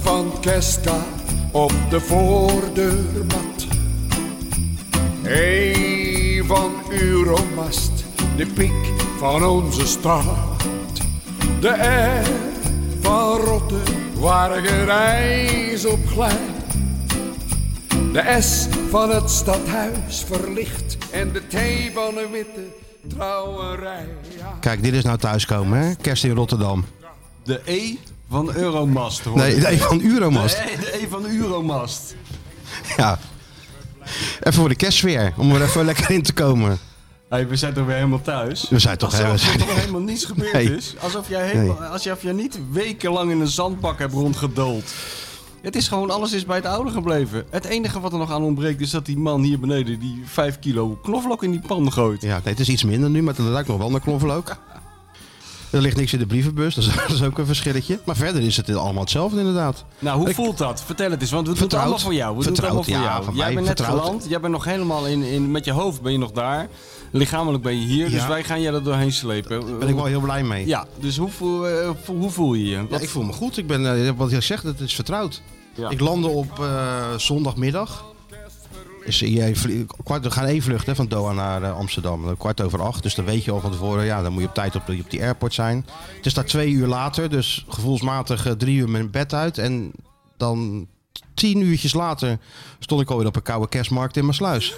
van Keska op de voordeurmat. Hey van Euromast, de piek van onze stad. De R van Rotte, waar gereis op glijdt. De S van het stadhuis verlicht en de T van een witte trouwerij. Kijk, dit is nou thuiskomen, hè? Kerst in Rotterdam. De E van Euromast. hoor. Nee, nee van Euromast. De E, de e van Euromast. Ja. Even voor de kerstsfeer, om er even lekker in te komen. Hey, we zijn toch weer helemaal thuis? We zijn toch Alsof helemaal- er toch helemaal niets gebeurd Nee. is? Alsof jij, helemaal, alsof jij niet wekenlang in een zandbak hebt rondgedold. Het is gewoon, alles is bij het oude gebleven. Het enige wat er nog aan ontbreekt is dat die man hier beneden die 5 kilo knoflook in die pan gooit. Ja, nee, het is iets minder nu, maar het ruikt nog wel naar knoflook. Er ligt niks in de brievenbus, dat is, dat is ook een verschilletje. Maar verder is het allemaal hetzelfde inderdaad. Nou, hoe Ik- voelt dat? Vertel het eens, want we doen het Vertrouwd. allemaal voor jou. We Vertrouwd, doen het allemaal ja, voor jou. van Jij mij bent net vertrouwd. geland, jij bent nog helemaal in, in, met je hoofd ben je nog daar. Lichamelijk ben je hier, dus Ja. wij gaan jij er doorheen slepen. Daar ben ik wel heel blij mee. Ja, dus hoe voel, eh, voel- hoe voel je je? Ja, ik voel me goed. Ik ben, eh, wat je zegt, het is vertrouwd. Ja. Ik landde op eh, zondagmiddag. Is, eh, jij vlie- kwart, we gaan één vlucht hè, van Doha naar eh, Amsterdam. Eh, Kwart over acht. Dus dan weet je al van tevoren, ja, dan moet je op tijd op, de- op die airport zijn. Het is daar twee uur later, dus gevoelsmatig eh, drie uur mijn bed uit. En dan tien uurtjes later stond ik alweer op een koude kerstmarkt in mijn sluis.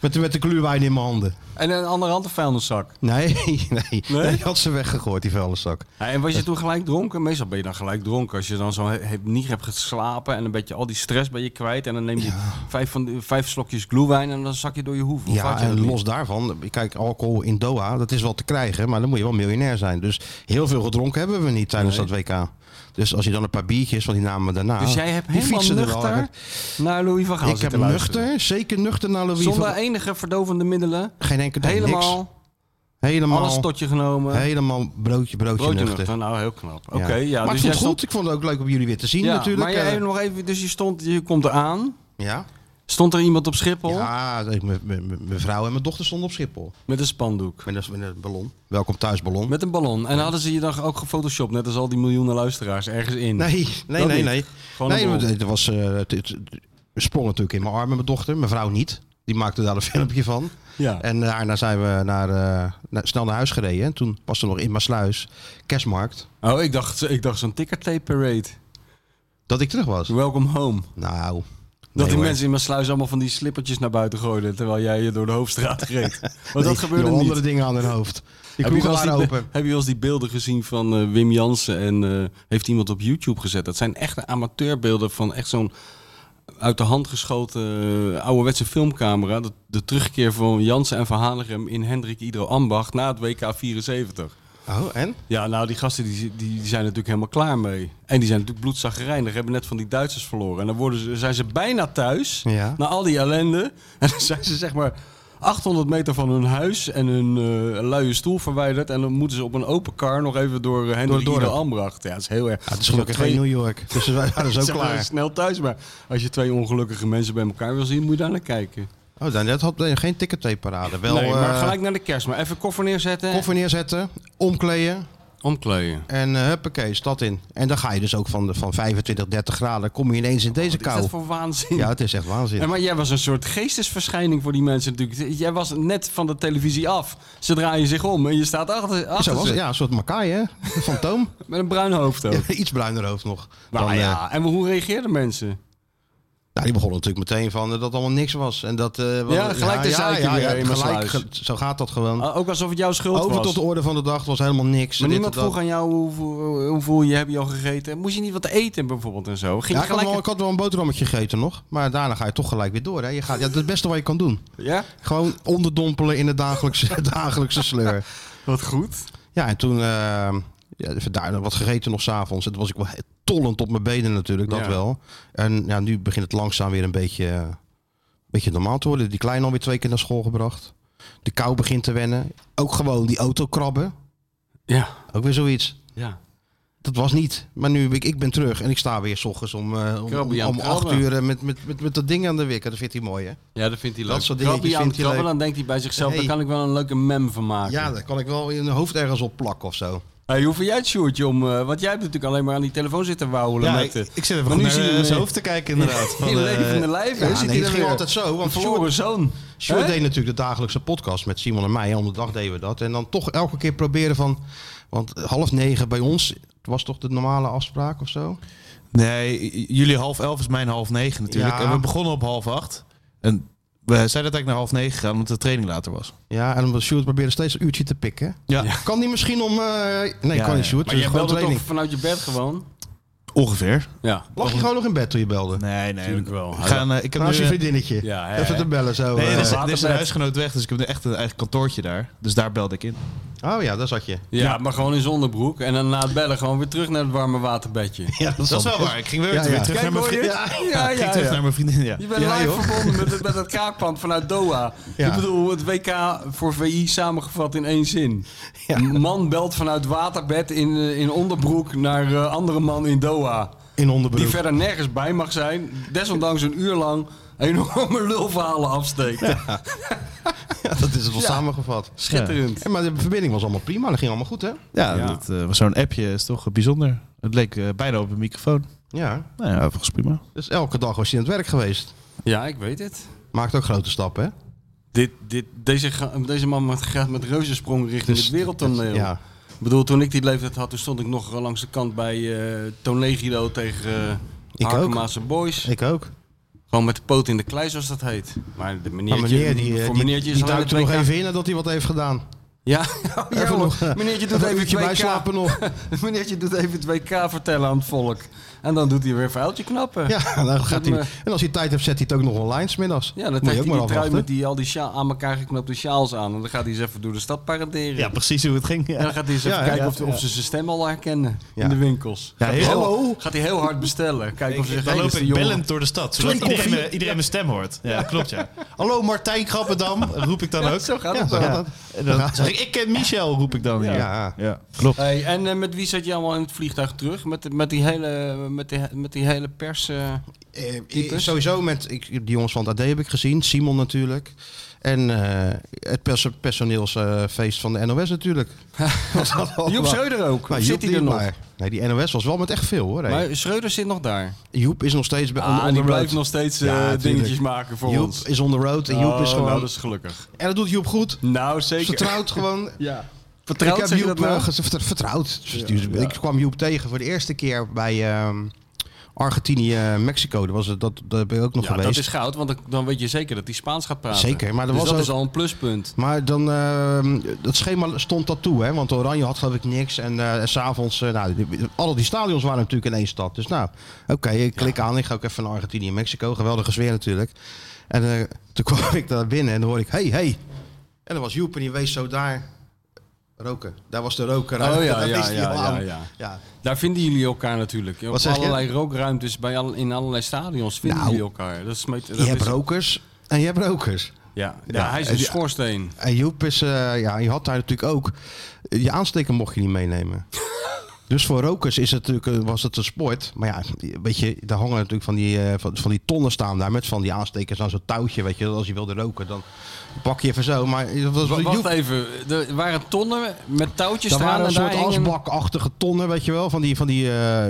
Met, de- met de kluurwijn in mijn handen. En een anderhande vuilniszak. Nee, nee. nee? had ze weggegooid, die vuilniszak. Ja, en was je toen gelijk dronken? Meestal ben je dan gelijk dronken. Als je dan zo he- he- niet hebt geslapen en een beetje al die stress ben je kwijt. En dan neem je vijf, van de, vijf slokjes glühwein en dan zak je door je hoeven. Hoe vaak Ja, je dat en doet? los daarvan, kijk, alcohol in Doha, dat is wel te krijgen, maar dan moet je wel miljonair zijn. Dus heel veel gedronken hebben we niet tijdens dat WK. Dus als je dan een paar biertjes, want die namen we daarna. Dus jij hebt die helemaal fietsen er wel nuchter uit. naar Louis van Gaal Ik heb zitten luisteren. nuchter, zeker nuchter naar Louis. Zonder van- enige verdovende middelen. geen enkele nee, Helemaal, niks. Helemaal, alles tot je genomen. helemaal broodje, broodje, Broodje nuchter. nuchter. Nou, heel knap. Oké, Ja. maar ja. dus ik vond jij het stond- goed. Ik vond het ook leuk om jullie weer te zien Ja, natuurlijk. Maar jij Eh, even nog even, dus je stond, je komt eraan. ja, Stond er iemand op Schiphol? ja ik- mijn- mijn mijn- mijn vrouw en mijn dochter stonden op Schiphol. Met een spandoek. Met een, met een ballon. Welkom thuis, ballon. Met een ballon. En hadden ze je dan ook gefotoshopt, net als al die miljoenen luisteraars, ergens in? Nee, nee, Dat nee, niet. nee. Gewoon nee, een want bron. het was, eh, het, het- het sprong natuurlijk in mijn armen, mijn dochter. Mijn vrouw niet. Die maakte daar een filmpje van. Ja. En eh, daarna zijn we naar, eh, naar- snel naar huis gereden. En toen was er nog in Maasluis kerstmarkt Oh, ik dacht, ik dacht zo'n tickertape parade. dat ik terug was. Welcome home. Nou, nee Dat die hoor. mensen in mijn sluis allemaal van die slippertjes naar buiten gooiden, terwijl jij je door de hoofdstraat reed. Want oh, dat Die- gebeurde die niet. andere dingen aan hun hoofd. Die Heb je, kroegen wel eens waren die, open. heb je wel eens die beelden gezien van eh, Wim Jansen en eh, heeft iemand op YouTube gezet? Dat zijn echte amateurbeelden van echt zo'n uit de hand geschoten eh, ouderwetse filmcamera. De, de terugkeer van Jansen en Van Hanegem in Hendrik Ido Ambacht na het WK 74. Oh, en? Ja, nou die gasten die, die, die zijn natuurlijk helemaal klaar mee. En die zijn natuurlijk bloedzagrijnig. Hebben net van die Duitsers verloren. En dan worden ze, zijn ze bijna thuis. Ja. Na al die ellende. En dan zijn ze zeg maar 800 meter van hun huis en hun eh, luie stoel verwijderd. En dan moeten ze op een open kar nog even door uh, Hendrik dorp. Ido Ambracht. Ja, dat is heel erg. Ja, het is gelukkig geen New York. Dus we waren zo Ze waren klaar. snel thuis. Maar als je twee ongelukkige mensen bij elkaar wil zien, moet je daar naar kijken. Oh, dan, dat had nee, geen ticketteeparade. Wel nee, maar eh, gelijk naar de kerst. Maar even koffer neerzetten. koffer neerzetten, omkleden. Omkleden. En eh huppakee, stad in. En dan ga je dus ook van, de, van 25, 30 graden. Kom je ineens in deze Oh, Wat is kou. dat voor waanzin? Ja, het is echt waanzin. Ja, maar jij was een soort geestesverschijning voor die mensen natuurlijk. Jij was net van de televisie af. Ze draaien zich om en je staat achter, achter Zo was ze. het. Ja, een soort Makai, hè? Fantoom. Met een bruin hoofd ook. Iets bruiner hoofd nog. Nou dan, eh, ja, en hoe reageerden mensen? nou, die begonnen natuurlijk meteen van eh, dat allemaal niks was. En dat, eh, wel- Ja, gelijk de zeiken weer in mijn gelijk, sluis. ge- Zo gaat dat gewoon. Ah, Ook alsof het jouw schuld Hm. Over was. tot de orde van de dag het was helemaal niks. maar Dit niemand en dat. vroeg aan jou hoe, hoe, hoe voel je, heb je al gegeten? Moest je niet wat eten bijvoorbeeld en zo? Ging Ja, je ik, had gelijk... wel, ik had wel een boterhammetje gegeten nog. Maar daarna ga je toch gelijk weer door. Hè? Je gaat, ja, dat is het beste wat je kan doen. Ja? Gewoon onderdompelen in de dagelijkse, dagelijkse sleur. Wat goed. Ja, en toen eh, ja, even daar wat gegeten nog s'avonds. En toen was ik wel he- tollend op mijn benen natuurlijk, dat Ja. wel. En ja, nu begint het langzaam weer een beetje, eh, een beetje normaal te worden. Die kleine alweer twee keer naar school gebracht. De kou begint te wennen. Ook gewoon die autokrabben. Ja. Ook weer zoiets. Ja. Dat was niet. Maar nu, ik, ik ben terug en ik sta weer s ochtends om, eh, om, Krabbie om, aan om het acht krabben. uur eh, met, met, met, met dat ding aan de wikker. Dat vindt hij mooi, hè? ja, dat vindt hij leuk. Dat soort Krabbie dingetjes aan het vindt hij krabben, dan denkt hij bij zichzelf, Hey. daar kan ik wel een leuke mem van maken. Ja, daar kan ik wel in een hoofd ergens op plakken of zo. Hey, hoe vind jij het, Sjoerdje, om... eh, want jij hebt natuurlijk alleen maar aan die telefoon zitten wauwelen Ja, met... ik, eh, ik zit even maar goed nu naar zie je hem, zijn eh, hoofd te kijken inderdaad. Van, in eh, levende lijven. ja, zit nee, hij het er ging weer? altijd zo, want Sjoerd verloren- zoon. Sjoerd Hè? deed natuurlijk de dagelijkse podcast met Simon en mij. Om de dag deden we dat. En dan toch elke keer proberen van... Want half negen bij ons was toch de normale afspraak of zo? Nee, j- jullie half elf is mijn half negen natuurlijk. Ja. En we begonnen op half acht. En we zijn uiteindelijk naar half negen gegaan omdat de training later was. Ja, en omdat Sjoerd probeerde steeds een uurtje te pikken. Ja, Kan die misschien om... eh, Nee, Ja, kan niet ja. Sjoerd. het Maar is jij gewoon belde training. toch vanuit je bed gewoon? ongeveer. Ja, Lag je gewoon nog in bed toen je belde? Nee, nee. natuurlijk wel. We gaan, eh, ik heb Naast nu, je eh, vriendinnetje. Ja, hè, Even hè. te bellen zo. Nee, eh. er is, er is een Waterbed. huisgenoot weg, dus ik heb nu echt een eigen kantoortje daar. Dus daar belde ik in. Oh ja, daar zat je. Ja, maar gewoon in zonderbroek. En dan na het bellen gewoon weer terug naar het warme waterbedje. Ja, Dat is wel waar. Ik ging weer, Ja, weer ja. terug, Kijk, naar mijn, hoor je vriend, het? ja, Ja, ik ging ja, terug ja. naar mijn vriendin. Ja. Je bent Ja, live joh. verbonden met, het- met dat kaakpand vanuit Doha. Ja. Ik bedoel, het WK voor VI samengevat in één zin. Ja. Een Man belt vanuit waterbed in, eh, in onderbroek naar eh, andere man in Doha. In Die onderbroek. verder nergens bij mag zijn. Desondanks een uur lang enorme lulverhalen afsteekt. Ja, dat is het wel Ja. samengevat. Schitterend. Ja, maar de verbinding was allemaal prima. Dat ging allemaal goed, hè? Ja, Ja. dat eh, was zo'n appje is toch bijzonder. Het leek eh, bijna op een microfoon. Ja. Nou ja, volgens prima. Dus elke dag was je aan het werk geweest. Ja, ik weet het. Maakt ook grote stappen, hè? Dit, dit, deze, ga- deze man gaat met reuzensprong richting het eh, wereldtoneel. Dus Ja. Ik bedoel, toen ik die leeftijd had, toen stond ik nog langs de kant bij eh Tonegido tegen eh Ik ook. Arkemaanse Boys. Ik ook. Gewoon met de poot in de klei, zoals dat heet. Maar de Maar meneertje, meneer, die, eh, voor die, meneertje die, is alleen duikt er het nog WK. even in nadat hij wat heeft gedaan. Ja, ja Even hoor. nog, meneertje Even doet een even uurtje het WK. bijslapen nog. Meneertje doet even het WK vertellen aan het volk. En dan doet hij weer vuiltje knappen. Ja, dan gaat hij, me- en als hij tijd heeft, zet hij het ook nog online smiddags. Ja, Moet dan je trekt hij ook die maar trui afwachten. met die, al die sjaal, aan elkaar geknopte sjaals aan. En dan gaat hij eens even door de stad paraderen. Ja, precies hoe het ging. En dan gaat hij eens even Ja, kijken ja, of, of ze zijn stem al herkennen Ja. in de winkels. Ja, gaat, hij hallo? heel, gaat hij heel hard bestellen. Kijken of ze Ik, zeggen, dan hey, loop dat is ik die jongen. bellend door de stad, zodat Twee iedereen, koffie. me- iedereen mijn stem hoort. Ja, klopt ja. Hallo Martijn Grappendam, roep ik dan ook. Zo gaat Ja, het zo wel. gaat dat. En dan zeg ik, ik ken Michel, roep ik dan. Ja, Ja. klopt. Hey, en eh, met wie zat je allemaal in het vliegtuig terug? Met, met, die, hele, met, die, met die hele pers? eh, Eh, ik- Types? sowieso met ik, die jongens van het AD heb ik gezien, Simon natuurlijk. En eh, het pers- personeelsfeest van de NOS natuurlijk. Was dat allemaal. Joep Schreuder ook. Nou, Of Joep zit hij niet, er nog? maar- Nee, die NOS was wel met echt veel hoor. hè. Maar Schreuder zit nog daar. Joep is nog steeds bij Ah, on, die on the blijft road. nog steeds eh, Ja, tuurlijk. dingetjes maken voor Joep ons. is on the road en Joep is Oh, gewoon... Nou, dat is gelukkig. En dat doet Joep goed. Nou, Ze zeker. trouwt gewoon. Ja. ik Vertrouwd heb zeg je Joep dat nou? eh, gez- vert- vertrouwd. dus Ik kwam Joep tegen voor de eerste keer bij ehm, Argentinië, Mexico. Dat, was, het- dat, dat ben ik ook nog Ja, geweest. dat is goud, want dan- dan weet je zeker dat hij Spaans gaat praten. Zeker, maar er Dus was dat ook- is al een pluspunt. Maar dan, ehm, dat schema stond dat toe, hè? Want Oranje had geloof ik niks. En eh, s s'avonds, eh, nou, die- alle die stadions waren natuurlijk in één stad. Dus nou, oké, ik klik aan. Ik ga ook even naar Argentinië en Mexico. Geweldige sfeer natuurlijk. En eh, toen kwam ik daar binnen en dan hoorde ik, hey, hey. En dan was Joep en die wees zo daar roken. Daar was de roker. Oh, ja, Daar ja, wees hij ja, al ja, aan. ja. ja. Daar vinden jullie elkaar natuurlijk. Op Wat zeg je? allerlei rookruimtes bij al, in allerlei stadions vinden Nou, jullie elkaar. Dat is met, dat Je hebt is- rokers en je hebt rokers. Ja, ja, Ja, hij is en een die- schoorsteen. En Joep is, eh, ja, je had daar natuurlijk ook, eh, je aansteker mocht je niet meenemen. Dus voor rokers is het natuurlijk, eh, was het een sport. Maar ja, weet je, daar hangen natuurlijk van die, eh, van, van die tonnen staan daar met van die aanstekers aan zo'n touwtje. Weet je, als je wilde roken, dan pak je even zo. Maar eh, dat was Wa- Wacht Joep, even, er waren tonnen met touwtjes daar eraan waren een en soort daar hingen- asbakachtige tonnen, weet je wel, van die, van die eh,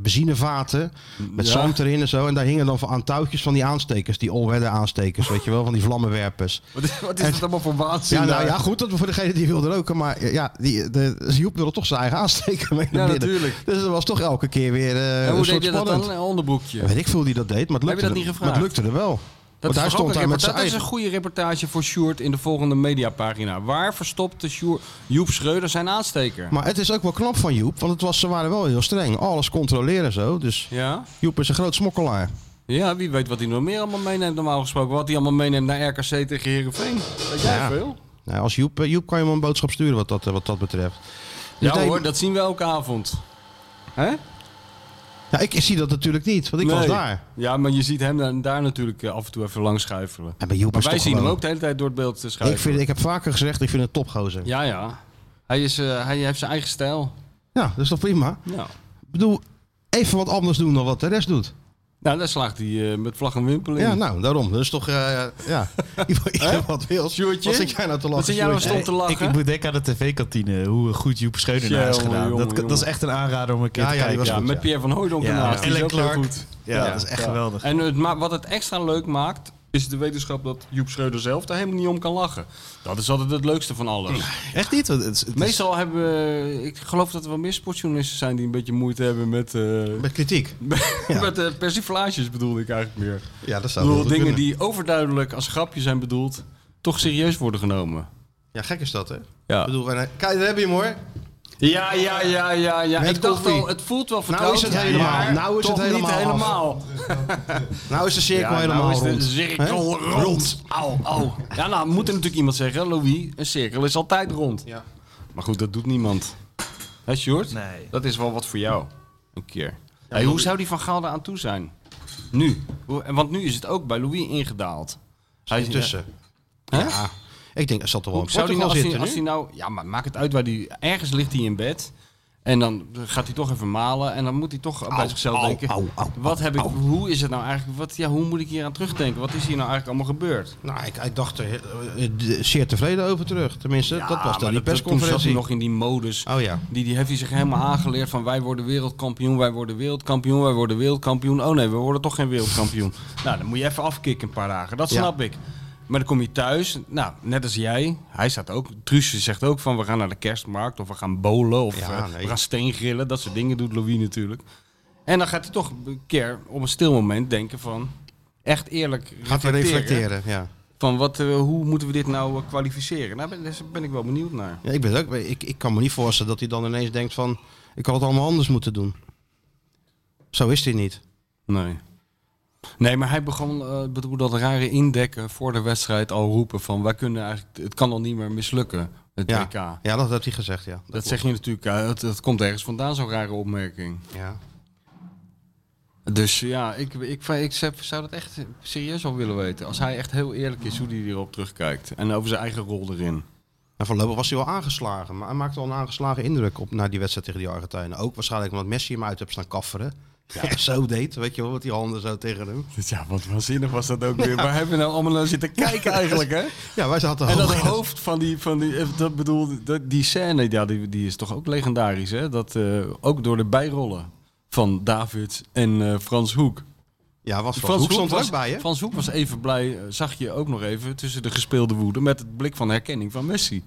benzinevaten met Ja. zand erin en zo. En daar hingen dan van- aan touwtjes van die aanstekers, die all-weather aanstekers, weet je wel, van die vlammenwerpers. Wat is, wat is dat allemaal voor waanzin? Ja, nou daar? ja, goed, dat voor degene die wilde roken. Maar eh, ja, die, de, Joep wilde toch zijn eigen aansteken mee naar Ja, binnen. natuurlijk. Dus dat was toch elke keer weer eh en hoe een deed soort je dat dan? spannend. Een onderbroekje. Weet ik veel hoe die dat deed, maar het Heb je lukte, dat niet er- gevraagd? maar het lukte er wel. Dat, Want is, hij stond daar grappig, met hè, zijn maar dat is eigen... een goede reportage voor Sjoerd in de volgende mediapagina. Waar verstopte Sjoerd, Joep Schreuder zijn aansteker? Maar het is ook wel knap van Joep, want het was, ze waren wel heel streng. Alles controleren zo, dus Ja? Joep is een groot smokkelaar. ja, wie weet wat hij nog meer allemaal meeneemt normaal gesproken. Wat hij allemaal meeneemt naar RKC tegen Herenveen. Weet jij Ja. veel? Nou, als Joep, eh, Joep kan je hem een boodschap sturen wat dat, eh, wat dat betreft. Dus Ja nee, hoor, dat zien we elke avond. Hè? ja, ik zie dat natuurlijk niet, want ik was Nee. daar. Ja, maar je ziet hem dan- daar natuurlijk eh, af en toe even langs schuifelen. En bij Joep Maar is wij toch zien hem gewoon- ook de hele tijd door het beeld te Ik, schuiven. vind, ik heb vaker gezegd, ik vind het topgozer. Ja, Ja, ja. Hij, is, eh, hij heeft zijn eigen stijl. dat is toch prima? Ja. Ik bedoel, even wat anders doen dan wat de rest doet. Nou, daar slaagt hij eh, met vlag en wimpel in. Ja, nou, daarom. Dat is toch, eh, ja, ieder ieder wat wil. Sjoerdje? Wat zit jij nou te lachen? Wat zit jij nou Sjoerdje? stom te lachen? Ik, ik moet denken aan de tv-kantine, hoe goed Joep Scheunenaar is Jongen, gedaan. jongen, dat, dat is echt een aanrader om een keer Ja, te ja, die kijken. was ja, goed, met ja. Pierre van Hooydonk Ja, ernaast. Die is Ellen ook heel Clark. goed. ja, dat is echt ja. geweldig. En het, ma- wat het extra leuk maakt, is de wetenschap dat Joep Schreuder zelf daar helemaal niet om kan lachen. Dat is altijd het leukste van alles. Echt niet? Want het is- het is- Meestal hebben we, ik geloof dat er wel meer sportjournalisten zijn die een beetje moeite hebben met, eh, Met kritiek. met eh, persiflages bedoelde ik eigenlijk meer. Ja, dat Ik zou bedoel, wel dingen kunnen. die overduidelijk als grapje zijn bedoeld, toch serieus worden genomen. Ja, gek is dat, hè? Ja. Ik bedoel, wij- kijk, daar heb je hem, hoor. Ja, ja, ja, ja, ja. Met ik dacht koffie. al, het voelt wel vertrouwd. Nou is het helemaal. maar Nou is toch het helemaal niet af. helemaal. Nou is de cirkel Ja, helemaal nou is rond. de cirkel Hè? rond. Au, au. Ja, nou moet er natuurlijk iemand zeggen, Louis, een cirkel is altijd rond. Ja. Maar goed, dat doet niemand. Hé, Sjoerd? Nee. Dat is wel wat voor jou. Een keer. hey, hoe zou die Van Gaal eraan toe zijn? Nu. Hoe- en Want nu is het ook bij Louis ingedaald. Hij Tussen. Hè? Ja. Ik denk, dat zal toch wel Hoe in zou Portugal die nou, als, hij, zitten als nu? hij nou... Ja, maar maakt het uit waar die... Ergens ligt hij in bed. En dan gaat hij toch even malen. En dan moet hij toch bij zichzelf au, denken... au, au, wat heb ik... Hoe is het nou eigenlijk... Wat, ja, hoe moet ik hier aan terugdenken? Wat is hier nou eigenlijk allemaal gebeurd? Nou, ik, ik dacht er eh, eh, zeer tevreden over terug. Tenminste, dat was dan Ah, maar die dat- Toen zat hij persconferentie. nog in die modus. Oh ja. Die, die heeft hij zich helemaal aangeleerd van wij worden wereldkampioen, wij worden wereldkampioen, wij worden wereldkampioen. Oh nee, we worden toch geen wereldkampioen. nou, dan moet je even afkicken een paar dagen. Dat Ja. snap ik. Maar dan kom je thuis, nou, net als jij. Hij staat ook, Truusje zegt ook van we gaan naar de kerstmarkt of we gaan bowlen of Ja, eh, nee. we gaan steengrillen. Dat soort dingen doet Louis natuurlijk. En dan gaat hij toch een keer op een stil moment denken van echt eerlijk Gaat hij reflecteren, ja. Van wat, eh, hoe moeten we dit nou eh, kwalificeren? Daar ben, daar ben ik wel benieuwd naar. ja ik, ben het ook, ik, ik kan me niet voorstellen dat hij dan ineens denkt van... Ik had het allemaal anders moeten doen. Zo is hij niet. Nee. Nee, maar hij begon eh, ik bedoel, dat rare indekken voor de wedstrijd al roepen van wij kunnen eigenlijk, het kan al niet meer mislukken, het Ja, WK. Dat, ja dat heeft hij gezegd, ja. Dat, zeg je natuurlijk, eh, het, het komt ergens vandaan, zo'n rare opmerking. Ja. Dus ja, ik, ik, ik zou dat echt serieus al willen weten. Als hij echt heel eerlijk is hoe hij hierop terugkijkt. En over zijn eigen rol erin. En voorlopig was hij wel aangeslagen. Maar hij maakte al een aangeslagen indruk op, na die wedstrijd tegen die Argentijnen. Ook waarschijnlijk omdat Messi hem uit heeft staan kafferen. Ja. zo deed, weet je wel, met die handen zo tegen hem. Ja, wat waanzinnig was dat ook weer. Waar hebben we nou allemaal naar zitten kijken eigenlijk, hè? Ja, wij zaten En dat hoog in het- hoofd van die, van die eh, dat bedoel, dat, die scène, ja, die, die is toch ook legendarisch, hè? Dat, eh, ook door de bijrollen van David en eh, Frans Hoek. Ja, was Frans Hoek stond er ook bij, hè? Frans Hoek was even blij, eh, zag je ook nog even, tussen de gespeelde woede, met het blik van herkenning van Messi.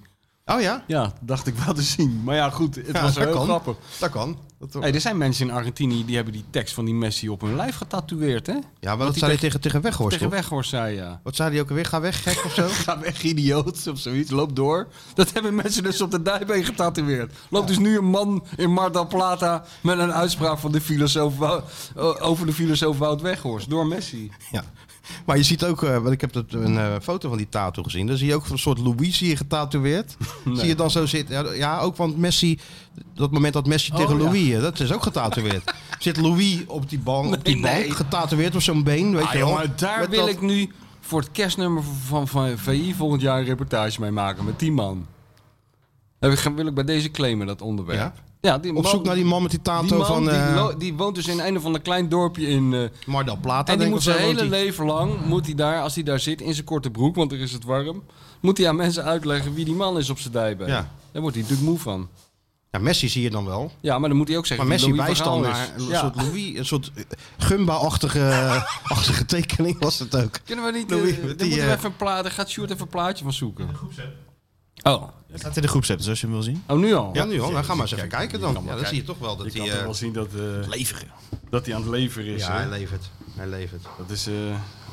Oh ja? Ja, dacht ik wel te zien. Maar ja, goed, het Ja, was dat heel kan. grappig. Dat kan. Dat, Hey, er zijn mensen in Argentinië die hebben die tekst van die Messi op hun lijf getatoeëerd, hè? ja, maar dat die zei hij tegen, tegen Weghorst, Tegen toch? Weghorst zei ja. Wat zei hij ook alweer? Ga weg, gek of zo? Ga weg, idioot, of zoiets. Loop door. Dat hebben mensen dus op de dijbeen getatoeëerd. Loopt dus nu een man in Mar del Plata met een uitspraak van de filosoof Wou- o- over de filosoof Wout Weghorst door Messi. ja. Maar je ziet ook, eh, want ik heb dat, een eh, foto van die tattoo gezien. Dan zie je ook een soort Louis hier getatoeëerd. Zie je dan zo zitten. Ja, ja, ook want Messi, dat moment dat Messi tegen Oh, ja. Louis, eh, dat is ook getatoeëerd. Zit Louis op die bank, op die Nee, bank nee. Ah, getatoeëerd op zo'n been, weet je wel. daar Met wil dat- ik nu voor het kerstnummer van, van VI volgend jaar een reportage mee maken met die man. Heb ik, wil ik bij deze claimen, dat onderwerp. Ja? die Op man- zoek naar die man met die die tato man van die, eh lo- die woont dus in een of ander klein dorpje in... eh, Mar del Plata. En die denk ik, moet of zijn zo woont hele hij. leven lang, moet hij daar, als hij daar zit in zijn korte broek, want er is het warm, moet hij aan mensen uitleggen wie die man is op zijn dijben. Ja. Daar wordt hij natuurlijk moe van. Ja, Messi zie je dan wel. Ja, maar dan moet hij ook Maar zeggen. Messi wie Louis wijst van dan Gaal naar een is. Ja. soort Louis, een soort Gumba-achtige achtige tekening was het ook. Kunnen we niet? Louis, eh, met dan die, moeten we eh, even een plaat. Daar gaat Sjoerd even een plaatje van zoeken. Oh, Het staat in de groep zetten, zoals je hem wil zien. oh nu al. Ja, nu hoor. Nou, ga maar eens even kijken dan. Ja, dan zie je toch wel Dus, dat hij... eh, zien dat, Levige. dat hij aan het leveren is. Ja, hij levert. Hij levert. Dat is eh,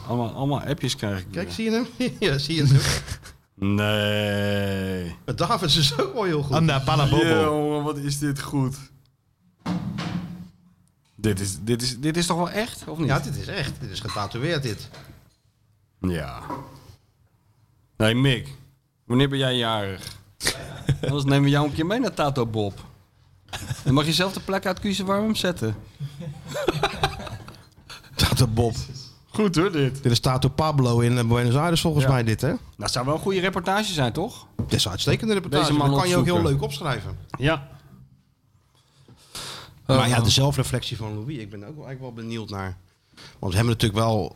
allemaal, allemaal appjes krijg ik. Kijk, zie je hem? ja, zie je hem? Nee. Maar Davids is ook wel heel goed. Anda Palabobo. wat is dit goed? Dit is, dit, is, dit is toch wel echt, of niet? Ja, dit is echt. Dit is getatoeëerd, dit. Ja. Nee, Mick. Wanneer ben jij jarig? Anders nemen we jou een keer mee naar Tato Bob. Dan mag je zelf de plek uitkiezen waar we hem zetten. Tato eh, Bob. Goed hoor, dit. Dit is Tato Pablo in eh, Buenos Aires volgens mij, dit, hè? Nou, het zou wel een goede reportage zijn, toch? Dit is een uitstekende reportage. Deze man dat kan je ook heel opzoeken. leuk opschrijven. Ja. Eh, nou. dus maar ja, de zelfreflectie van Louis. Ik ben ook wel- eigenlijk wel benieuwd naar. Want we hebben natuurlijk wel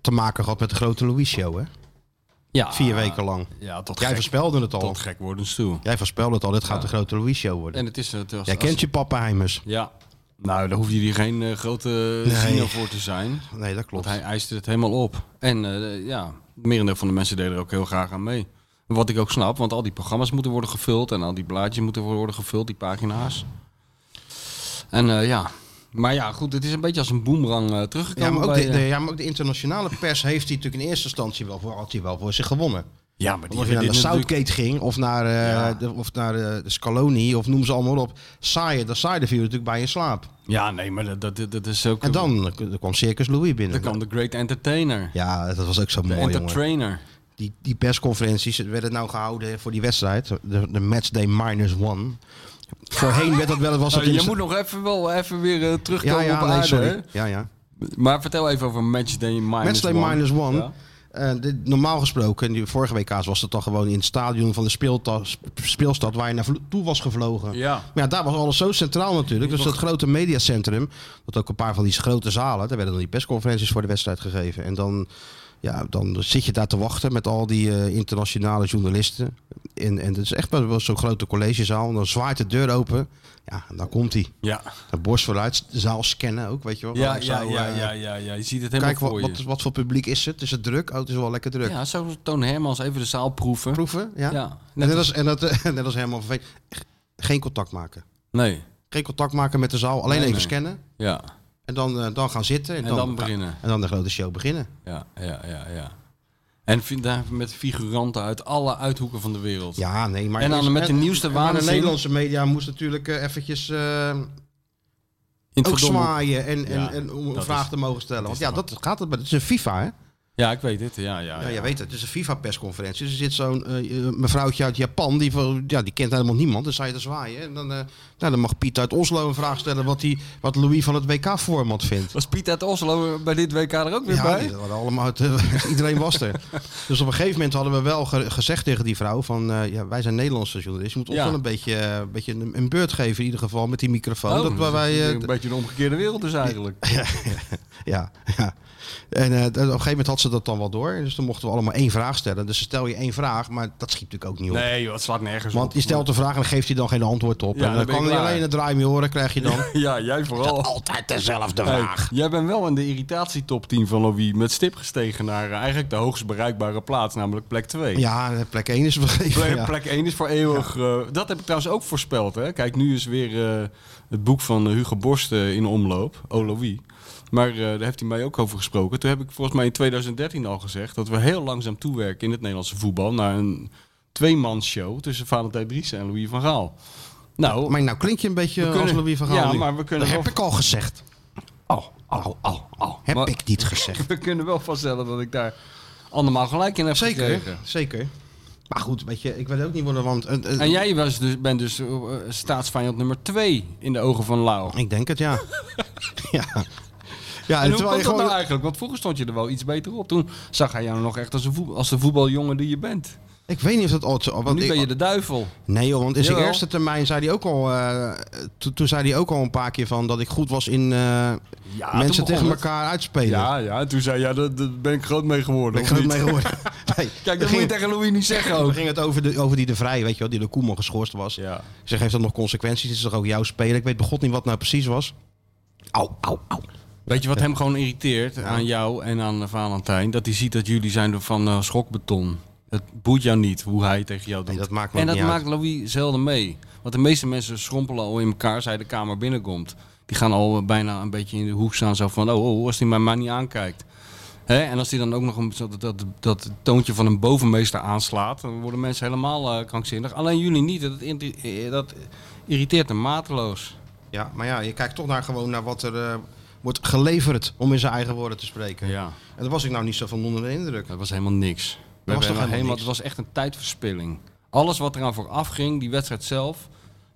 te maken gehad met de grote Louis Show, hè? Ja, Vier weken lang. Ja, tot Jij gek, voorspelde het al. tot gek worden toe. Jij voorspelde het al, dit gaat de grote Louis Show worden. En het is... Het was, Jij kent je papa Heimers. Ja. Nou, daar hoefde hij geen eh, grote Nee. ziener voor te zijn. Nee, dat Want klopt. hij eiste het helemaal op. En eh, ja, het merendeel van de mensen deden er ook heel graag aan mee. Wat ik ook snap, want al die programma's moeten worden gevuld en al die blaadjes moeten worden gevuld, die pagina's. En eh, ja, maar ja, goed, het is een beetje als een boemerang eh, Ja teruggekomen. maar, ook bij, de, eh, de- ja, maar ook de internationale pers heeft hij natuurlijk in eerste instantie wel voor, had hij wel voor zich gewonnen. ja, maar Want Of je naar de dit natuurlijk- Southgate ging, of naar, eh, Ja. de, of naar eh, de Scaloni, of noem ze allemaal op. Saaien, daar saaide viel natuurlijk bij in slaap. Ja, nee, maar dat, dat, dat is ook... En dan eh, er kwam Circus Louis binnen. Dan kwam de Great Entertainer. Ja, dat was ook zo De mooi, jongen. Entertainer. Die, die persconferenties werden nou gehouden voor die wedstrijd. De, de matchday minus one. Voorheen werd dat wel... Was dat Eh, in- je moet nog even wel even weer eh, ja, terugkomen ja, op nee, aarde, sorry. hè? Ja, ja. Maar vertel even over Matchday Minus Matchday One. minus one. Ja. Eh, dit- normaal gesproken, die vorige WK's was dat dan gewoon in het stadion van de speelta- sp- speelstad waar je naartoe was gevlogen. Ja. Maar ja, daar was alles zo centraal natuurlijk. Dus dat grote mediacentrum, dat ook een paar van die grote zalen, daar werden dan die persconferenties voor de wedstrijd gegeven. En dan, ja, dan zit je daar te wachten met al die eh, internationale journalisten. En, en het is echt wel wel zo'n grote collegezaal. En dan zwaait de deur open. Ja, en dan komt hij. Ja. Oh, De borst vooruit, de zaal scannen ook, weet je wel. Ja, Ik ja, zou, ja, eh, ja, ja, ja. Je ziet het helemaal Kijk, wat, voor wat, je. wat voor publiek is het? Is het druk? Oh, het is wel lekker druk. Ja, zo Toon Hermans even de zaal proeven. Proeven, ja. Ja. En dat is, en dat, eh, net als helemaal vervelend. Ge- Geen contact maken. Nee. Geen contact maken met de zaal. Alleen Nee, even nee. scannen. Ja. En dan, eh, dan gaan zitten. En, En dan beginnen. En dan de grote show beginnen. Ja, ja, ja, ja. En vind daar met figuranten uit alle uithoeken van de wereld. Ja, nee, maar... En dan eerst- met de eh, nieuwste maar de waanzin. Nederlandse media moest natuurlijk eh, eventjes eh, In het ook verdomme- zwaaien. En, Ja, en, en om een dat vraag is- te mogen stellen. Want is ja, de dat gaat het. Maar het is een FIFA, hè? Ja, ik weet het. Ja, ja, Ja, Ah, ja. Nou, jij weet het. Het is een FIFA-persconferentie. Dus er zit zo'n eh, eh, mevrouwtje uit Japan, die, van- ja, die kent helemaal niemand. Dan sta je te zwaaien. En dan, eh, nou, dan mag Piet uit Oslo een vraag stellen wat, die, wat Louis van het WK-format vindt. Was Piet uit Oslo bij dit WK er ook weer Ja, bij? die hadden allemaal uit, eh, iedereen was er. Dus op een gegeven moment hadden we wel ge- gezegd tegen die vrouw van... eh, ja, wij zijn Nederlandse journalisten. Je moet ons Ja. wel een beetje, eh, een beetje een, een beurt geven in ieder geval met die microfoon. Oh, dat waar wij, eh, een beetje de omgekeerde wereld is eigenlijk. Ja, ja. En eh, op een gegeven moment had ze dat dan wel door. Dus dan mochten we allemaal één vraag stellen. Dus stel je één vraag, maar dat schiet natuurlijk ook niet op. Nee, joh, het slaat nergens Want op. je stelt de vraag en dan geeft hij dan geen antwoord op. Ja, en dan, dan ben kan je hij klaar. alleen een draai mee horen, krijg je dan. Ja, jij vooral. Altijd dezelfde Hey, vraag. jij bent wel in de irritatietop 10 van Louis met stip gestegen naar eh, eigenlijk de hoogst bereikbare plaats, namelijk plek 2. Ja, plek 1 is Plek, vergeven. Ja. plek 1 is voor eeuwig. eh, dat heb ik trouwens ook voorspeld. Hè? Kijk, nu is weer eh, het boek van eh, Hugo Borst eh, in omloop. Oh, Louis. Maar eh, daar heeft hij mij ook over gesproken. Toen heb ik volgens mij in 2013 al gezegd dat we heel langzaam toewerken in het Nederlandse voetbal naar een tweemansshow tussen Valentijn Driessen en Louis van Gaal. Nou, Maar nou klink je een beetje We kunnen- als Louis van Gaal ja, nu. maar we kunnen Dat wel- heb ik al gezegd. oh, oh, oh, oh. Heb Maar- ik niet gezegd. we kunnen wel vaststellen dat ik daar andermaal gelijk in heb Zeker, gekregen. zeker. Maar goed, weet je, ik weet ook niet worden, want... eh, eh, En jij was dus, bent dus eh, staatsvijand nummer 2 in de ogen van Lau. Ik denk het, ja. ja. Ja, En hoe komt dat nou eigenlijk? Want vroeger stond je er wel iets beter op. Toen zag hij jou nog echt als, een voetbal, als de voetbaljongen die je bent. Ik weet niet of dat altijd zo... Want nu ik- ben je de duivel. Nee joh, want in zijn Jawel. eerste termijn zei hij ook al... eh, to- toen zei hij ook al een paar keer van dat ik goed was in eh, mensen tegen elkaar uitspelen. Ja, ja. En toen zei ja, daar daar ben ik groot mee Ben geworden. ik of groot niet? mee geworden. Nee, we Kijk, dat moet je gingen- tegen Louis niet zeggen we ook. gingen het over, de, over die de Vrij, weet je wel, die de Koeman geschorst was. Ja. Ik zeg, heeft dat nog consequenties? Is toch ook jouw speler? Ik weet bij god niet wat nou precies was. Au, au, au. Weet je wat hem gewoon irriteert aan jou en aan eh, Valentijn? Dat hij ziet dat jullie zijn van eh, schokbeton. Het boeit jou niet hoe hij tegen jou doet. Nee, dat maakt me en ook dat niet maakt Louis zelden mee. Want de meeste mensen schrompelen al in elkaar als hij de kamer binnenkomt. Die gaan al eh, bijna een beetje in de hoek staan. Zo van, oh, oh als hij mij maar niet aankijkt. Hè? En als hij dan ook nog een, dat, dat, dat toontje van een bovenmeester aanslaat... dan worden mensen helemaal eh, krankzinnig. Alleen jullie niet. Dat, inti- eh, dat irriteert hem mateloos. Ja, maar ja, je kijkt toch naar gewoon naar wat er eh, wordt geleverd, om in zijn eigen woorden te spreken. Ja. En daar was ik nou niet zo van onder de indruk. Dat was helemaal niks. We hebben toch helemaal helemaal- niks? Het was echt een tijdverspilling. Alles wat eraan vooraf ging, die wedstrijd zelf,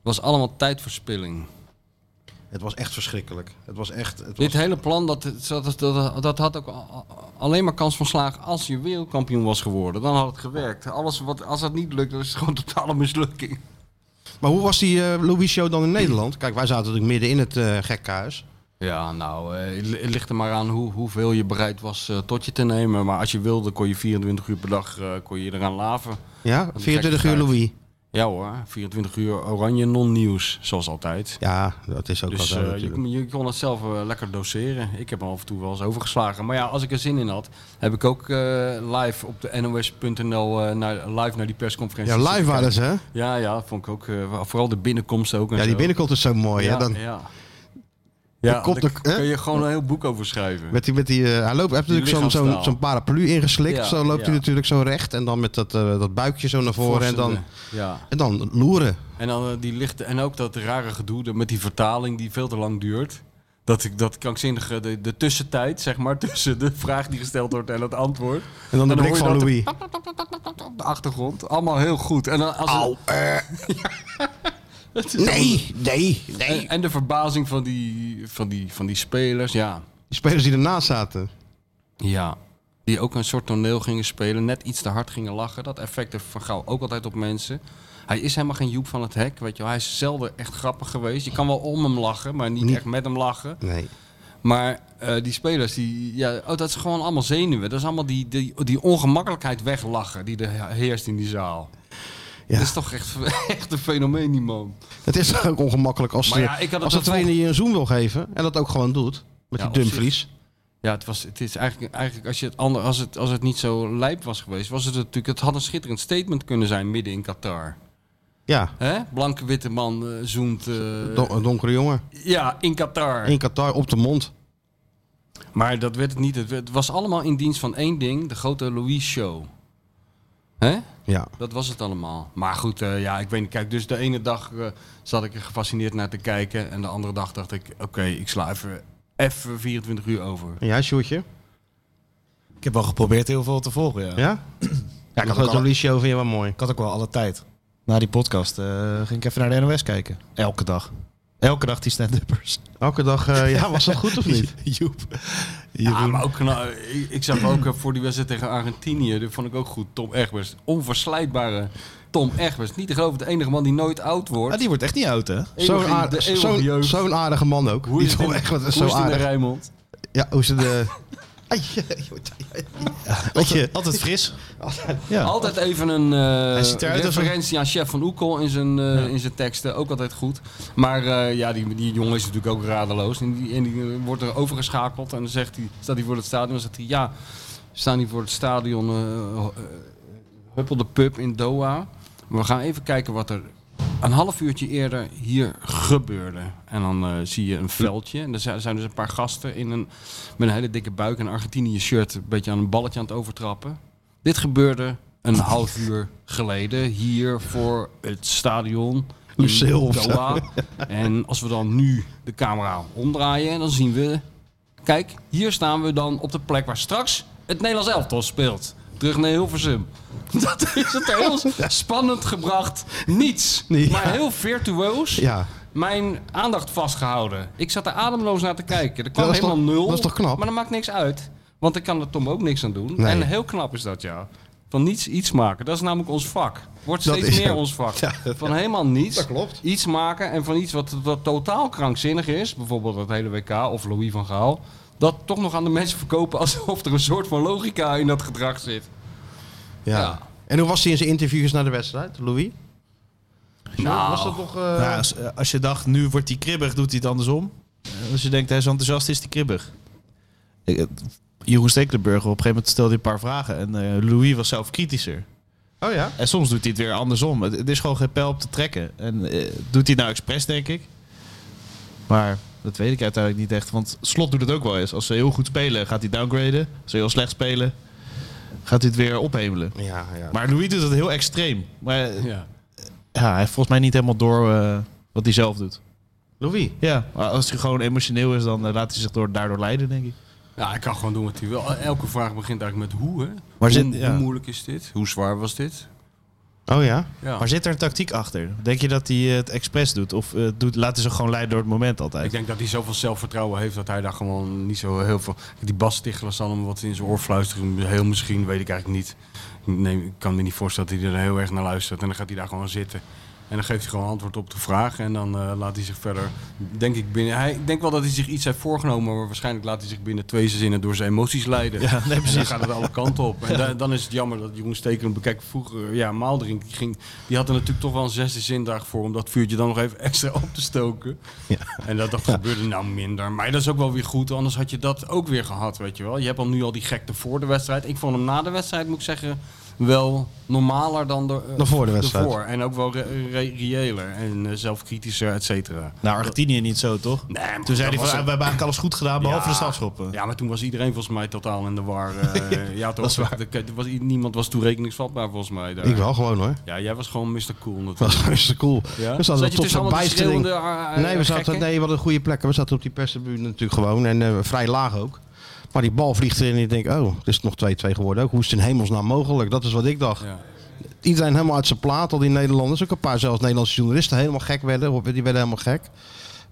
was allemaal tijdverspilling. Het was echt verschrikkelijk. Het was echt... Het Dit was, hele plan, dat, dat, dat, dat had ook a- a- alleen maar kans van slagen als je wereldkampioen was geworden. Dan had het gewerkt. Alles wat, als dat niet lukt, dan is het gewoon totale mislukking. maar hoe was die eh Louis Show dan in Nederland? Kijk, wij zaten natuurlijk midden in het eh gekkenhuis. Ja, nou, eh, het li- het ligt er maar aan hoe, hoeveel je bereid was eh, tot je te nemen. Maar als je wilde, kon je 24 uur per dag eh, kon je eraan laven. Ja, Een 24 uur gekkigheid. Louis. Ja hoor, 24 uur oranje non-nieuws, zoals altijd. Ja, dat is ook Dus wel zo eh, je, natuurlijk. kon- je kon het zelf eh, lekker doseren. Ik heb hem af en toe wel eens overgeslagen. Maar ja, als ik er zin in had, heb ik ook eh, live op de nos.nl eh, naar, live naar die persconferentie. Ja, live zitten waren ze, hè? kijken. Ja, ja, vond ik ook. eh, vooral de binnenkomst ook. en Ja, die zo. binnenkomt is zo mooi, hè? Dan ja. Ja, kop- daar de- hè? kun je gewoon een heel boek over schrijven. Met die, met die, eh, hij loopt, hij heeft Die natuurlijk zo'n zo'n lichaamstaal. zo'n paraplu ingeslikt. Ja, zo loopt hij ja. natuurlijk zo recht. En dan met dat, eh, dat buikje zo naar voren. En dan, Ja. en dan loeren. En, dan, eh, die lichte, en ook dat rare gedoe de- met die vertaling die veel te lang duurt. Dat, ik- dat krankzinnige, de, de tussentijd, zeg maar, tussen de vraag die gesteld wordt en het antwoord. En dan de blik van hoor Louis. je dat Op de achtergrond, allemaal heel goed. En dan als het- Het is allemaal- Nee, nee, nee. En, en de verbazing van die, van die, van die spelers, ja. Die spelers die ernaast zaten. Ja. Die ook een soort toneel gingen spelen, net iets te hard gingen lachen. Dat effect heeft Van Gaal ook altijd op mensen. Hij is helemaal geen Joep van het Hek, weet je wel. Hij is zelden echt grappig geweest. Je kan wel om hem lachen, maar niet Niet- echt met hem lachen. Nee. Maar eh, die spelers, die, ja, oh, dat is gewoon allemaal zenuwen. Dat is allemaal die, die, die ongemakkelijkheid weglachen die er heerst in die zaal. Ja. Dat is toch echt, echt een fenomeen, die man. Het is toch ook ongemakkelijk als, Maar de- ja, ik had het als de ervoor- trainer je een zoen wil geven. En dat ook gewoon doet. Met Ja, die op zich. Dumfries. Ja, het, was, het is eigenlijk, eigenlijk als, je het ander, als, het, als het niet zo lijp was geweest, was het natuurlijk. Het had een schitterend statement kunnen zijn midden in Qatar. Ja, Hè? Blanke witte man eh, zoent. eh, don- een donkere jongen. ja, in Qatar. In Qatar, op de mond. Maar dat werd het niet. Het, werd- het was allemaal in dienst van één ding: de grote Louis-show. Hè? Ja. Dat was het allemaal. Maar goed, eh, ja, ik weet niet. Kijk, dus de ene dag eh, zat ik er gefascineerd naar te kijken. En de andere dag dacht ik, oké, ik sla even, even 24 uur over. En jij, Sjoerdje? Ik heb wel geprobeerd heel veel te volgen, ja. Ja? Ja, ik dat had kan. Louis show vind je wel mooi. Ik had ook wel alle tijd. Na die podcast eh, ging ik even naar de NOS kijken. Elke dag. Elke dag die stand-uppers. Elke dag, eh, ja, was dat goed of niet? Joep. Ja, Jeroen. maar ook, nou, ik, ik zag ook eh, voor die wedstrijd tegen Argentinië, dat vond ik ook goed, Tom Egbers. Onverslijtbare Tom Egbers. Niet te geloven, de enige man die nooit oud wordt. Ah, die wordt echt niet oud, hè? Eeuwig Zo'n in- de aardig, eeuwige zo'n- jeugd. zo'n aardige man ook. Hoe Die is het toch in- echt wat- hoe is zo het in de aardig. Rijnmond? Ja, hoe eh, ze de. Ai, ai, ai, ai, ai. Weet je, Altijd fris. Ja. Altijd even een eh, Hij ziet eruit als een- referentie aan Chef van Oekel in zijn, eh, in zijn teksten. Ook altijd goed. Maar eh, ja, die, die jongen is natuurlijk ook radeloos. En die, en die eh, wordt er overgeschakeld. En dan zegt hij, staat hij voor het stadion. Dan zegt hij, ja, we staan hier voor het stadion eh eh, Huppel de Pub in Doha. We gaan even kijken wat er een half uurtje eerder hier gebeurde. En dan eh, zie je een veldje. En er zijn zijn dus een paar gasten in een, met een hele dikke buik en een Argentinië-shirt... een beetje aan een balletje aan het overtrappen. Dit gebeurde een half uur geleden hier voor het stadion. in Lucille of zo. Doha. En als we dan nu de camera omdraaien, dan zien we... Kijk, hier staan we dan op de plek waar straks het Nederlands elftal speelt. Terug naar Hilversum. Dat is het heel spannend gebracht. Niets. Nee, ja. Maar heel virtuoos. Ja. Mijn aandacht vastgehouden. Ik zat er ademloos naar te kijken. Er kwam Dat is helemaal toch- nul. dat is toch knap? Maar dat maakt niks uit. Want ik kan er Tom ook niks aan doen. Nee. En heel knap is dat, ja. Van niets iets maken. Dat is namelijk ons vak. Wordt Dat steeds is meer zo. ons vak. Ja, dat- van helemaal niets. Dat klopt. Iets maken en van iets wat, wat totaal krankzinnig is. Bijvoorbeeld dat hele WK of Louis van Gaal. Dat toch nog aan de mensen verkopen alsof er een soort van logica in dat gedrag zit. ja. Ja. En hoe was hij in zijn interviews na de wedstrijd, Louis? Nou. was dat nog. eh, Nou, als, eh, als je dacht, nu wordt hij kribbig, doet hij het andersom. Eh, Als je denkt, hij is enthousiast, is hij kribbig. Ik, eh, Jeroen Stekelenburg, op een gegeven moment stelde hij een paar vragen. En eh, Louis was zelf kritischer. Oh ja. En soms doet hij het weer andersom. Het, het is gewoon geen pijl op te trekken. En eh, doet hij het nou expres, denk ik. Maar dat weet ik uiteindelijk niet echt. Want Slot doet het ook wel eens. Als ze heel goed spelen, gaat hij downgraden. Als ze heel slecht spelen, gaat hij het weer ophemelen. Ja, ja. Maar Louis doet het heel extreem. Maar eh, Ja. ja, hij heeft volgens mij niet helemaal door eh, wat hij zelf doet. Louis. Ja, maar als hij gewoon emotioneel is, dan eh, laat hij zich door, daardoor leiden, denk ik. Ja, hij kan gewoon doen wat hij wil. Elke vraag begint eigenlijk met hoe, hè? hoe, Maar zit- ja. hoe moeilijk is dit? Hoe zwaar was dit? Oh ja. Ja. Maar zit er een tactiek achter? Denk je dat hij eh, het expres doet? Of eh, doet, laat hij zich gewoon leiden door het moment altijd? Ik denk dat hij zoveel zelfvertrouwen heeft dat hij daar gewoon niet zo heel veel... Die Bas Stichler zal hem wat in zijn oor fluisteren. Heel misschien, weet ik eigenlijk niet. Nee, ik kan me niet voorstellen dat hij er heel erg naar luistert. En dan gaat hij daar gewoon zitten. En dan geeft hij gewoon antwoord op de vraag. En dan eh, laat hij zich verder, denk ik, binnen... Hij, ik denk wel dat hij zich iets heeft voorgenomen. Maar waarschijnlijk laat hij zich binnen twee zinnen door zijn emoties leiden. Ja, nee, precies. dan gaat het alle kanten op. En da- dan is het jammer dat Jeroen Stekelenburg... Bekijk, vroeger, ja, Maaldrink die ging... Die had er natuurlijk toch wel een zesde zindag voor... om dat vuurtje dan nog even extra op te stoken. En dat, dat gebeurde nou minder. Maar dat is ook wel weer goed. Anders had je dat ook weer gehad, weet je wel. Je hebt al nu al die gekte voor de wedstrijd. Ik vond hem na de wedstrijd, moet ik zeggen... Wel normaler dan de, eh, Dan voor de wedstrijd. ervoor. En ook wel re- re- reëler en eh, zelfkritischer, et cetera. Nou, Argentinië niet zo, toch? Nee, maar Toen zei dat hij van, was ah, we een- hebben eigenlijk alles goed gedaan, behalve Ja. de strafschoppen. Ja, maar toen was iedereen volgens mij totaal in de war. eh, ja, toch? dat is waar. Er- er was, niemand was toerekeningsvatbaar volgens mij daar. Ik wel gewoon hoor. Ja, jij was gewoon Mr. Cool Dat natuurlijk. was hartstikke cool. Ja? We zaten Zat je tot tussen zo'n allemaal die bijstelling. schreeuwende, eh, Nee, we, zaten, gekken? nee, we hadden een goede plek. We zaten op die perstribune natuurlijk gewoon. En eh, vrij laag ook. Maar die bal vliegt erin en ik denk, oh, het is nog 2-2 geworden ook. Hoe is het in hemelsnaam mogelijk? Dat is wat ik dacht. Ja. Iedereen helemaal uit zijn plaat, al die Nederlanders. Ook een paar zelfs Nederlandse journalisten helemaal gek werden. Die werden helemaal gek.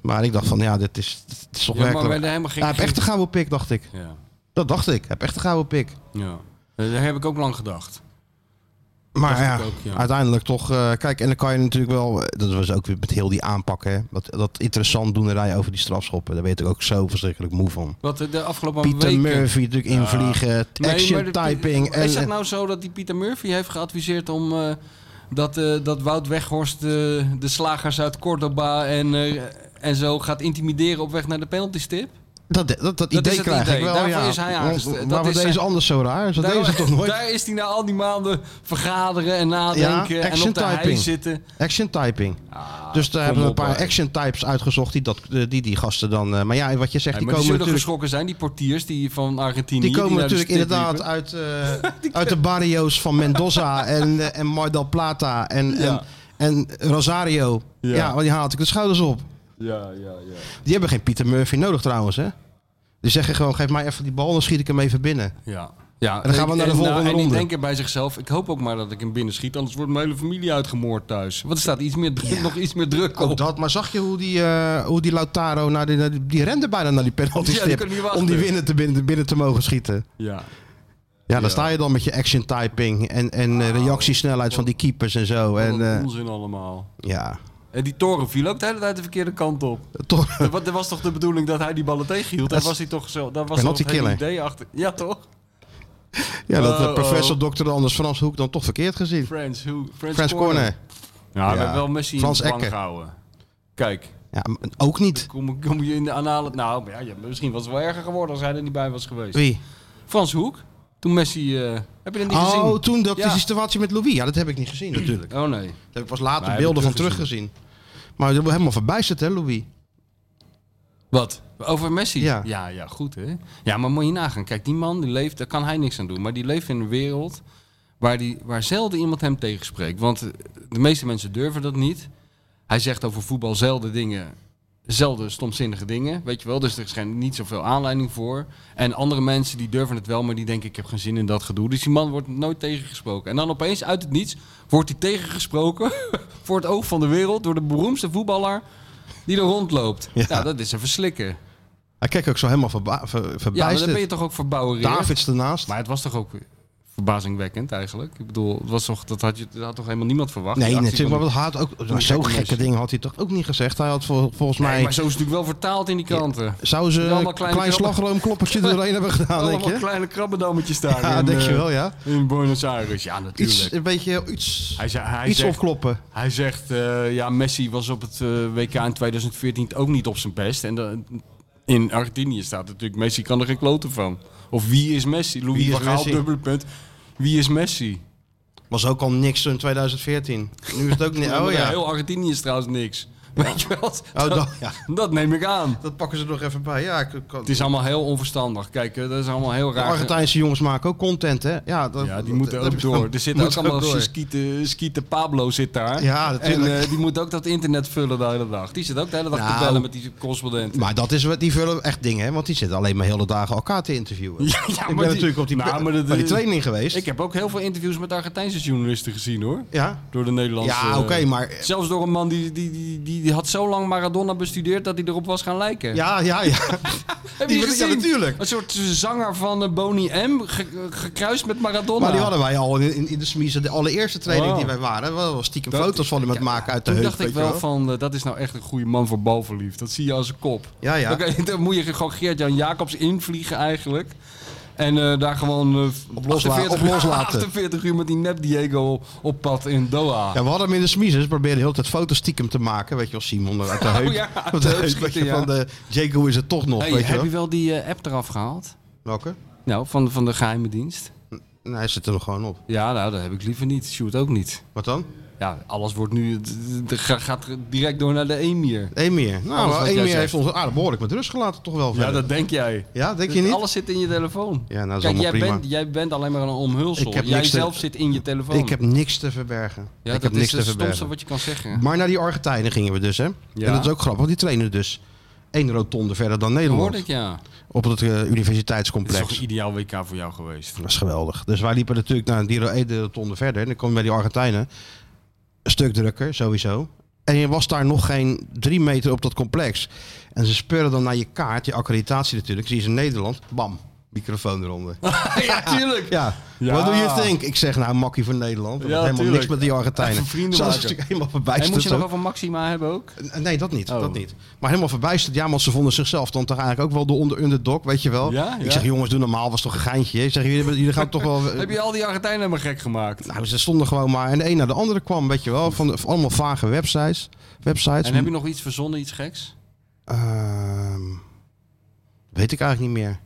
Maar ik dacht van, ja, dit is, dit is toch Ja, maar werkelijk... werden helemaal geen- Ja, hij heeft echt een gouden pik, dacht ik. Ja. Dat dacht ik. Hij heeft echt een gouden pik. ja. Eh, Daar heb ik ook lang gedacht. Maar ja, Dacht ik ook, ja. uiteindelijk toch. eh, kijk, en dan kan je natuurlijk wel. Dat was ook weer met heel die aanpak. Hè, dat, dat interessant doenerij over die strafschoppen. Daar weet ik ook zo verschrikkelijk moe van. Wat eh, de afgelopen Pieter weken... Murphy natuurlijk invliegen. Nee, action maar de- typing. En, Is het nou zo dat die Pieter Murphy heeft geadviseerd om... eh, dat, eh, dat Wout Weghorst eh, de slagers uit Cordoba en, eh, en zo gaat intimideren op weg naar de penaltystip? dat, dat, dat, is idee het krijg idee. ik wel. Daarvoor ja. is hij aangesteld. Want- Dat Maar wat is deze zijn- anders zo raar? Zo daar, deze toch nooit? daar is hij na al die maanden vergaderen en nadenken Ja, en action op de hei typing. zitten. Action typing. dus daar hebben we een Ah, op, paar hè. action types uitgezocht die, dat, die die gasten dan. eh, maar ja, wat je zegt, die Ja, maar die komen zullen natuurlijk. geschrokken zijn, die portiers die van Argentinië. Die komen naar de natuurlijk stip inderdaad liepen. uit, eh, uit de barrio's van Mendoza en, eh, en Mar del Plata en, Ja. en, en Rosario. Ja, Ja. want die haalt ik de schouders op. Ja, ja, ja. Die hebben geen Pieter Murphy nodig trouwens, hè? Die zeggen gewoon, geef mij even die bal, dan schiet ik hem even binnen. Ja. Ja, dan gaan we naar de volgende en ronde. die denken bij zichzelf, ik hoop ook maar dat ik hem binnen schiet, anders wordt mijn hele familie uitgemoord thuis. Want er staat iets meer druk, nog iets meer druk op. Ook dat, maar zag je hoe die, eh, hoe die Lautaro, naar die, naar die, die rende bijna naar die penalty Ja, die stip kon niet wachten. om die binnen te, binnen, binnen te mogen schieten. Ja. Ja, dan Ja. Oh, sta je dan met je action typing en, en eh, reactiesnelheid van die keepers en zo. Wat En een eh, onzin allemaal. ja, En die toren viel ook de hele tijd de verkeerde kant op. toch. Er wa- Er was toch de bedoeling dat hij die ballen tegenhield? Dat Daar is- was hij toch zo. Daar was Penalty toch het hele killer. idee achter. Ja, toch? Ja, dat de Oh, professor oh. dokter Anders Frans Hoek dan toch verkeerd gezien. Frans, who? Frans, Frans Corner. Ja, we Ja. hebben wel Messi Frans in de bank Ekke. gehouden. Kijk, Ja, m- ook niet. kom, kom je in de analen... Nou, maar ja, ja, misschien was het wel erger geworden als hij er niet bij was geweest. Wie? Frans Hoek, toen Messi... eh, heb je dat niet gezien? Oh, toen dat Ja. die situatie met Louis. Ja, dat heb ik niet gezien natuurlijk. Oh nee. Daar heb ik pas later Maar heb beelden ik van teruggezien. Maar je wordt helemaal verbijsterd, hè, Louis? Wat? Over Messi? Ja. ja, ja, goed hè. Ja, maar moet je nagaan. Kijk, die man die leeft, daar kan hij niks aan doen. Maar die leeft in een wereld waar, die, waar zelden iemand hem tegenspreekt. Want eh, de meeste mensen durven dat niet. Hij zegt over voetbal zelden dingen, zelden stomzinnige dingen. Weet je wel, dus er is geen, niet zoveel aanleiding voor. En andere mensen die durven het wel, maar die denken ik heb geen zin in dat gedoe. Dus die man wordt nooit tegengesproken. En dan opeens uit het niets wordt hij tegengesproken voor het oog van de wereld door de beroemdste voetballer die er rondloopt. Ja. Ja, dat is een verslikker. Hij kijkt ook zo helemaal verba- ver- Ja, maar dan verbijsterd. ben je toch ook verbouwereerd. Davids ernaast. Maar het was toch ook verbazingwekkend eigenlijk. Ik bedoel, het was toch, dat, had je, dat had toch helemaal niemand verwacht. nee, Die actie natuurlijk. van Maar die- wat hij had ook, maar zo'n gekke gekke mensen. dingen had hij toch ook niet gezegd. Hij had vol- volgens Nee, mij... maar zo is het natuurlijk wel vertaald in die kranten. Zou ze Allemaal een kleine klein krabben. slagroomkloppertje doorheen hebben gedaan, denk Allemaal je? kleine krabbendammetjes daar Ja, in, denk eh, je wel, ja. in Buenos Aires. Ja, natuurlijk. Iets, een beetje iets, hij, zei- hij iets zegt, opkloppen. Hij zegt, eh, ja, Messi was op het eh, WK in 2014 ook niet op zijn best. En dan- in Argentinië staat natuurlijk, Messi kan er geen kloten van. Of wie is Messi? Louis Wie is van Gaal, Messi? dubbele punt. Wie is Messi? Was ook al niks in 2014. Nu is het ook niet... Oh Maar ja. Heel Argentinië is trouwens niks. Weet je wat? Oh, dan, ja. Dat neem ik aan. Dat pakken ze er nog even bij. Ja, ik, kan- Het is allemaal heel onverstandig. Kijk, eh, dat is allemaal heel de raar. Argentijnse jongens maken ook content, hè? Ja, dat, ja, die dat- moeten dat- ook door. Er zitten ook moeten allemaal door. skieten, skieten Pablo zit daar. Ja, en natuurlijk. eh, die moet ook dat internet vullen de hele dag. Die zit ook de hele dag Nou. te bellen met die correspondenten. Maar dat is wat die vullen echt dingen, hè? Want die zitten alleen maar hele dagen elkaar te interviewen. Ja, ja, ik maar ben die- natuurlijk op die, Nou, maar dat bij die is- training geweest. Ik heb ook heel veel interviews met Argentijnse journalisten gezien hoor. Ja. Door de Nederlandse. Ja, oké, eh, maar- Zelfs door een man die, die, die, die, die had zo lang Maradona bestudeerd dat hij erop was gaan lijken. Ja, ja, ja. Heb Die je werd- ja, gezien? natuurlijk. Een soort zanger van eh, Boney M. ge- gekruist met Maradona. Maar die hadden wij al in, in, in de smiezen. De allereerste training Wow. die wij waren. We hadden stiekem Oh. Dat- foto's van hem aan het maken uit de Toen heup. dacht ik weet je wel van, eh, dat is nou echt een goede man voor balverliefd. Dat zie je als een kop. Ja, ja. Dan, kan je- dan moet je gewoon Geert-Jan Jacobs invliegen eigenlijk. En eh, daar gewoon eh, losla- 48 op uur- loslaten. 48 uur met die nep Diego op pad in Doha. Ja, we hadden hem in de smiezen. Ze probeerden de hele tijd foto's stiekem te maken. Weet je wel, Simon uit de heup. Oh, ja, Uit de de heup heup, weet schieten, je, ja. van de Jaco is het toch nog, Hey, weet je heb wel. je wel die eh, app eraf gehaald? Welke? Nou, van, van de geheime dienst. Nee, hij zit er nog gewoon op. Ja, nou, dat heb ik liever niet. Sjoerd ook niet. Wat dan? Ja, alles wordt nu... Het het ga- gaat direct door naar de Emir. Emir. Nou, Alles wat maar jij Emir zegt. heeft ons aardig behoorlijk met rust gelaten, toch wel. Ja, verder. dat denk jij. ja denk je Dus niet? Alles zit in je telefoon. Ja, nou, dat is Kijk, allemaal jij prima. bent, jij bent alleen maar een omhulsel. Ik heb Jij niks te- zelf zit in je telefoon. Ik heb niks te verbergen. ja, ik dat heb niks is te het stomste verbergen. wat je kan zeggen. Maar naar die Argentijnen gingen we dus, hè? Ja. En dat is ook grappig, want die trainen dus één rotonde verder dan Dat Nederland. hoorde ik, ja. Op het eh, Het is toch universiteitscomplex. een ideaal WK voor jou geweest? Dat is geweldig. Dus wij liepen natuurlijk naar die ro- ene rotonde verder. En dan komen we bij die Argentijnen. Een stuk drukker, sowieso. En je was daar nog geen drie meter op dat complex. En ze speuren dan naar je kaart, je accreditatie natuurlijk. Zie je ze in Nederland. Bam, microfoon eronder. ja, tuurlijk. Ja. Ja. What do you think? Ik zeg nou, makkie van Nederland. Dat Ja, heeft helemaal tuurlijk. niks met die Argentijnen. Even vrienden Ze was maken. natuurlijk helemaal En moet verbijsterd. je nog hoor. wel van Maxima hebben ook? Nee, dat niet, Oh. dat niet. Maar helemaal verbijsterd. Ja, want ze vonden zichzelf dan toch eigenlijk ook wel de onder underdog, weet je wel. Ja, ja. Ik zeg, jongens, doe normaal, was toch een geintje. Ik zeg, jullie, jullie gaan toch wel... Heb je al die Argentijnen helemaal gek gemaakt? Nou, ze stonden gewoon maar. En de een naar de andere kwam, weet je wel. Van, de- van allemaal vage websites. websites. en heb je nog iets verzonnen, iets geks? Ehm, weet ik eigenlijk niet meer.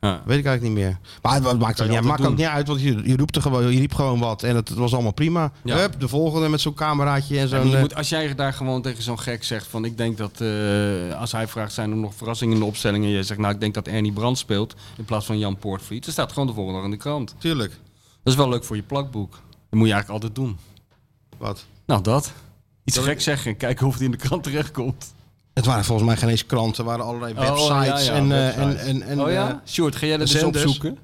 Ja. Weet ik eigenlijk niet meer. Maar het maakt, ook je niet, altijd maakt ook doen. niet uit, want je, je, roept er gewoon, je riep gewoon wat. En het, het was allemaal prima. Ja. Hup, de volgende met zo'n cameraatje en Ja, zo'n... maar je eh, moet, als jij daar gewoon tegen zo'n gek zegt van ik denk dat eh, als hij vraagt zijn er nog verrassingen in de opstelling en jij zegt nou ik denk dat Ernie Brand speelt in plaats van Jan Poortvliet, dan staat gewoon de volgende dag in de krant. Tuurlijk. Dat is wel leuk voor je plakboek. Dat moet je eigenlijk altijd doen. Wat? Nou dat. Iets gek zeggen en kijken of het in de krant terechtkomt. Het waren volgens mij geen eens kranten. Het waren allerlei websites. Oh, ja, ja, en, eh, en, websites. en, en, oh ja? eh, Sjoerd, ga jij dat eens zenders. opzoeken?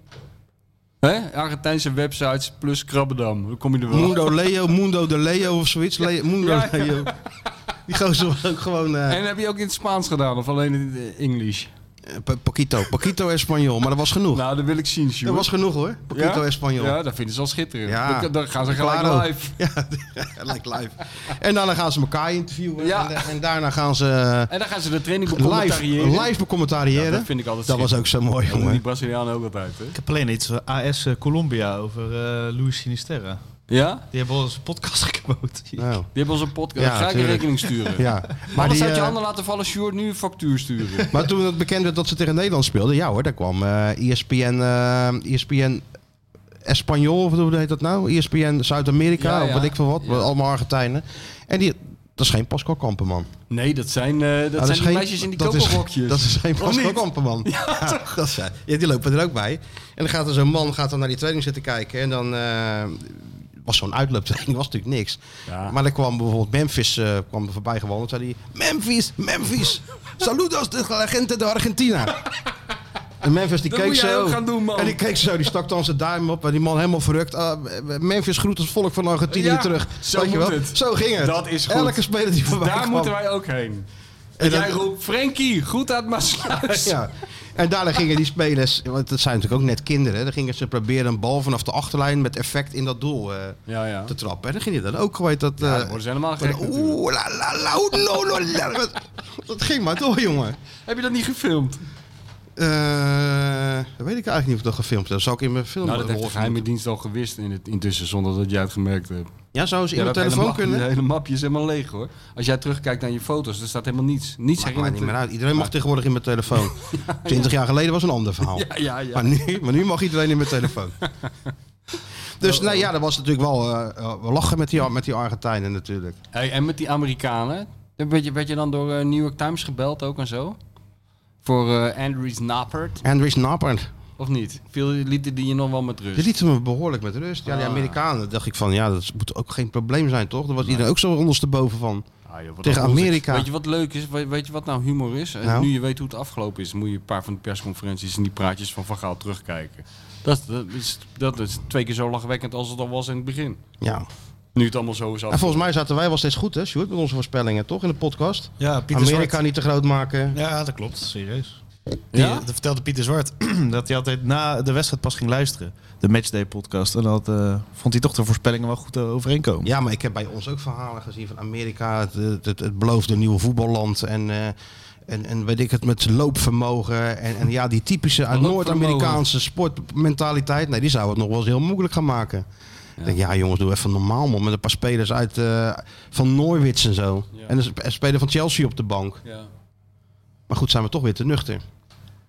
Hè? Argentijnse websites plus Krabbedam. Dan kom je er wel. Mundo Leo, Mundo de Leo of zoiets. Le- Mundo Ja, ja. Leo. Die gozer was ook gewoon... eh, En heb je ook in het Spaans gedaan of alleen in het eh, Engels? Pa- Paquito. Paquito Espanol. Maar dat was genoeg. Nou, dat wil ik zien, Sjoerd. dat was genoeg hoor. Paquito ja? Espanol. Ja, dat vinden ze al schitterend. Ja. Dan, dan gaan ze gelijk Claro. live. Ja, like live. En daarna gaan ze elkaar interviewen. Ja. En, en daarna gaan ze En dan gaan ze de training live, becommentariëren. live becommentariëren. Ja, dat vind ik altijd Dat was ook zo mooi, Dat doen die jongen. Brazilianen ook altijd, hè? Ik heb alleen iets eh, van AS Colombia over eh Luis Sinisterra. Ja? Die hebben al eens een podcast gekwoot. Nou, Die hebben ons een podcast. Ja, ga ik een tuurlijk. rekening sturen. ja. Maar Maar, Anders die, had je eh, handen laten vallen, Sjoerd, nu een factuur sturen. maar toen het bekend werd dat ze tegen Nederland speelden, ja hoor, daar kwam eh ESPN, eh ESPN Espanol, of hoe heet dat nou? ESPN Zuid-Amerika, Ja, of ja. wat ik veel wat, Ja. allemaal Argentijnen. En die, dat is geen Pascal Kamperman. Nee, dat zijn, eh, dat Nou, zijn die geen- meisjes in die dat is- koperrokjes. Dat is geen Of Pascal niet? Kamperman. Ja, dat zijn, ja, die lopen er ook bij. En dan gaat er zo'n man gaat dan naar die training zitten kijken. En dan eh, was zo'n uitlooptraining was natuurlijk niks. Ja. Maar dan kwam bijvoorbeeld Memphis eh, kwam er voorbij gewandeld. zei hij, Memphis, Memphis. Saludos de la gente de Argentina. En Memphis die Dat keek moet jij zo. ook gaan doen, man. En die keek zo, die stak dan zijn duim op. En die man helemaal verrukt. Ah, Memphis groet het volk van Argentinië Ja, terug. zo Weet je moet wel? het. Zo ging het. Dat is goed. Dus Elke speler die voorbij Daar kwam. moeten wij ook heen. En En jij dat- roept, Frenkie, goed uit Maasluis. Ja. En daarna gingen die spelers, want dat zijn natuurlijk ook net kinderen, hè, dan gingen ze proberen een bal vanaf de achterlijn met effect in dat doel eh, Ja, ja. te trappen. En dan ging je dan ook gewoon dat. Ja, eh, dan worden ze helemaal gek worden- natuurlijk. Oeh, la la la, oeh, no, no, la. Dat, dat ging maar door, jongen. Heb je dat niet gefilmd? Nou, Eh, dat weet ik eigenlijk niet of dat gefilmd is. Dat zou ik in mijn film Nou, dat heeft de rollen. geheime dienst al gewist in het, intussen, zonder dat jij het gemerkt hebt. Ja, zou ze in Ja, mijn dat hele telefoon map- kunnen. Die hele mapje is helemaal leeg hoor. Als jij terugkijkt naar je foto's, er staat helemaal niets. Niets Maakt mij niet meer herinnert. uit. Iedereen mag tegenwoordig in mijn telefoon. 20 jaar geleden was een ander verhaal. Ja, ja, ja. Maar, nu, maar nu mag iedereen in mijn telefoon. Dus Oh. nou ja, dat was natuurlijk wel eh, eh, we lachen met die, Ar- met die Argentijnen natuurlijk. Hey, en met die Amerikanen, werd je, werd je dan door eh, New York Times gebeld ook en zo? Voor eh, Andrews Nappert, Andries Napper, of niet? Viel, lieten die je nog wel met rust? die lieten me behoorlijk met rust. Ja, die Ah. Amerikanen, dacht ik van, ja, dat moet ook geen probleem zijn, toch? Daar was iedereen ook zo ondersteboven van. Ah, joh, wat Tegen een onzin. Amerika. Weet je wat leuk is? Weet, weet je wat nou humor is? En Nou? Nu je weet hoe het afgelopen is, moet je een paar van de persconferenties en die praatjes van Van Gaal terugkijken. Dat, dat, is, dat is twee keer zo lachwekkend als het al was in het begin. Ja. Nu het allemaal zo is En af. volgens mij zaten wij wel steeds goed, hè, Sjoerd, met onze voorspellingen, toch? In de podcast. Ja, Amerika niet te groot maken. Ja, dat klopt. Serieus. Ja? Die- eh, Dat vertelde Pieter Zwart. dat hij altijd na de wedstrijd pas ging luisteren. De Matchday podcast. En dat eh, vond hij toch de voorspellingen wel goed eh, overeenkomen. Ja, maar ik heb bij ons ook verhalen gezien van Amerika, het, het, het, het beloofde nieuwe voetballand en, eh, en, en weet ik het, met loopvermogen en, en ja, die typische uit Loopvermogen. Noord-Amerikaanse sportmentaliteit, nee, die zou het nog wel eens heel moeilijk gaan maken. Ik denk, ja jongens, doe even normaal man, met een paar spelers uit eh, van Norwich en zo. Ja. En een sp- een speler van Chelsea op de bank. Ja. Maar goed, zijn we toch weer te nuchter.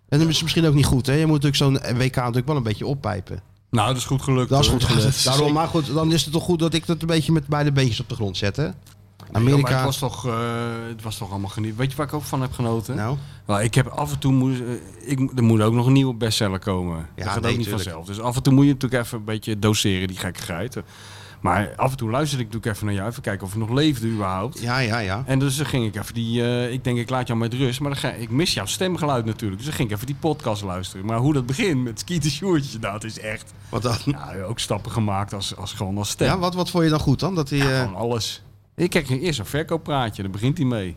En dat is misschien ook niet goed, hè? Je moet natuurlijk zo'n WK natuurlijk wel een beetje oppijpen. Nou, dat is goed gelukt. Dat is hoor. goed gelukt. is Daarom, maar goed, dan is het toch goed dat ik dat een beetje met beide beentjes op de grond zet, hè? Amerika. Amerika. het, was toch, eh, het was toch allemaal geniet. Weet je waar ik ook van heb genoten? Nou, Nou, ik heb af en toe moest, eh, ik, er moet ook nog een nieuwe bestseller komen. Ja, dat gaat nee, ook niet tuurlijk. vanzelf. Dus af en toe moet je natuurlijk even een beetje doseren, die gekkigheid. Maar af en toe luisterde ik natuurlijk even naar jou, even kijken of je nog leefde überhaupt. ja, ja, ja. En dus dan ging ik even die, eh, ik denk ik laat jou met rust, maar dan ga, ik mis jouw stemgeluid natuurlijk. Dus dan ging ik even die podcast luisteren. Maar hoe dat begint met Skeeter Sjoertje, nou, het is echt, Wat dan? nou, ook stappen gemaakt als, als gewoon als stem. Ja, wat, wat vond je dan goed dan? Dat die, eh, Gewoon alles. Ik kijk eerst een verkooppraatje, daar begint hij mee.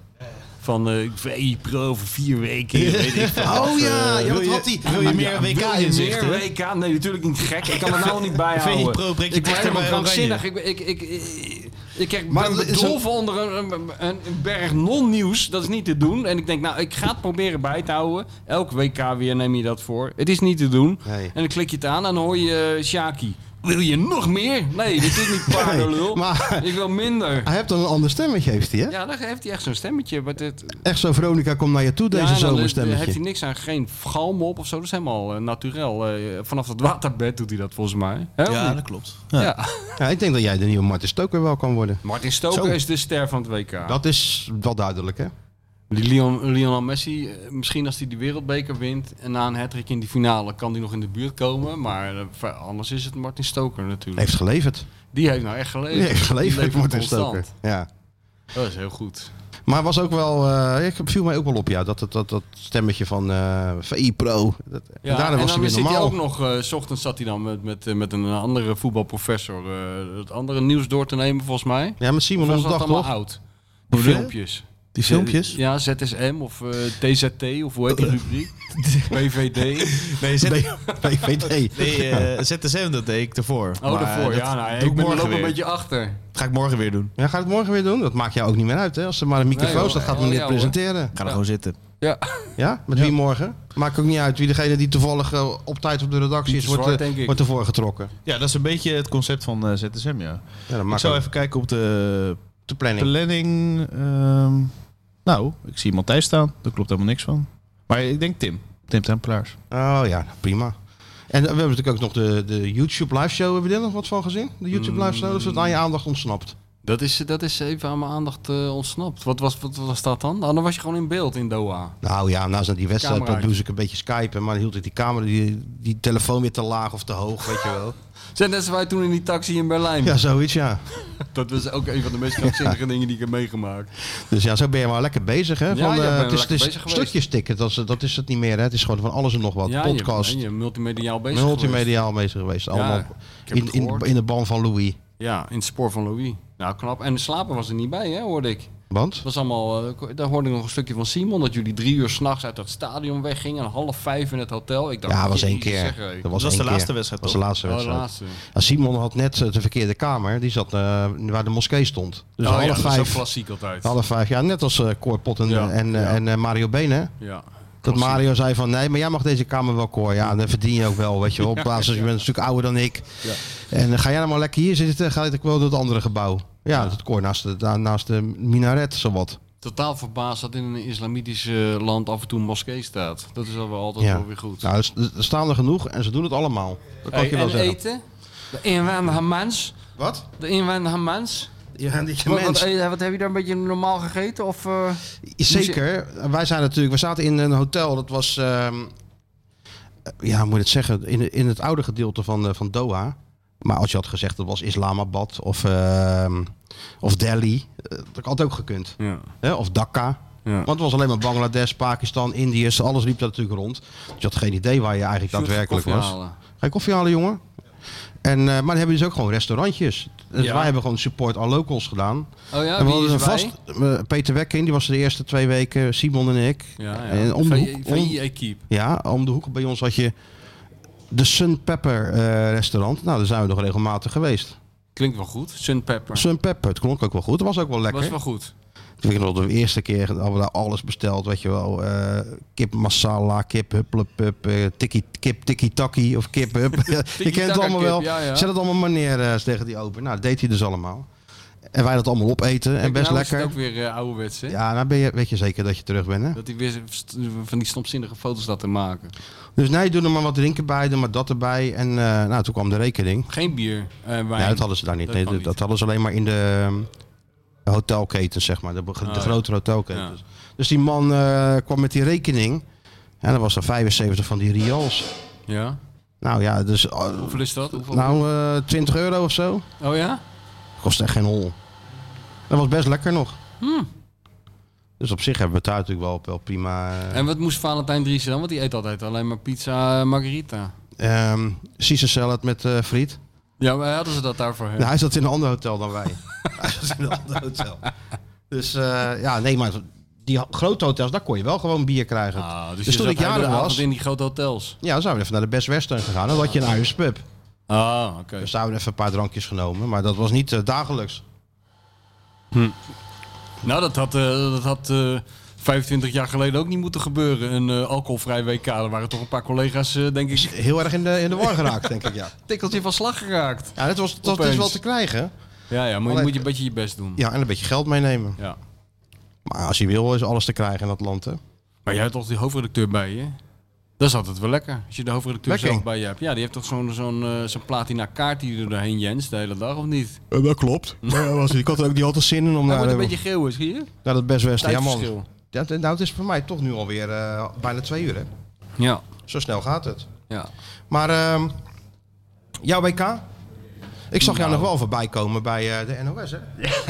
Van eh V-Pro voor vier weken, weet ik veel. oh ja, ja, wil dat je- had hij. Ah, wil je meer Ja, WK wil je inzichten? meer WK? Nee, natuurlijk niet gek. Ik kan het nou niet bijhouden. VI Pro brengt je ik word dichter helemaal bij Oranje. krankzinnig. Ik, ik, ik, ik, ik krijg Maar maar dat is bedolven onder een, een, een berg non-nieuws. Dat is niet te doen. En ik denk, nou, ik ga het proberen bij te houden. Elk WK weer neem je dat voor. Het is niet te doen. Nee. En dan klik je het aan en dan hoor je eh, Shaki. Wil je nog meer? Nee, dit is niet paardenlul. maar- Ik wil minder. Hij heeft dan een ander stemmetje, heeft hij, hè? Ja, dan heeft hij echt zo'n stemmetje. Wat het, Echt zo, Veronica, kom naar je toe, deze ja, en dan eh, heeft zomerstemmetje. hij niks aan, geen galm op of zo. Dat is helemaal eh, naturel. Eh, vanaf het waterbed doet hij dat volgens mij. Hè, of Ja, niet? dat klopt. ja. Ja, ik denk dat jij de nieuwe Martin Stoker wel kan worden. Martin Stoker Zo. is de ster van het WK. Dat is wel duidelijk, hè? Die Leon, Lionel Messi, eh, misschien als hij die wereldbeker wint... en na een hattrick in die finale kan hij nog in de buurt komen. Maar eh, ver- anders is het Martin Stoker natuurlijk. Heeft geleverd. Die heeft nou echt geleefd. Die heeft Die geleverd, levert Martin constant. Stoker. Ja. Dat is heel goed. Maar was ook wel, eh, ik viel mij ook wel op, ja, dat, dat, dat, dat stemmetje van eh VI Pro. Dat, Ja, daarna was en hij dan weer zit hij normaal. ook nog, eh, s ochtends zat hij dan met, met, eh, met een andere voetbalprofessor eh, het andere nieuws door te nemen volgens mij. Ja, met Simon Of was onze dat dag allemaal toch? oud? Die Hoe filmpjes. Die filmpjes? Ja, ZSM of eh, TZT of hoe heet die rubriek? BVD. Nee, zet, nee, VVD. eh, ZSM, dat deed ik ervoor. Oh, Maar daarvoor. dat Ja, nou, doe ik ben er morgen ook een weer. beetje achter. Dat ga ik morgen weer doen. Ja, gaat het morgen weer doen? Dat maakt jou ook niet meer uit, hè? Als er maar een microfoon Nee, is, hoor. dat gaat Oh, meneer ja, hoor. presenteren. Ga er gewoon zitten. Ja, Ja? Met wie morgen? Maakt ook niet uit. Wie degene die toevallig eh, op tijd op de redactie is, Pieter wordt, Zwart, eh, denk ik. wordt ervoor getrokken. Ja, dat is een beetje het concept van eh, ZSM, ja. Ja, dat Ik maakt zou ook even kijken op de de planning. planning. ehm, nou, ik zie Matthijs staan. Daar klopt helemaal niks van. Maar ik denk Tim. Tim Tempelaars. Oh ja, prima. En we hebben natuurlijk ook nog de, de YouTube live show. Hebben we daar nog wat van gezien? De YouTube live Mm. show, of is het aan je aandacht ontsnapt? dat is, dat is even aan mijn aandacht eh, ontsnapt. Wat was, wat was dat dan? Ah, Dan was je gewoon in beeld in Doha. Nou ja, na zijn die wedstrijd Camera dat moest ik een beetje skypen, maar dan hield ik die camera, die, die telefoon weer te laag of te hoog, weet je wel. Zijn net als wij toen in die taxi in Berlijn. Ja, zoiets ja. Dat was ook een van de meest krankzinnige dingen die ik heb meegemaakt. Dus ja, zo ben je maar lekker bezig, hè? Ja, Van, ja, eh, ik ben het is, lekker het is bezig geweest. stukjes tikken, dat is, dat is het niet meer, hè? Het is gewoon van alles en nog wat. Ja, je- Podcast, Je, multimediaal bezig geweest. multimediaal bezig geweest. Allemaal ik heb in, het in, gehoord. in de ban van Louis. Ja, in het spoor van Louis. Nou, knap. En de slaper was er niet bij, hè, hoorde ik. Want? Het was allemaal, eh, ko- daar hoorde ik nog een stukje van Simon, dat jullie drie uur s'nachts uit dat stadion weggingen en half vijf in het hotel. Ik dacht, Ja, was één jezus, keer. zeg, hé. Dat was, was één de laatste keer. wedstrijd, Dat was Dus toch? de laatste Oh, de wedstrijd. laatste. Ja, Simon had net eh, de verkeerde kamer. Die zat eh, waar de moskee stond. Dus Oh ja, half dat is ook vijf. klassiek altijd. Half vijf, ja, net als eh Koorpot en, Ja, en, eh, ja. en eh, Mario Been, hè? Ja. Dat Klassiek. Mario zei van, nee, maar jij mag deze kamer wel, Cor. Ja, dan verdien je ook wel, weet je wel. Op basis, je bent een stuk ouder dan ik. Ja. En dan ga jij nou maar lekker hier zitten, ga ik wel door het andere gebouw. Ja, dat koor naast de, daar- naast de minaret, zowat. Totaal verbaasd dat in een islamitisch eh, land af en toe een moskee staat. Dat is al wel altijd Ja. wel weer goed. Nou, er s- er staan er genoeg en ze doen het allemaal. Dat kan Hey, ik je wel en zeggen. eten? De inwendige mens? Wat? De inwendige mens? Ja, die Wat, wat, eh, wat heb je daar een beetje normaal gegeten? Of, eh, Zeker. Wij zijn natuurlijk, we zaten in een hotel. Dat was, ehm, ja, hoe moet je het zeggen, in, in het oude gedeelte van, eh, van Doha. Maar als je had gezegd dat was Islamabad of, ehm, of Delhi, eh, dat had ook gekund. ja. Hè? Of Dhaka. Ja. Want het was alleen maar Bangladesh, Pakistan, Indië. Alles liep daar natuurlijk rond. Dus je had geen idee waar je eigenlijk Sjoerd, daadwerkelijk koffie was. halen. Oh Ga je koffie halen, jongen? En, eh, maar dan hebben we dus ook gewoon restaurantjes. Dus Ja. wij hebben gewoon support al locals gedaan. Oh ja, en we wie hadden is een erbij? vast eh, Peter Wekking, die was er de eerste twee weken, Simon en ik. Ja, ja. En om de Van- hoek- Van om- EA Keep. ja, om de hoek bij ons had je de Sun Pepper eh, restaurant. Nou, daar zijn we nog regelmatig geweest. Klinkt wel goed. Sun Pepper. Sun Pepper, het klonk ook wel goed. Het was ook wel lekker. Was wel goed. Ik weet nog de eerste keer hadden we daar alles besteld, weet je wel. eh, kip masala, kip hupplepup, eh tikkie, kip tikkie takkie of kip hup. je kent het allemaal kip, wel. ja, ja. Zet het allemaal maar neer eh, tegen die open. Nou, dat deed hij dus allemaal. En wij dat allemaal opeten en Kijk, best nou is lekker. het ook weer eh, ouderwets, hè? Ja, nou ben je, weet je zeker dat je terug bent, hè? Dat hij weer st- van die stomzinnige foto's laat te maken. Dus nee, doe er maar wat drinken bij, doe maar dat erbij. En eh, nou, toen kwam de rekening. Geen bier, eh wijn. Nee, dat hadden ze daar niet. Dat nee, kan dat, niet. dat hadden ze alleen maar in de ehm, hotelketens, zeg maar. De, be- de Ah, ja. grotere hotelketens. Dus die man eh, kwam met die rekening. En dat was er 75 van die rials. Ja? Nou ja, dus eh, Hoeveel is dat? Hoeveel- nou, eh, 20 euro of zo. Oh ja? Kost echt geen hol. Dat was best lekker nog. Hmm. Dus op zich hebben we het daar natuurlijk wel, wel prima. eh, En wat moest Valentijn Driessen dan? Want die eet altijd alleen maar pizza eh, margarita. ehm Caesar salad met eh, friet. Ja, maar hadden ze dat daarvoor? hè? Nou, hij zat in een ander hotel dan wij. hij zat in een ander hotel. Dus eh, ja, nee, maar die grote hotels, daar kon je wel gewoon bier krijgen. Ah, dus Dus je toen zat ik jarig elke avond was- in die grote hotels. Ja, dan zijn we even naar de Best Western gegaan. Dan had je een Irish pub. Ah, oké. Dus daar hebben we even een paar drankjes genomen. Maar dat was niet eh, dagelijks. Nou, dat had, eh, dat had eh, 25 jaar geleden ook niet moeten gebeuren. Een eh, alcoholvrij WK. Er waren toch een paar collega's, eh, denk ik, Heel erg in de, in de war geraakt, denk ik, ja. tikkeltje van slag geraakt. Ja, dat was, dat was Opeens. dus wel te krijgen. Ja, ja, maar je Alleen- moet je een beetje je best doen. Ja, en een beetje geld meenemen. Ja. Maar als je wil, is alles te krijgen in dat land, hè. Maar jij hebt toch die hoofdredacteur bij je? Dat is altijd wel lekker. Als je de hoofdredacteur Lekker. zelf bij je hebt. Ja, die heeft toch zo'n zo'n eh, zo'n platina kaart die er doorheen jens de hele dag, of niet? dat klopt. ik had er ook niet altijd zin in om Eh, Hij naar, wordt de- een beetje geel, is hier. naar dat Best Western. Ja, Tijdverschil. man. Dat, nou, het is voor mij toch nu alweer eh, bijna twee uur, hè. Ja. Zo snel gaat het. ja. Maar ehm, jouw WK? Ik zag jou Nou. nog wel voorbij komen bij eh, de NOS, hè?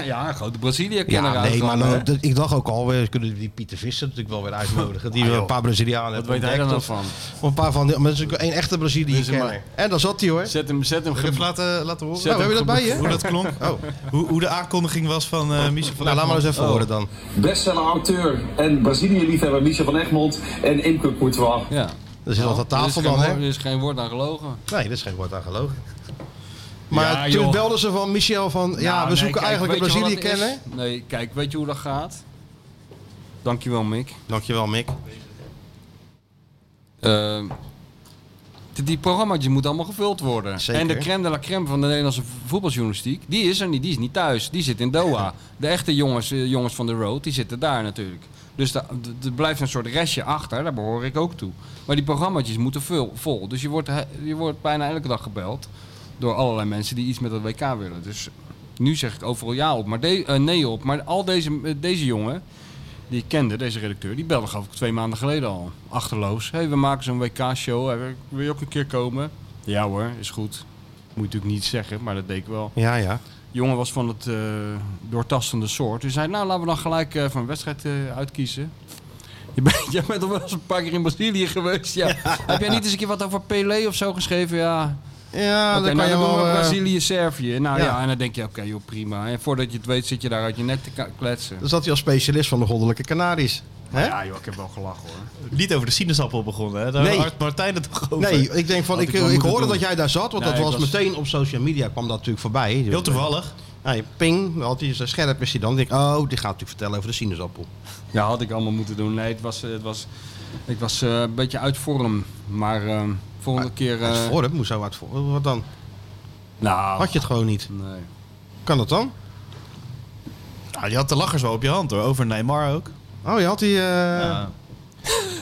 Ja, een grote Brazilië-kenner nee, maar uitkomen, hè? nou, dat- ik dacht ook al, we kunnen die Pieter Visser natuurlijk wel weer uitnodigen. Die we een paar Brazilianen Wat hebben weet hij daar nou ontdekt, of- van? Of een paar van die, maar dat is natuurlijk één echte Brazilië Dit is kenner. maar- En daar zat hij hoor. Zet hem, zet hem. Ik ge- heb even laten, laten horen Zet Nou, heb je dat bij je? hoe dat klonk. Oh, Hoe, hoe de aankondiging was van eh Michel van nou, laat maar eens Egmond. Oh. even horen dan. bestseller-auteur en Brazilië-liefhebber Michel van Egmond en Imke Courtois. Ja. Er zit wat aan Er Oh, is tafel geen dan, woord- hè? Er is geen woord aan gelogen. Nee, dat is geen woord aan gelogen. Maar Ja, toen joh. Nou, belden ze van Michel van, ja, we zoeken eigenlijk een Brazilië kennen. kenner. Nee, kijk, weet je hoe dat gaat? Dankjewel, Mick. Dankjewel Mick. Ehm, die- die programma's moeten allemaal gevuld worden. Zeker. En de crème de la crème van de Nederlandse vo- voetbaljournalistiek, die is er niet. Die is niet thuis. Die zit in Doha. De echte jongens, eh, jongens van de road, die zitten daar natuurlijk. Dus da- d- er blijft een soort restje achter, daar behoor ik ook toe. Maar die programma's moeten vul, vol. Dus je wordt, he- je wordt bijna elke dag gebeld door allerlei mensen die iets met dat WK willen. Dus nu zeg ik overal ja op, maar de- eh, nee op. Maar al deze, eh, deze jongen, die ik kende, deze redacteur, die belde geloof ik twee maanden geleden al. Achterloos. hey, we maken zo'n WK-show. Hey, wil je ook een keer komen? Ja hoor, is goed. Moet je natuurlijk niet zeggen, maar dat deed ik wel. Ja, ja. De jongen was van het eh, doortastende soort. Dus hij zei, nou laten we dan gelijk eh, van een wedstrijd eh, uitkiezen. Je bent, jij bent al wel eens een paar keer in Brazilië geweest. Ja. Heb jij niet eens een keer wat over Pelé of zo geschreven? Ja, Ja, Oké, dan kan nou, je dan doen wel... we eh, Brazilië, Servië. Nou ja. ja. en dan denk je, oké, joh, prima. En voordat je het weet, zit je daar uit je nek te ka- kletsen. Dan zat hij als specialist van de Goddelijke Canaries. Hè? Ja, joh, ik heb wel gelachen hoor. Oh, Niet over de sinaasappel begonnen, hè? Daar Nee. had Martijn het toch over. Nee, ik denk van, eh, Had ik, ik ik, wel moeten hoorde doen. dat jij daar zat, want Nee, dat ik was, was- meteen op social media kwam dat natuurlijk voorbij. Dus, eh, Heel toevallig. Hey, ping, had hij zo scherp is hij dan. denk ik, oh, die gaat natuurlijk vertellen over de sinaasappel. Ja, had ik allemaal moeten doen. Nee, het was, het was, ik was eh, een beetje uit vorm. Maar eh, volgende keer... eh, Uit vorm, hoezo uit vorm? Wat dan? Nou, Had je het gewoon niet. nee. Kan dat dan? Nou, je had de lachers wel op je hand, hoor. Over Neymar ook. Oh, je had die... eh, Ja.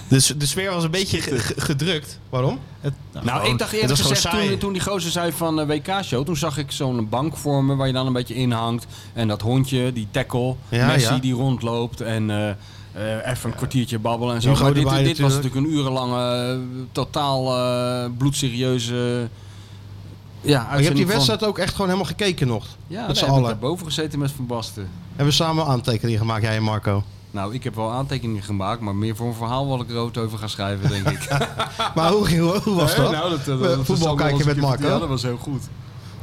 Dus de sfeer was een beetje ge- ge- gedrukt. Waarom? Het, Nou, gewoon- ik dacht het eerlijk was gewoon gezegd, saai. toen, toen die gozer zei van eh, WK-show, toen zag ik zo'n bank vormen waar je dan een beetje in hangt. En dat hondje, die tackle, Ja, Messi ja. die rondloopt en eh, eh, even een kwartiertje babbelen en zo. Hugo Maar dit, erbij dit was natuurlijk. natuurlijk een urenlange, eh, totaal eh, bloedserieuze... Maar Ja, je hebt die uitzending wedstrijd ook echt gewoon helemaal gekeken nog. van, ja, met nee, z'n heb ik allen. daarboven gezeten met Van Basten. Hebben we samen aantekeningen gemaakt, jij en Marco. Nou, ik heb wel aantekeningen gemaakt, maar meer voor een verhaal wat ik rood over ga schrijven, denk ik. Maar hoe, ging- hoe was dat? Nou, eh, Eh, Voetbal kijken met Marco. Ja, dat was heel goed.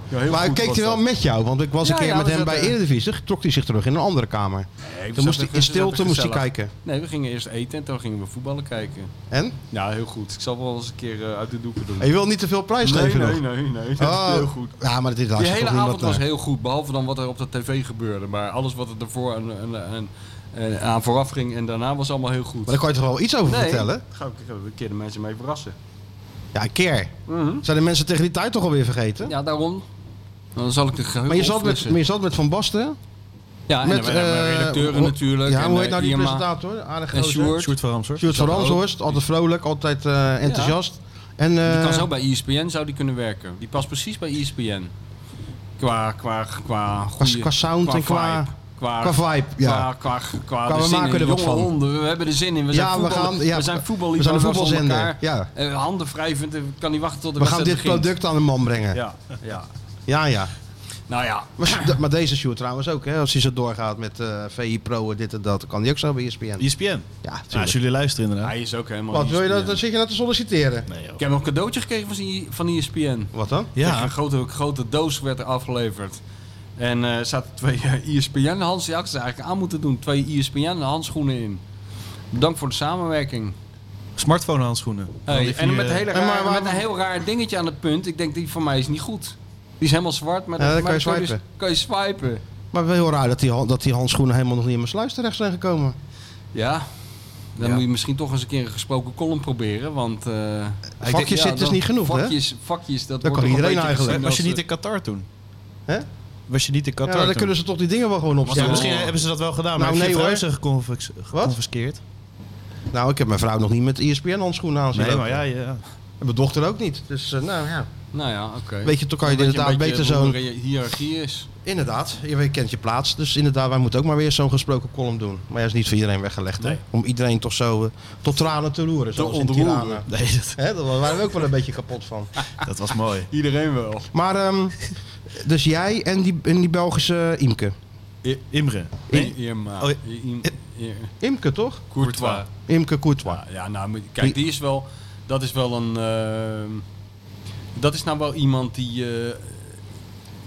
Ja, heel maar goed keek was hij wel dat. met jou? Want ik was Ja, een keer ja, met we hem bij zaten- Eredivisie. Trok hij zich terug in een andere kamer. Nee, we Toen moest hij zaten- in we zaten stilte moest hij gezellig. kijken. Nee, we gingen eerst eten en toen gingen we voetballen kijken. En? Ja, heel goed. Ik zal wel eens een keer eh, uit de doeken doen. En je wil niet te veel prijs nee, geven nee, nog. nee, nee, nee. Oh. Heel goed. Ja, maar dit Die had je hele toch niet avond wat, was eh, heel goed, behalve dan wat er op de tv gebeurde. Maar alles wat er daarvoor en, en, en, en aan vooraf ging en daarna was allemaal heel Maar goed. daar kan je toch wel iets over nee, vertellen? Ga ik ga ik een keer de mensen mee verrassen. Ja, een keer. Zijn de mensen tegen die tijd toch alweer vergeten? Mhm. Ja, daarom. Dan zal ik de geheugen Maar je, zat met, opfrissen. maar je zat met Van Basten. ja, en met dan waren er eh, redacteuren Ro- natuurlijk. Ja, en, hoe heet eh, nou die Irma. presentator? Aardig En grote. Sjoerd. Sjoerd van Ramsor. Sjoerd van Sjoerd ook. Ramshorst. Altijd vrolijk, altijd eh, enthousiast. En, eh, Die kan zo bij E ESPN zou die kunnen werken. Die past precies bij E ESPN. Qua, qua, qua, goeie, qua sound en qua- vibe, qua, qua vibe, ja. Qua, qua, qua, we de zin maken in. er wat Jonge van. honden, we hebben er zin in. We zijn Ja, we voetbal, gaan- ja, we zijn voetbal, we zijn een voetbalzender, ja. Eh, handen wrijvend, ik kan niet wachten tot de we gaan wedstrijd dit begint. product aan de man brengen. Ja, Ja, ja. ja. Nou ja, Maar, maar deze Sjoerd trouwens ook. Hè? Als hij zo doorgaat met eh, VI Pro, en dit en dat, dan kan hij ook zo bij E ESPN. ESPN. Ja, Nou, als tuurlijk. jullie luisteren inderdaad. hij is ook helemaal E Wat wil je dat? ESPN. Dan zit je nou te solliciteren. Nee, joh. Ik heb nog een cadeautje gekregen van, die- van E ESPN. Wat dan? Ja. Een grote, grote doos werd er afgeleverd. En eh zaten twee ISPN-hands, die had ik ze eigenlijk aan moeten doen. Twee E ISPN-handschoenen in. Bedankt voor de samenwerking. Smartphone handschoenen. Hey, en met, een hele raar, eh, maar waar- met een heel raar dingetje aan het punt. Ik denk, die van mij is niet goed. Die is helemaal zwart, maar, Ja, dat- dan maar kan je dus- swipen. kan je swipen. Maar wel heel raar dat die, han- dat die handschoenen helemaal nog niet in mijn sluis terecht zijn gekomen. Ja, dan Ja. moet je misschien toch eens een keer een gesproken column proberen. Want eh, ik denk, zit dus dan- niet genoeg, hè? vakjes, Vakjes, dat kan wordt toch een iedereen beetje eigenlijk. gezien eh, Was je als, niet in Qatar toen? Hè? Was je niet in Ja, Qatar dan toen? kunnen ze toch die dingen wel gewoon Ja, opstellen. misschien hebben ze dat wel gedaan, maar Nou, heb je nee, verhuizen geconfis- geconfiskeerd? Nou, ik heb mijn vrouw nog niet met E ESPN handschoenen aan. zien Nee, maar lopen. ja, ja. En mijn dochter ook niet. Dus eh, nou ja. eh, Nou ja, oké. Weet je, toch kan je Omdat inderdaad een beetje beter zo'n... hoe de hiërarchie is. Inderdaad, je weet- kent je plaats. Dus inderdaad, wij moeten ook maar weer zo'n gesproken column doen. Maar ja, is niet voor iedereen weggelegd. hè? Om iedereen toch zo eh, tot tranen te roeren. Zoals in ontroeren. Tirana. Nee, dat, Hè, daar waren we ook wel een beetje kapot van. dat was mooi. Iedereen wel. Maar, ehm, dus jij en die, en die Belgische Imke. I- Imre. Nee, Irma. Oh, I- I- I- Imke, toch? Courtois. Imke Courtois. Ja, ja, nou, moet- kijk, die is wel... Dat is wel een... ehm, dat is nou wel iemand die... eh,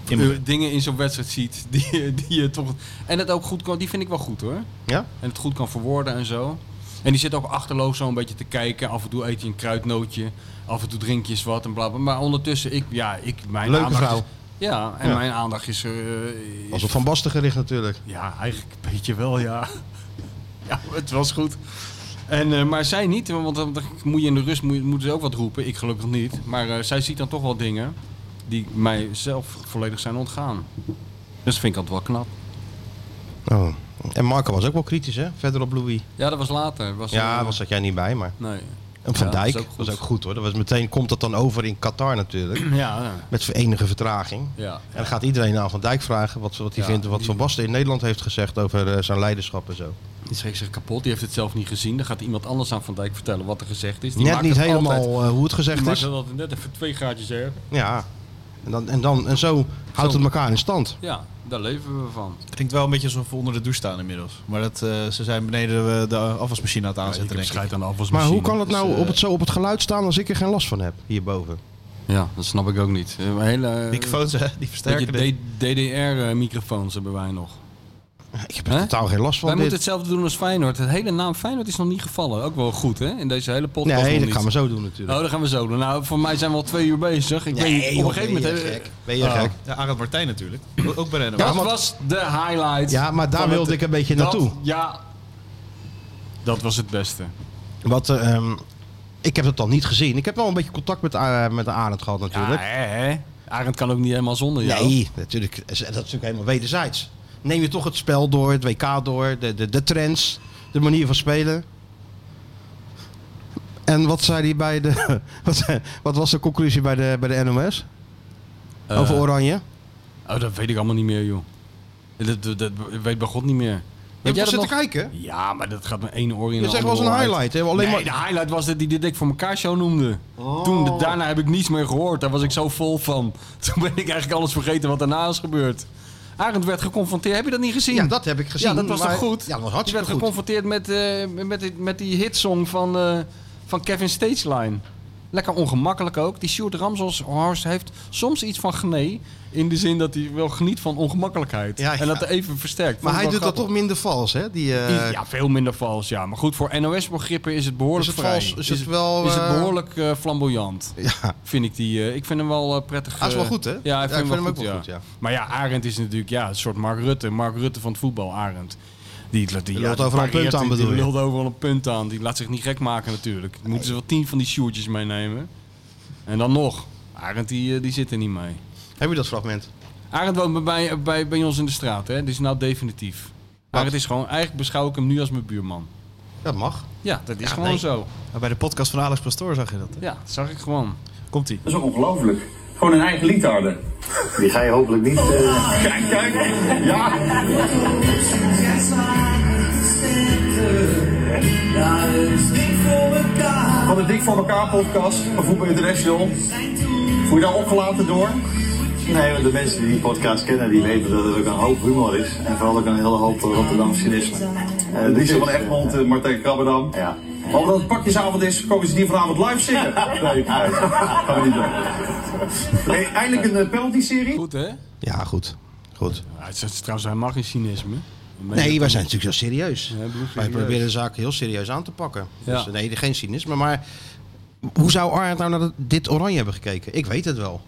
Imre. eh, dingen in zo'n wedstrijd ziet die, die je toch... En het ook goed kan... Die vind ik wel goed, hoor. Ja? En het goed kan verwoorden en zo. En die zit ook achterloos zo een beetje te kijken. Af en toe eet je een kruidnootje. Af en toe drink je eens wat en bla bla. Maar ondertussen, ik, ja, ik, mijn Leuke aandacht vrouw. Is, ja, en Ja. mijn aandacht is, eh, is Als op Van Basten gericht natuurlijk. Ja, eigenlijk een beetje wel, ja. ja, het was goed. En, eh, maar zij niet, want dan dan moet je in de rust moet, je- moeten ze ook wat roepen. Ik gelukkig niet. Maar eh, zij ziet dan toch wel dingen die mij zelf volledig zijn ontgaan. Dus vind ik altijd wel knap. Oh. En Marco was ook wel kritisch, hè? Verder op Louis. Ja, dat was later. Was Ja, eh, was zat jij niet bij, maar... Nee. En Van Ja, Dijk dat is ook goed. was ook goed, hoor. Dat was meteen komt dat dan over in Qatar natuurlijk. Ja, ja. Met enige vertraging. ja. En dan gaat iedereen aan Van Dijk vragen wat, wat hij Ja, vindt en wat die- Van Basten in Nederland heeft gezegd over eh, zijn leiderschap en zo. Die schreef zich kapot, die heeft het zelf niet gezien. Dan gaat iemand anders aan Van Dijk vertellen wat er gezegd is. Die Net maakt niet het helemaal altijd- eh, hoe het die gezegd maakt is. het altijd net even twee gaatjes erger. Ja. En, dan, en, dan, en zo houdt het elkaar in stand. Ja, daar leven we van. Klinkt wel een beetje alsof we onder de douche staan inmiddels. Maar dat, eh, ze zijn beneden eh, de afwasmachine aan het aanzetten, denk ik. aan de Maar hoe kan het dus, nou eh, op het, zo op het geluid staan als ik er geen last van heb hierboven? Ja, dat snap ik ook niet. Eh, Een hele... eh, Microfoons, hè? Die versterken dit. beetje DDR-microfoons eh, hebben wij nog. Ik heb Hè? er totaal geen last van. wij moeten Dit. hetzelfde doen als Feyenoord. Het hele naam Feyenoord is nog niet gevallen. Ook wel goed, hè? In deze hele podcast Nee, nog dat niet. gaan we zo doen natuurlijk. Oh, dat gaan we zo doen. Nou, voor mij zijn we al twee uur bezig. Ik weet, op een gegeven moment... Ah. hebben- Ben je gek? Ja, Arend Martijn natuurlijk. O- Ook bij Rennes. Ja, Dat want- was de highlight. Ja, maar daar van het- wilde ik een beetje dat- naartoe. Ja. Dat was het beste. Wat, eh, ehm, ik heb dat dan niet gezien. Ik heb wel een beetje contact met, eh, met de Arend gehad natuurlijk. Ja, hè, hè? Arend kan ook niet helemaal zonder jou. Nee, natuurlijk, dat is natuurlijk helemaal wederzijds. Neem je toch het spel door, het WK door, de, de, de trends, de manier van spelen. En wat zei hij bij de. Wat, wat was de conclusie bij de, bij de NOS? Eh, Over Oranje? Oh, dat weet ik allemaal niet meer, joh. Dat, dat, dat weet bij God niet meer. Je Weet hebt jij toch dat zitten nog? kijken? Ja, maar dat gaat met één oor in Dat is echt wel een een highlight. Hè? Alleen nee, maar, Oh. de highlight was dat hij de dik voor elkaar show noemde. Toen, daarna heb ik niets meer gehoord. Daar was ik zo vol van. Toen ben ik eigenlijk alles vergeten wat daarna is gebeurd. Arend werd geconfronteerd. Heb je dat niet gezien? Ja, dat heb ik gezien. Ja, dat was maar- toch goed? Ja, dat was Je hartstikke werd goed. geconfronteerd met, eh, met, die- met die hitsong van, eh, van Kevin Stageline. Lekker ongemakkelijk ook. Die Sjoerd Ramselshorst heeft soms iets van genee. In de zin dat hij wel geniet van ongemakkelijkheid. Ja, En dat ja. even versterkt. Maar Vond hij ik doet wel dat toch grappig. minder vals, hè? Die, eh, ja, veel minder vals, ja. Maar goed, voor NOS-begrippen is het behoorlijk Is het vrij. vals? Is het wel, is het eh, behoorlijk eh, flamboyant. ja. Vind ik die. eh, ik vind hem wel eh, prettig. Hij is wel eh, goed, hè? Ja, ik vind, hem, ook wel goed, wel ja. goed, ja. Maar ja, Arend is natuurlijk ja, een soort Mark Rutte. Mark Rutte van het voetbal, Arend. Die, die, die, lult die overal een pareert, punt aan, die- bedoel je? Die lult overal een punt aan. Die laat zich niet gek maken natuurlijk. Moeten ze wel tien van die sjoertjes meenemen. En dan nog. Arend die, eh, die zit er niet mee. Heb je dat fragment? Arend woont bij, bij, bij ons in de straat, hè? Dit is nou definitief. Arend is gewoon, eigenlijk beschouw ik hem nu als mijn buurman. Dat mag. Ja, dat is Ja, gewoon nee. zo. Maar bij de podcast van Alex Pastoor zag je dat. Ja, dat zag ik gewoon. Komt ie. Dat is ook ongelooflijk. Gewoon een eigen lied houden. Die ga je hopelijk niet. eh, Kijk, kijk. Ja. Van de Dik van elkaar podcast, van Voetbal International. Voel je daar opgelaten door? nee, want de mensen die die podcast kennen, die weten dat er ook een hoop humor is. En vooral ook een hele hoop Rotterdam cynisme. Eh, dus Lisa ik, van eh, Egmond, eh, Martijn Krabberdam. Ja. Maar omdat het pakjesavond is, komen ze hier vanavond live zingen. Nee, nee, gaan we niet doen. Nee, eindelijk een eh, penalty-serie. Goed, hè? Ja, goed. Goed. Ja, het is trouwens, hij mag geen cynisme. Nee, wij zijn natuurlijk zo serieus. bloedserieus. wij proberen de zaak heel serieus aan te pakken. Ja. Dus, nee, geen cynisme. Maar hoe zou Arend nou naar dat- dit oranje hebben gekeken? Ik weet het wel.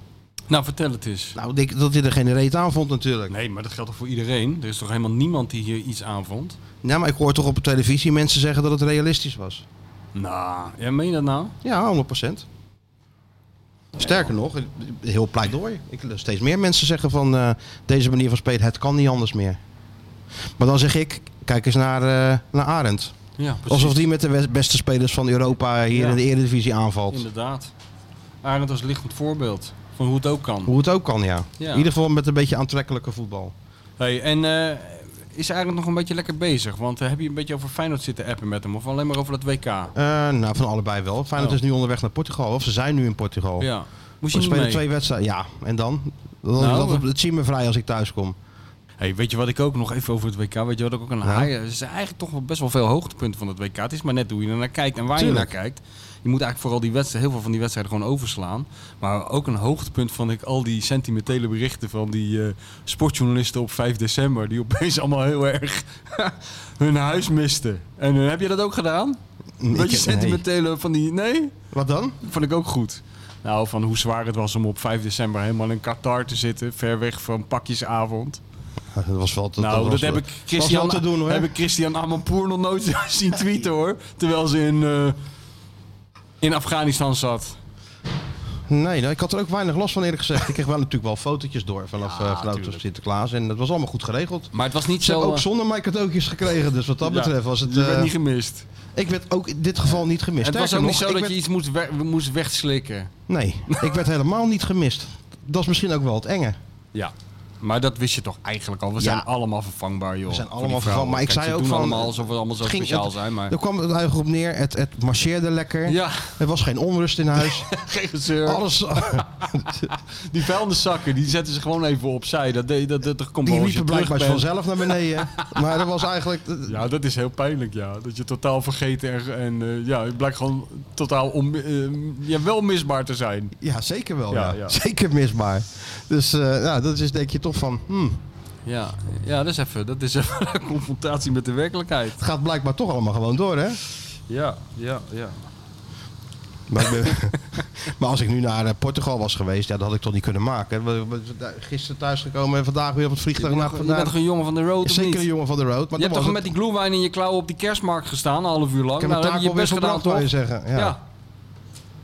Nou, vertel het eens. Nou, ik denk dat hij er geen reet aan vond natuurlijk. Nee, maar dat geldt toch voor iedereen? Er is toch helemaal niemand die hier iets aanvond? Nou, maar ik hoor toch op de televisie mensen zeggen dat het realistisch was. Nou, jij meen je dat nou? Ja, 100 Sterker nog, heel pleidooi. Ik, steeds meer mensen zeggen van eh, deze manier van spelen, het kan niet anders meer. Maar dan zeg ik, kijk eens naar, eh, naar Arend. Ja, precies. Alsof die met de we- beste spelers van Europa hier Ja. in de Eredivisie aanvalt. Inderdaad. Arend als lichtend voorbeeld van hoe het ook kan. Hoe het ook kan, ja. Ja. In ieder geval met een beetje aantrekkelijke voetbal. Hey, en eh, is Arend nog een beetje lekker bezig? Want eh, heb je een beetje over Feyenoord zitten appen met hem? Of alleen maar over dat WK? Eh, nou, van allebei wel. Feyenoord Oh. is nu onderweg naar Portugal. Of ze zijn nu in Portugal. Ja. Moest je We niet spelen mee? twee wedstrijden. Ja, en dan? Dan Nou, is dat we- op het zien me vrij als ik thuis kom. Hey, weet je wat ik ook nog even over het WK? Weet je wat ik ook een haai? Er zijn eigenlijk toch wel best wel veel hoogtepunten van het WK. Het is maar net hoe je er naar kijkt en waar je Tuurlijk. naar kijkt. Je moet eigenlijk vooral die wedstrijden, heel veel van die wedstrijden gewoon overslaan. Maar ook een hoogtepunt vond ik al die sentimentele berichten van die eh, sportjournalisten op 5 december. Die opeens allemaal heel erg hun huis misten. En eh, heb je dat ook gedaan? Nee, Beetje ik- nee. sentimentele van die. Nee? Wat dan? Vond ik ook goed. Nou, van hoe zwaar het was om op 5 december helemaal in Qatar te zitten. Ver weg van pakjesavond. Dat was wel te, nou, dat, was- heb ik was wel Christian, te doen hoor. heb ik Christian Amanpour nog nooit zien tweeten hoor. Terwijl ze in, eh, in Afghanistan zat. Nee, nou, ik had er ook weinig last van eerlijk gezegd. ik kreeg wel natuurlijk wel fotootjes door vanaf, Ja, eh, vanaf tuurlijk. Sinterklaas. Sinterklaas. En dat was allemaal goed geregeld. Maar het was niet Ze zo... eh, hebben ook zonder mij cadeautjes gekregen. Dus wat dat betreft was het... Je werd eh, niet gemist. ik werd ook in dit geval niet gemist. En het was ook Sterker niet zo nog, dat ik je werd- iets moest, we- moest wegslikken. Nee, ik werd helemaal niet gemist. Dat is misschien ook wel het enge. Ja. Maar dat wist je toch eigenlijk al. We zijn allemaal vervangbaar, joh. We zijn voor Oh, die allemaal vrouwen. vervangbaar. Maar ik Kijk, zei ze ook doen van... allemaal alsof we allemaal zo het ging- speciaal het- zijn, maar... Daar kwam het eigenlijk op neer. Het, het marcheerde lekker. Ja, Er was geen onrust in huis. geen gezeur. Alles... Die vuilniszakken, die zetten ze gewoon even opzij. Dat, deed- dat, dat, dat komt Die wel als liepen je terug blijkbaar bent. vanzelf naar beneden. Maar dat was eigenlijk... Ja, dat is heel pijnlijk, ja. Dat je totaal vergeten en, en eh, ja, het blijkt gewoon totaal on, eh, ja, wel misbaar te zijn. Ja, zeker wel. Ja, Ja, ja. Zeker misbaar. Dus eh ja, dat is denk je toch van... hmm, Ja, ja dat is even, dat is even een confrontatie met de werkelijkheid. het gaat blijkbaar toch allemaal gewoon door, hè? Ja, ja, ja. Maar, ik ben- maar als ik nu naar eh, Portugal was geweest, ja, dat had ik toch niet kunnen maken. We- we- we- da- Gisteren thuisgekomen en vandaag weer op het Je vliegtuig. bent, naar toch- je bent toch een jongen van de road, of Zeker niet? een jongen van de road. Maar je hebt dan toch was met die glühwein in je klauw op die kerstmarkt gestaan, een half uur Ik lang? heb mijn nou, dan taak heb je je alweer best gedaan, verbrand, wil toch? je zeggen. Ja.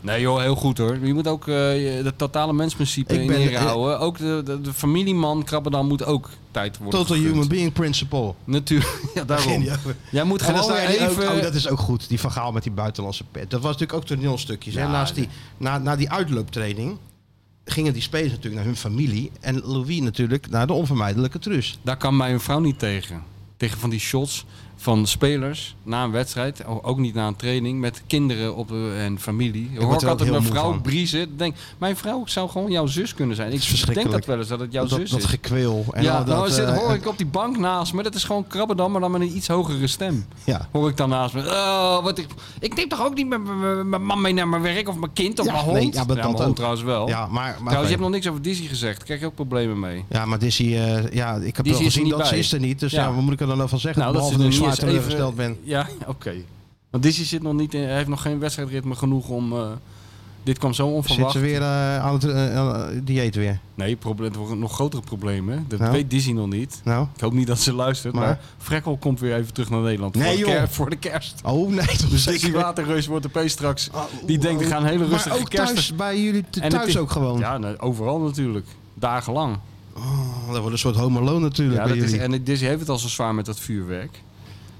Nee joh, heel goed hoor. Je moet ook eh, dat totale mensprincipe Ik in ben- ere houden. Ook de, de, de familieman Krabbedam moet ook tijd worden Total gegund. human being principle. Natuurlijk, ja daarom. Ging die over. Jij moet En dan gewoon sta weer je ook- dus even... oh, dat is ook goed, die verhaal met die buitenlandse pet. Dat was natuurlijk ook toneelstukjes. Ja, hè? Naast die, na, na die uitlooptraining gingen die spelers natuurlijk naar hun familie. En Louis natuurlijk naar de onvermijdelijke trus. Daar kan mijn vrouw niet tegen. tegen van die shots van spelers na een wedstrijd, o- ook niet na een training, met kinderen op, eh, en familie. Ik word hoor er ik ook altijd heel mijn moe vrouw van. briezen. Denk, mijn vrouw zou gewoon jouw zus kunnen zijn. is Ik denk verschrikkelijk. dat wel eens dat het jouw dat, zus dat is. gekweel. En ja, al dat, nou zit, eh, hoor ik op die bank naast me. Dat is gewoon krabbendam, maar dan met een iets hogere stem. eh, Ja. Hoor ik dan naast me. Oh, wat ik, ik neem toch ook niet mijn- mijn mijn man mee naar mijn werk of mijn kind of Ja, mijn hond? nee, ja, maar dat mijn hond ook. trouwens wel. Ja, maar, maar, Oh. trouwens, je hebt nog niks over Disney gezegd. Daar krijg je ook problemen mee. ja, maar Dizzy, eh, ja, ik heb Dizzy wel is er gezien niet dat ze bij. is er niet. Dus ja. Ja. Nou, wat moet ik er dan over zeggen? Behalve dat ik zwaar teleurgesteld ben. Ja, oké. Want Disney zit nog niet in, hij heeft nog geen wedstrijdritme genoeg om... eh, dit kwam zo Zit onverwacht. ze weer eh, aan het eh, aan het dieet weer? Nee, probleem, het wordt een nog grotere probleem. Hè? Dat Nou. weet Disney nog niet. Nou? Ik hoop niet dat ze luistert, maar, Maar? Frekkel komt weer even terug naar Nederland. Nee, voor, de joh. ker- voor de kerst. Oh nee, toch Dus die zeker. waterreus wordt opeens straks. Ah, Die oeh, denkt, we oeh. gaan hele Maar rustige ook kerst. thuis, bij jullie t- En het thuis is- ook gewoon. Ja, nou, overal natuurlijk. Dagenlang. Oh, dat wordt een soort homoloon natuurlijk Ja, bij dat is, jullie. en Disney heeft het al zo zwaar met dat vuurwerk.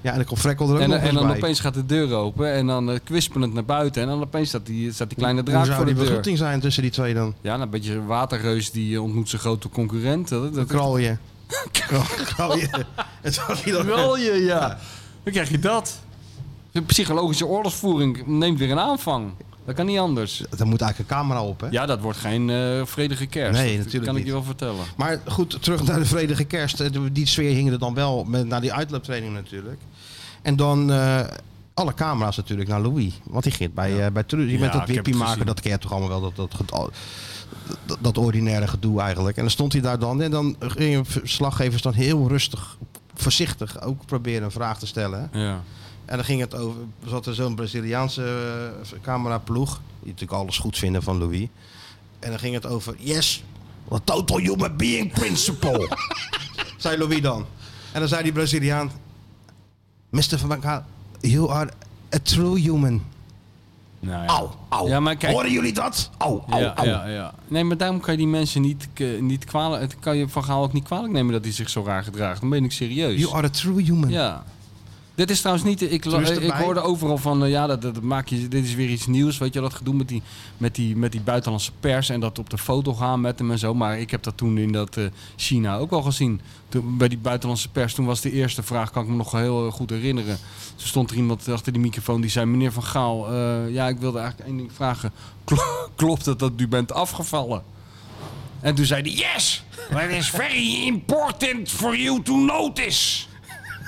Ja, en dan komt Frekkel er ook En, eh, nog en dan eens bij. opeens gaat de deur open en dan eh, kwispelend naar buiten. En dan opeens staat die, staat die kleine Hoe draak zou voor die de deur. begroeting zijn tussen die twee dan? Ja, nou, een beetje een waterreus die eh, ontmoet zijn grote concurrent. Dat, dat, Kral je. Kral je. Het was hier ook- Knal je, ja. Dan krijg je dat. De psychologische oorlogsvoering neemt weer een aanvang. Dat kan niet anders. Daar moet eigenlijk een camera op, hè? Ja, dat wordt geen eh, vredige kerst. Nee, Dat natuurlijk kan niet. ik je wel vertellen. Maar goed, terug naar de vredige kerst. Eh, de- Die sfeer hing er dan wel met, naar die uitlooptraining natuurlijk. En dan eh, alle camera's natuurlijk naar Louis. Want die ging bij, eh bij Truus. Je Ja, bent dat ik heb het wippie maken, gezien. dat keert toch allemaal wel. Dat, dat, ged- dat, dat ordinaire gedoe eigenlijk. En dan stond hij daar dan. En dan gingen verslaggevers dan heel rustig, voorzichtig ook proberen een vraag te stellen. hè. Ja. En dan ging het over, zat er zo'n Braziliaanse eh, cameraploeg, die natuurlijk alles goed vinden van Louis. En dan ging het over, yes, the total human being principle, zei Louis dan. En dan zei die Braziliaan, Mr. Van Gaal, you are a true human. Nou, ja. Au, au. Ja, maar kijk- Horen jullie dat? Au, au, Ja, au. ja, ja. Nee, maar daarom kan je die mensen niet, k- niet kwalijk... Het kan je van Gaal ook niet kwalijk nemen dat hij zich zo raar gedraagt. Dan ben ik serieus. You are a true human. Ja. Dit is trouwens niet. Ik, Truus ik erbij. hoorde overal van. eh, ja, dat, dat maak je, dit is weer iets nieuws. Weet je, dat gedoe met die, met, die, met die buitenlandse pers. En dat op de foto gaan met hem en zo. Maar ik heb dat toen in dat eh, China ook al gezien. Toen, bij die buitenlandse pers. Toen was de eerste vraag, kan ik me nog heel eh, goed herinneren. Toen stond er iemand achter die microfoon die zei: Meneer Van Gaal, eh, ja, ik wilde eigenlijk één ding vragen. Kl- Klopt het dat u bent afgevallen? En toen zei hij: Yes! But it's very important for you to notice.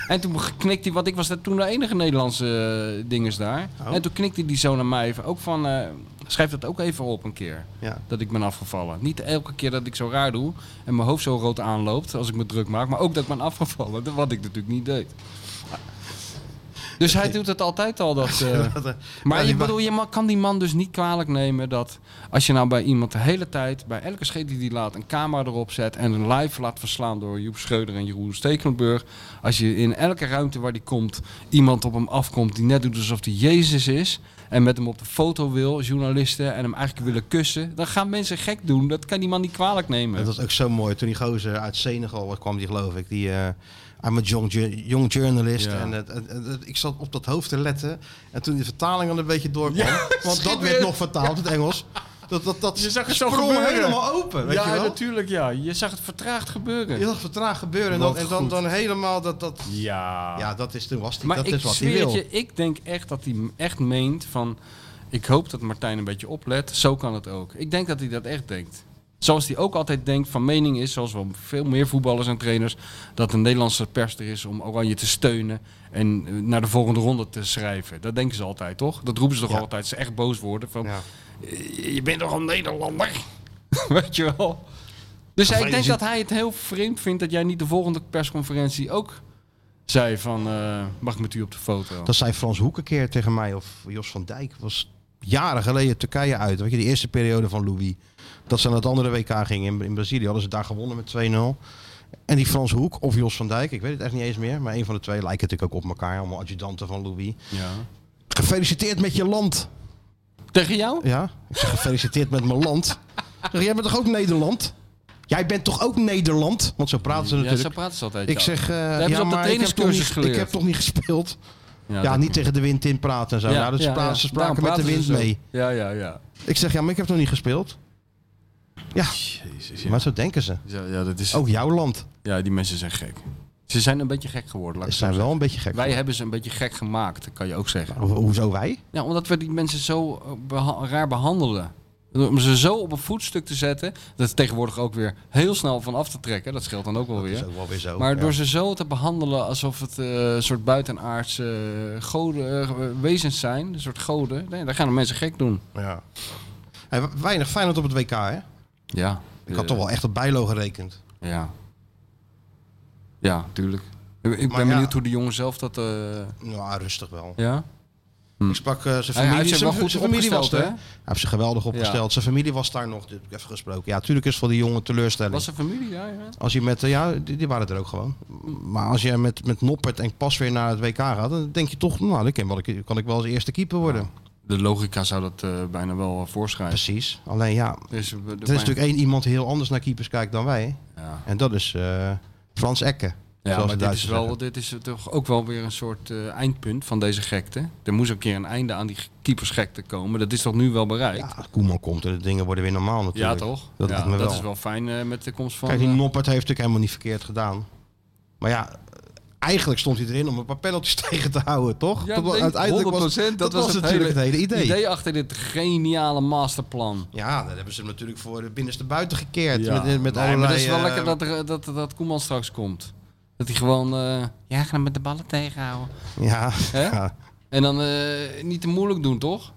En toen knikte hij, want ik was daar toen de enige Nederlandse eh, dinges daar. Oh. En toen knikte die zo naar mij even. Ook van, eh, schrijf dat ook even op een keer. Ja. Dat ik ben afgevallen. Niet elke keer dat ik zo raar doe en mijn hoofd zo rood aanloopt als ik me druk maak. Maar ook dat ik ben afgevallen, dat- wat ik natuurlijk niet deed. Dus hij doet het altijd al. Dat, eh, maar Ja, je, die- bedoel, je ma- kan die man dus niet kwalijk nemen dat als je nou bij iemand de hele tijd, bij elke scheet die die laat, een camera erop zet en een live laat verslaan door Joep Schreuder en Jeroen Stekelenburg. Als je in elke ruimte waar die komt, iemand op hem afkomt die net doet alsof hij Jezus is en met hem op de foto wil, journalisten, en hem eigenlijk willen kussen, dan gaan mensen gek doen. Dat kan die man niet kwalijk nemen. Dat was ook zo mooi. Toen die gozer uit Senegal kwam, die geloof ik. Die, eh I'm a young, ju- young journalist. Ja. En, het- het- het- ik zat op dat hoofd te letten. En toen die vertaling al een beetje doorkwam. want dat werd weer. nog vertaald in het Engels. Dat, dat, dat Je zag het zo sprong gebeuren. helemaal open. Weet ja, je wel? natuurlijk, ja. Je zag het vertraagd gebeuren. Je zag het traag gebeuren. En dan, Wat en dan, goed. dan helemaal dat... dat ja, dat is, toen was die, dat is wat hij zweer wil. het je, ik denk echt dat hij m- echt meent van... Ik hoop dat Martijn een beetje oplet. Zo kan het ook. Ik denk dat e- hij dat echt denkt. Zoals hij ook altijd denkt, van mening is, zoals wel veel meer voetballers en trainers, dat de Nederlandse pers er is om Oranje te steunen en eh, naar de volgende ronde te schrijven. Dat denken ze altijd, toch? Dat roepen ze toch Ja. altijd, als ze echt boos worden. Van, Ja. "Eh, Je bent toch een Nederlander? Weet je wel? Dus ik denk dat hij het heel vreemd vindt dat jij niet de volgende persconferentie ook zei van, eh, mag ik met u op de foto? Dat zei Frans Hoekenkeer tegen mij, of Jos van Dijk. was jaren geleden Turkije uit. Weet je, die eerste periode van Louis. Dat ze naar het andere WK gingen in, in Brazilië. Hadden ze daar gewonnen met 2-0. En die Frans Hoek of Jos van Dijk, ik weet het echt niet eens meer. Maar een van de twee lijken natuurlijk ook op elkaar. Allemaal adjudanten van Louis. Ja. Gefeliciteerd met je land. Tegen jou? Ja, ik zeg gefeliciteerd met mijn land. Ik zeg, jij bent toch ook Nederland? Jij bent toch ook Nederland? Want zo praten ze Ja, natuurlijk. zo praten ze altijd. ik ja. zeg, eh, hebben ze ja, op de maar ik heb, toch trainingscursus niet, ik geleerd. heb toch niet gespeeld. ja, Ja, dat- niet tegen de wind in praten en zo. Ja, dat is pra- ze Daarom spraken met de praten wind ze zo. mee. Ja, ja, ja. Ik zeg, ja, maar ik heb nog niet gespeeld. Ja, Jezus, maar zo denken ze. Ja, ja, dat is, Oh. Ook jouw land. ja, die mensen zijn gek. Ze zijn een beetje gek geworden. laat Ze ik het zijn zo wel een beetje gek. zeggen. Wij hebben ze een beetje gek gemaakt, kan je ook zeggen. Ho- Hoezo wij? Ja, omdat we die mensen zo eh, beha- raar behandelen. Om ze zo op een voetstuk te zetten, dat is tegenwoordig ook weer heel snel van af te trekken. Dat scheelt dan ook wel Dat weer. is ook wel weer zo. Maar ja. door ze zo te behandelen alsof het eh, een soort buitenaardse eh, goden, eh, wezens zijn, een soort goden, nee, daar gaan de mensen gek doen. Ja. Hey, we- weinig Feyenoord op het WK, hè? Ja. Ik had toch wel echt op Bijlo gerekend. Ja. Ja, tuurlijk. Ik ik Maar ben ja. benieuwd hoe de jongen zelf dat... eh, Nou, rustig wel. ja? Ik sprak eh, zijn Mm. Hij- hij familie. heeft zich zijn- wel goed zijn familie was opgesteld, er. hè? Hij heeft zich geweldig opgesteld. Zijn familie was daar nog. Dit heb ik even gesproken. Ja, tuurlijk is voor die jongen teleurstelling. Was zijn familie daar? Ja? Als je met, eh, ja, die, die waren er ook gewoon. Maar als je met, met Noppert en Pas weer naar het WK gaat, dan denk je toch, nou, dan kan, wel, een- kan ik wel als eerste keeper worden. De logica zou dat eh, bijna wel voorschrijven. Precies. Alleen ja, Dus, eh, de- er is natuurlijk één iemand die heel anders naar keepers kijkt dan wij. Ja. En dat is eh, Frans Ekke. Ja, zoals maar de dit is, Duitsers wel, zeggen. dit is toch ook wel weer een soort eh, eindpunt van deze gekte. Er moest een keer een einde aan die keepersgekte komen. Dat is toch nu wel bereikt? Ja, Koeman komt en de dingen worden weer normaal Ja, natuurlijk. toch? Dat Ja, lijkt me wel. is wel fijn eh, met de komst van... Kijk, die eh, Noppert heeft natuurlijk helemaal niet verkeerd gedaan. Maar ja, eigenlijk stond hij erin om een paar penalties tegen te houden, toch? ja, Dat wa- nee, 100%, dat, was, natuurlijk het hele idee. idee achter dit geniale masterplan. Ja, daar hebben ze hem natuurlijk voor de binnenste buiten gekeerd. Ja. Met, met Nee, allerlei, maar het is wel eh, lekker dat, er, dat, dat Koeman straks komt. Dat hij gewoon... eh, ja, ga hem met de ballen tegenhouden. Ja, Hè? ja. En dan eh, niet te moeilijk doen, toch?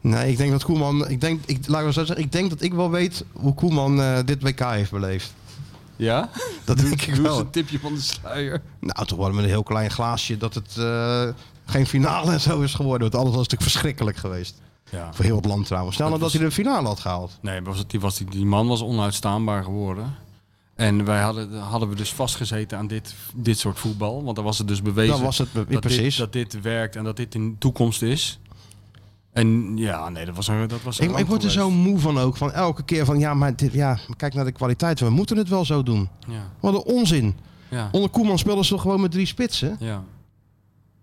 Nee, ik denk dat Koeman... Ik denk, ik, laat ik maar zo zeggen, ik denk dat ik wel weet hoe Koeman eh, dit WK heeft beleefd. Ja? Dat denk ik Doe eens wel. een tipje van de sluier. Nou, toch wel met een heel klein glaasje dat het eh, geen finale en zo is geworden. Want alles was natuurlijk verschrikkelijk geweest. Ja. Voor heel het land trouwens. Stel nou dat was- hij de finale had gehaald. Nee, was het, die, was die, die man was onuitstaanbaar geworden. En wij hadden, hadden we dus vastgezeten aan dit, dit soort voetbal. Want dan was het dus bewezen Dan was het be- dat, precies. Dit, dat dit werkt en dat dit in toekomst is. En ja, nee, dat was een, dat was een Ik, ik ramp word er zo geweest. moe van ook. Van elke keer van ja, maar dit, ja, kijk naar de kwaliteit. We moeten het wel zo doen. Ja, Wat een onzin. ja, Onder Koeman speelden ze toch gewoon met drie spitsen? ja.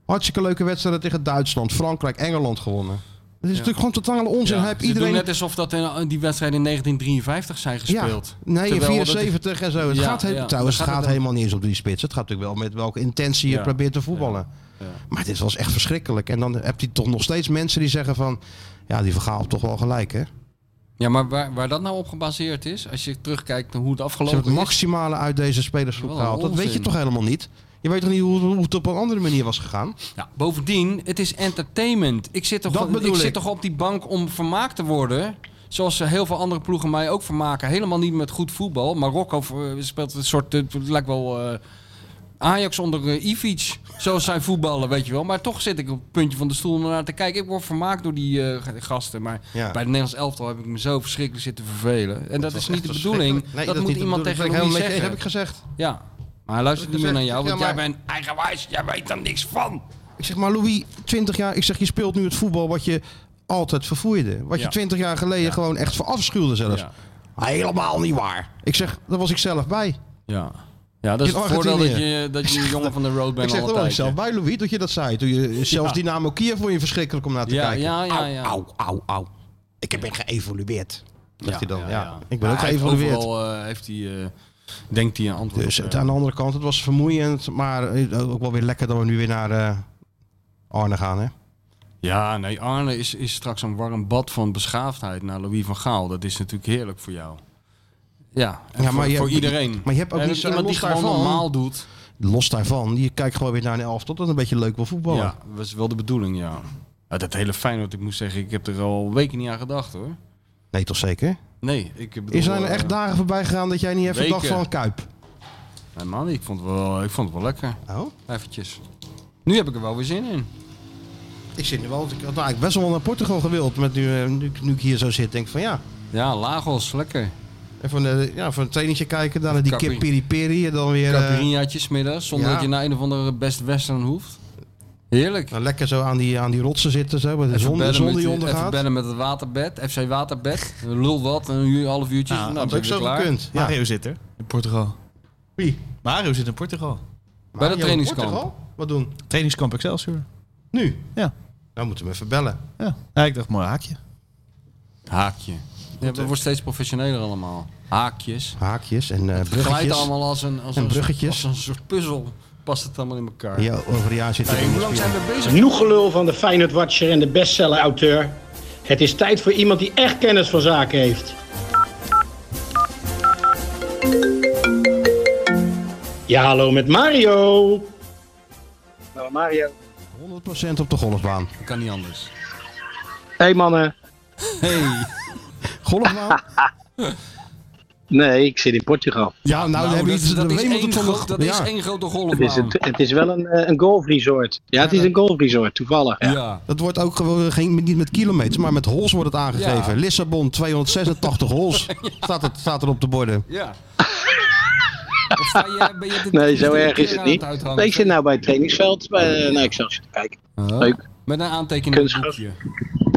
Hartstikke leuke wedstrijden tegen Duitsland, Frankrijk, Engeland gewonnen. Het is natuurlijk gewoon totale onzin. Ja, Hij heeft ze iedereen... doen net alsof dat in, Ah, die wedstrijden in 1953 zijn gespeeld. Ja, nee, in Terwijl dat- 74 en zo. Het Ja, gaat, he- ja. trouwens, Dan het gaat gaat het dan- helemaal niet eens op die spits. Het gaat natuurlijk wel met welke intentie je Ja. probeert te voetballen. Maar dit was echt verschrikkelijk. En dan heb je toch nog steeds mensen die zeggen van... Ja, die vergaal heeft toch wel gelijk, hè? Ja, maar waar, waar dat nou op gebaseerd is, als je terugkijkt naar hoe het Ze hebben afgelopen het is... maximale uit deze spelersgroep Wat een gehaald. Dat weet je onzin. toch helemaal niet? Je weet toch niet hoe, hoe het op een andere manier was gegaan? Ja, Nou, bovendien, het is entertainment. Ik zit, toch, Dat bedoel ik. zit toch op die bank om vermaakt te worden. Zoals eh, heel veel andere ploegen mij ook vermaken. Helemaal niet met goed voetbal. Marokko eh, speelt een soort. eh, Het lijkt wel. eh, Ajax onder eh, Ivic, zoals zij voetballen, weet je wel. Maar toch zit ik op het puntje van de stoel om naar te kijken. Ik word vermaakt door die eh, g- gasten. Maar Ja. bij het Nederlands elftal heb ik me zo verschrikkelijk zitten vervelen. En dat, was is niet echt de bedoeling. verschrikkelijk. dat, Nee, moet niet de bedoeling. iemand tegen Ben ik helemaal hem met je eens, zeggen. heb ik gezegd. Ja, maar hij luistert niet meer naar gezegd. jou, want Ja, jij maar- bent eigenwijs. Jij weet daar niks van. Ik zeg maar, Louis, 20 jaar... Ik zeg, je speelt nu het voetbal wat je altijd vervoerde. Wat je Ja. 20 jaar geleden gewoon echt verafschuwde zelfs. Ja. Helemaal niet waar. Ik zeg, daar was ik zelf bij. Ja. Ja, dat is In het voordeel dat Argentinië. je, dat je een jongen van de road Ik bent zeg al er een wel tijdje. eens zelf bij, Louis, dat je dat zei. Toen je, zelfs Dynamo Kiev vond je verschrikkelijk om naar te Ja, kijken. ja, ja, ja. Au, au, au. Ik heb ben geëvolueerd. Dacht Ja, hij dan, ja, ja, ja. Ik ben ook Ja, hij heeft geëvolueerd. Overal eh, heeft hij, eh, denkt hij een antwoord Dus op, eh. het- ja. aan de andere kant, het was vermoeiend, maar eh, ook wel weer lekker dat we nu weer naar eh, Arne gaan, hè? Ja, nee, Arne is, is straks een warm bad van beschaafdheid naar Louis van Gaal. Dat is natuurlijk heerlijk voor jou. Ja, en Ja, maar voor, je- voor iedereen. maar je hebt ook En niet zo- iemand die los gewoon daarvan- normaal doet. Los daarvan, je kijkt gewoon weer naar een elftal dat een beetje leuk wil voetballen. Ja, dat was wel de bedoeling, ja. Ja, Dat hele Feyenoord, ik moet zeggen, ik heb er al weken niet aan gedacht, hoor. Nee, toch zeker? Nee, ik bedoel... Is zijn er nou eh, echt dagen voorbij gegaan dat jij niet even dacht weken. van Kuip? Nee, man, ik vond, het wel, ik vond het wel lekker. Oh? Eventjes. Nu heb ik er wel weer zin in. Ik zit nu wel, ik had eigenlijk best wel naar Portugal gewild, met nu, eh, nu, nu ik hier zo zit, denk ik van ja... Ja, Lagos, lekker. Even een, eh, ja, even een trainingje kijken, daarna die Capri- kip peri peri en dan weer eh, Caprinaatjes middags, zonder ja. dat je naar een of andere Best Western hoeft. Heerlijk. nou, lekker zo aan die, aan die rotsen zitten, zo, met de Even zon, de bellen zon met- die Even ondergaat. bellen met het waterbed, FC Waterbed. Lul wat, een uur, half uurtje. Ja, nou, Dat had dan ben ook ik zo weer klaar. gekund. Ja. Mario zit er. In Portugal. Wie? Mario zit in Portugal. Bij Mario dat trainingskamp. Portugal? Wat doen? Trainingskamp Excelsior. Nu? Ja. Dan moeten we even bellen. Ja. ja ik dacht, mooi haakje. Haakje. Ja, het wordt steeds professioneler allemaal. Haakjes. Haakjes en eh, Het glijdt bruggetjes. allemaal als een, als En een, bruggetjes. Als een soort puzzel past het allemaal in elkaar. Ja, over een jaar zit Hey, hoe lang zijn we bezig? Genoeg gelul van de Feyenoord Watcher en de bestseller-auteur. Het is tijd voor iemand die echt kennis van zaken heeft. Ja, hallo met Mario. Hallo Mario. 100% op de golfbaan. Dat kan niet anders. Hey mannen. Hey. Golfbaan? Nee, ik zit in Portugal. Ja, nou, dan Nou, hebben dat, we iets. dat we is, moeten één het van- groot- dat ja. is één grote Het is, golfbaan. het, het is wel een, eh, een golfresort. Ja, het is een golfresort, toevallig. eh, Ja. Dat wordt ook gewoon eh, geen, niet met kilometers, maar met hols wordt het aangegeven. Ja. Lissabon 286 hols. Staat, het, staat er op de borden. Ja. Of sta je- eh, ben je dit Nee, zo drie erg keer is het aan niet. uithangen? Nee, ik zit nou bij het trainingsveld. Bij, eh, nou, ik zal te kijken. Oh. Leuk. Met een aantekening Kunstgras. boekje.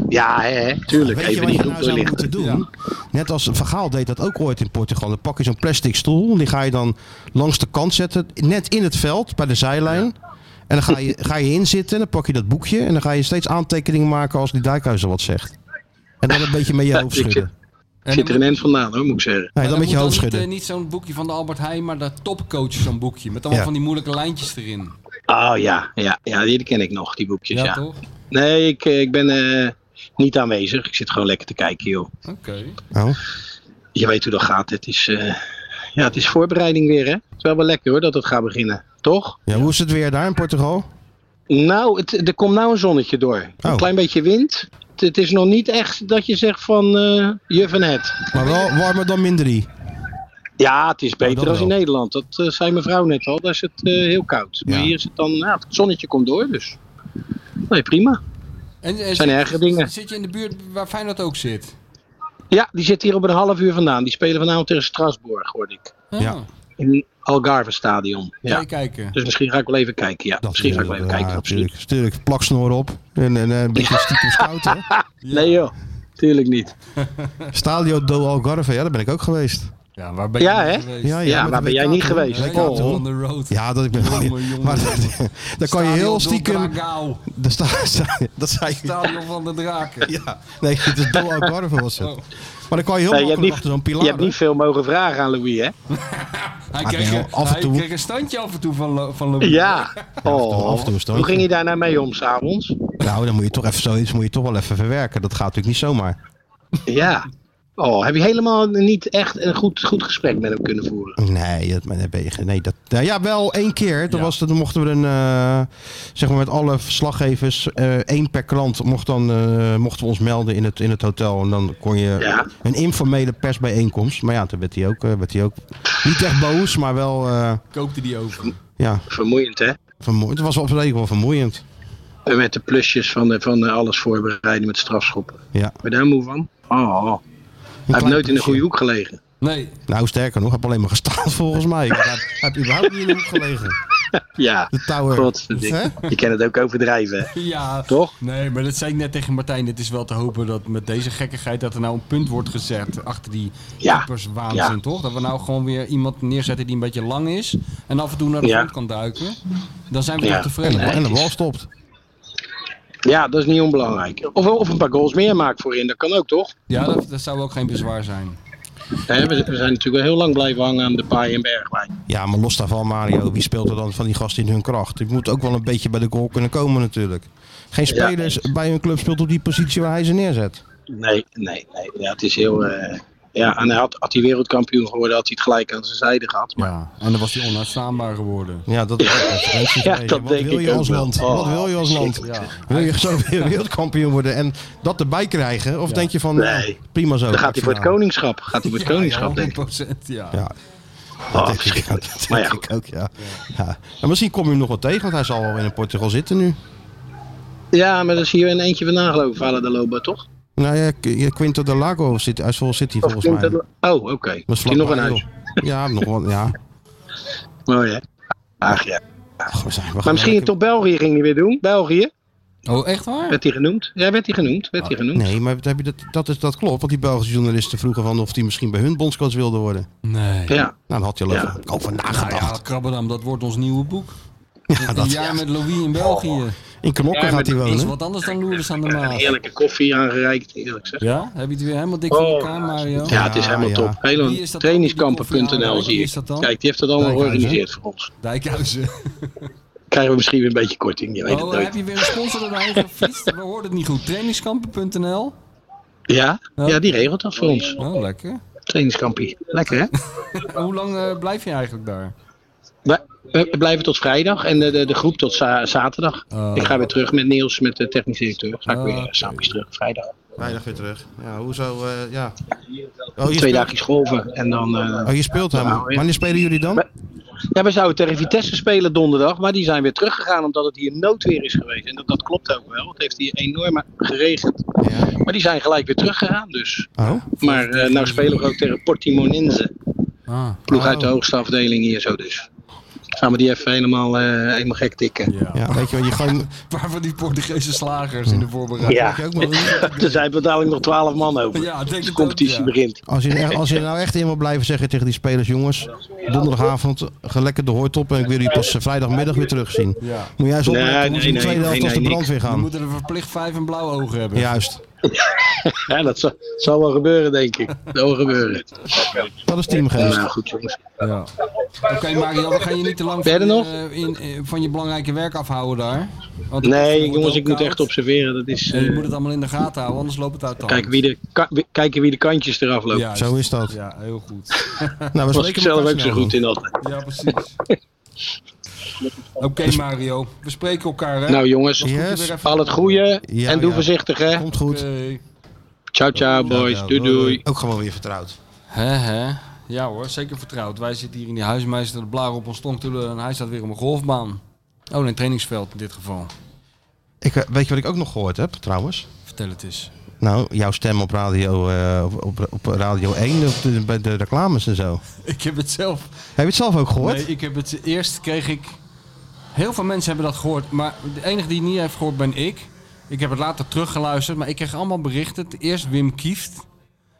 Ja, hè, hè, tuurlijk. Weet je Even wat die je nou groep zou licht. moeten doen? Net als Vergaal deed dat ook ooit in Portugal. Dan pak je zo'n plastic stoel. Die ga je dan langs de kant zetten. Net in het veld, bij de zijlijn. En dan ga je, ga je inzitten. En dan pak je dat boekje. En dan ga je steeds aantekeningen maken als die Dijkhuizen wat zegt. En dan een beetje met je hoofd ik schudden. Ik zit er een end vandaan hoor, moet ik zeggen. Nee, dan met je hoofd niet, eh, schudden. niet zo'n boekje van de Albert Heijn, maar de topcoach zo'n boekje. Met allemaal Ja. van die moeilijke lijntjes erin. Oh ja, ja, ja, die ken ik nog, die boekjes. Ja, Ja, toch? Nee, ik, eh, ik ben eh, niet aanwezig. Ik zit gewoon lekker te kijken, joh. Oké. Oh. Je weet hoe dat gaat. Het is, eh, ja, het is voorbereiding weer, hè? Het is wel wel lekker hoor dat het gaat beginnen, toch? Ja, hoe is het weer daar in Portugal? Nou, het, er komt nou een zonnetje door. Oh. Een klein beetje wind. Het, het is nog niet echt dat je zegt van eh juf en het. Maar wel warmer dan min 3. Ja, het is beter Oh, dat als in wel. Nederland. Dat eh, zei mevrouw net al. Daar is het eh, heel koud. Maar Ja. hier is het dan, nou, het zonnetje komt door, dus. Nee, prima. En, en Zijn zit- erge dingen. Zit je in de buurt waar Feyenoord ook zit? Ja, die zit hier op een half uur vandaan. Die spelen vanavond tegen Strasbourg, hoorde ik. Ah, Ja. In Algarve Stadion. Ga Ja. je kijken. Dus misschien ga ik wel even kijken. Ja, Dat misschien ga ik eh, wel even ja, kijken. Absoluut. Natuurlijk, natuurlijk plaksnoor op. En, en eh, een beetje stiekem scouten. Nee joh, tuurlijk niet. Stadio do Algarve, ja, daar ben ik ook geweest. Ja, waar ben je Ja, niet hè? geweest? Ja, ja, Ja, met waar de ben jij WK niet toen, geweest? hè? Lekker WK Oh. toen. on the road. Ja, dat ik ben Jongen, jongen. Maar dan kan je heel Stadion stiekem. do Dragao. daar sta- sta- Dat zei je. Stadion van de draken. Ja, nee, het is do Algarve was het. Oh. Maar dan kan je heel Nee, je, makkelijk hebt niet, achter zo'n je pilaar. hebt niet veel mogen vragen aan Louis, hè? Hij, Maar kreeg, wel, een- af en hij toe- kreeg een standje af en toe van, Lo- van Louis. Ja. Oh. af en toe is het ook. Hoe ging je daar nou mee om s'avonds? hè? Nou, dan moet je toch even zoiets moet je toch wel even verwerken. Dat gaat natuurlijk niet zomaar. Ja. Oh, heb je helemaal niet echt een goed, goed gesprek met hem kunnen voeren? Nee, dat, maar daar ben je, geen- nee, dat, nou ja, wel één keer. Toen, was, het- toen mochten we een, eh, zeg maar met alle verslaggevers, eh, één per klant, mocht dan, eh, mochten we ons melden in het, in het hotel. En dan kon je Ja. een informele persbijeenkomst. Maar ja, toen werd hij ook, eh, werd hij ook niet echt boos, maar wel, eh, Koopte die over. ja, Vermoeiend, hè? vermoe- het was op zich wel vermoeiend. En Met de plusjes van, eh, van eh, alles voorbereiden met strafschoppen. Ja. Ben je daar moe van? Oh, oh. hij heeft klein nooit plusje. in een goede hoek gelegen. Nee, Nou, sterker nog, heb alleen maar gestaan volgens mij. Hij hij heeft überhaupt niet in de hoek gelegen. Ja, De tower. Hè? godverdikke. Je kan het ook overdrijven, hè? ja. Toch? Nee, maar dat zei ik net tegen Martijn. Het is wel te hopen dat met deze gekkigheid dat er nou een punt wordt gezet achter die Ja. keeperswaanzin, Ja. toch? Dat we nou gewoon weer iemand neerzetten die een beetje lang is en af en toe naar de Ja. grond kan duiken. Dan zijn we Ja. toch tevreden. Nee. En de bal stopt. Ja, dat is niet onbelangrijk. Of, of een paar goals meer maken voorin, dat kan ook, toch? Ja, dat, dat zou ook geen bezwaar zijn. Hè, we, we zijn natuurlijk wel heel lang blijven hangen aan de paai en Bergwijn. Ja, maar los daarvan, Mario, wie speelt er dan van die gasten in hun kracht? Die moet ook wel een beetje bij de goal kunnen komen natuurlijk. Geen spelers bij hun club speelt op die positie waar hij ze neerzet. Nee, nee, nee. Ja, het is heel... eh, ja, en hij had, had hij wereldkampioen geworden, had hij het gelijk aan zijn zijde gehad. Maar Ja. En dan was hij onuitstaanbaar geworden. Ja, dat is ook een referentie Ja, geweest. dat Wat denk wil ik je ook als wel. land? Oh, Wat wil je als land? Ja. Wil je zo weer wereldkampioen worden en dat erbij krijgen? Of denk je van, nou, Nee. prima zo. dan gaat hij voor het finale. koningschap. Gaat hij voor het koningschap, ja, denk ik. 100%, ja. Ja. Oh, Dat denk ik, verschrikkelijk. dat Maar denk ja, ik ook, ja. ja. En misschien kom je hem nog wel tegen, want hij zal wel in Portugal zitten nu. Ja, maar dat is hier in eentje vandaan geloof ik, Vale de Loba, toch? Nou ja, Qu- ja, Quinto de Lago zit, hij is vol City Of volgens klinkt mij. dat- Oh, oké. Dat is Misschien nog een vlakbij, huis. joh. Ja, nog wel, ja. Mooi, hè? Ach ja. Ach, we zijn, we gaan Maar misschien lekker- toch België ging hij weer doen. België, Oh, echt waar? werd hij genoemd. Ja, werd hij genoemd. Werd hij genoemd. Nee, maar heb je dat, dat, is, dat klopt. Want die Belgische journalisten vroegen van of hij misschien bij hun bondscoach wilde worden. Nee. Ja. Nou, dan had hij al Ja. over, over Nou ja, nagedacht. Krabbedam, dat wordt ons nieuwe boek. Ja, dat, Een jaar met Louis in België. In Knokken Ja, gaat met- hij Dat is wonen. wat anders dan Loerders aan de Een Maas. heerlijke koffie aangereikt, eerlijk gezegd. Ja? Heb je het weer helemaal dik voor Oh. elkaar, Mario? Ja, het is helemaal ja. top. Wie is Helemaal dat trainingskampen.nl dan? zie Wie ik. is dat dan? Kijk, die heeft dat allemaal Dijkhuizen. georganiseerd voor ons. Dijkhuizen. Krijgen we misschien weer een beetje korting, je weet het Oh, heb nooit. je weer een sponsor erbij gefietst? We hoorden het niet goed. Trainingskampen.nl. Ja? Ja. ja, die regelt dat voor ons. Oh, lekker. Trainingskampie. Lekker hè? En hoe lang eh, blijf je eigenlijk daar? We, we- we blijven tot vrijdag en de, de, de groep tot za- zaterdag. Oh. Ik ga weer terug met Niels, met de technisch directeur. Ga ik Oh, weer oké. eh, samen terug, vrijdag. Oh, Weinig weer terug. Ja, hoezo? eh, ja. Oh, je Twee speelt, dagjes golven en dan... eh, oh, je speelt hem. Nou, ja. Wanneer spelen jullie dan? Ja, we zouden tegen Vitesse spelen donderdag, maar die zijn weer teruggegaan omdat het hier noodweer is geweest. En dat, dat klopt ook wel. Het heeft hier enorm geregend. Ja. Maar die zijn gelijk weer teruggegaan dus. Oh, Maar eh nou spelen we ook tegen Portimonense. Ah, Ploeg Oh. uit de hoogste afdeling hier zo dus. Gaan we die even helemaal, eh, helemaal gek tikken. ja. ja. Weet je wat, je gewoon... Een paar van die Portugese slagers in de voorbereiding. Ja, je ook maar doen. er zijn we dadelijk nog 12 man over. Ja, ik denk als de het competitie ook, ja. begint. Als je, er- als je er nou echt in wil blijven zeggen tegen die spelers, jongens, donderdagavond, ga lekker de hoort op en ik wil jullie pas eh, vrijdagmiddag weer terugzien. Ja. Moet jij eens Nee, opletten, nee, in nee, de nee, tweede nee, helft als de nee, brandweer We gaan. moeten er verplicht vijf en blauwe ogen hebben. Juist. Ja, dat zal, zal wel gebeuren, denk ik. Dat zal wel gebeuren. Dat is teamgeest. Nou, goed jongens. Ja. Oké Mario, we gaan je niet te lang Ben je van, er nog? je, eh, in, eh, van je belangrijke werk afhouden daar. Want het wordt Nee, wel jongens, ik moet koud. echt observeren. Dat is, En je eh, moet het allemaal in de gaten houden, anders loopt het uit de hand. kijken, wie de, ka- wie- kijken wie de kantjes eraf lopen. Juist. Zo is dat. Ja, heel goed. Nou, we was ik spreken zelf elkaar ook zo snel. goed in dat. Ja, precies. Oké Mario, we spreken elkaar hè. Nou jongens, Ja. Moet je weer even- al het goede Ja, en doe ja. voorzichtig hè. Komt goed. Oké. Ciao ciao Eh, boys, Ja, doei doei. Ook gewoon weer vertrouwd. Hè, hè. Ja hoor, zeker vertrouwd. Wij zitten hier in die huismeester de blaren op ons tong te lullen en hij staat weer op een golfbaan. Oh, in een trainingsveld in dit geval. Ik, eh, weet je wat ik ook nog gehoord heb, trouwens? Vertel het eens. Nou, jouw stem op radio, eh, op, op, op radio 1, op de, bij de reclames en zo. Ik heb het zelf Heb je het zelf ook gehoord? Nee, ik heb het eerst kreeg ik. Heel veel mensen hebben dat gehoord, maar de enige die het niet heeft gehoord ben ik. Ik heb het later teruggeluisterd, maar ik kreeg allemaal berichten. Eerst Wim Kieft,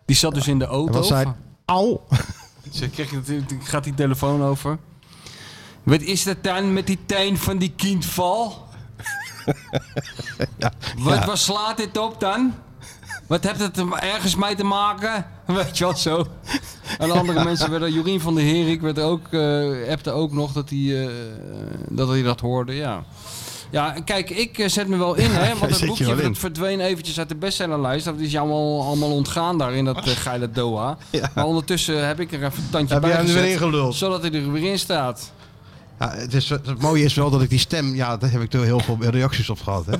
die zat dus in de auto. En wat zei Au! Ze kreeg natuurlijk, gaat die telefoon over. Wat is dat dan met die tuin van die kindval? wat, wat slaat dit op dan? Wat heeft het er ergens mee te maken? Weet je wel zo. En andere mensen werden, Jorien van der Herik werd ook, eh appte ook nog dat hij, eh, dat hij dat hoorde, ja. Ja, kijk, ik eh, zet me wel in, hè, want zet het je boekje wel dat in. verdween eventjes uit de bestsellerlijst. Dat is allemaal, allemaal ontgaan daar in dat eh, geile Doha. Maar ondertussen heb ik er even een tandje Heb bij jij hem er gezet, weer ingeluld? Zodat hij er weer in staat. Ja, het, is, het mooie is wel dat ik die stem, ja, daar heb ik er heel veel reacties op gehad. Hè?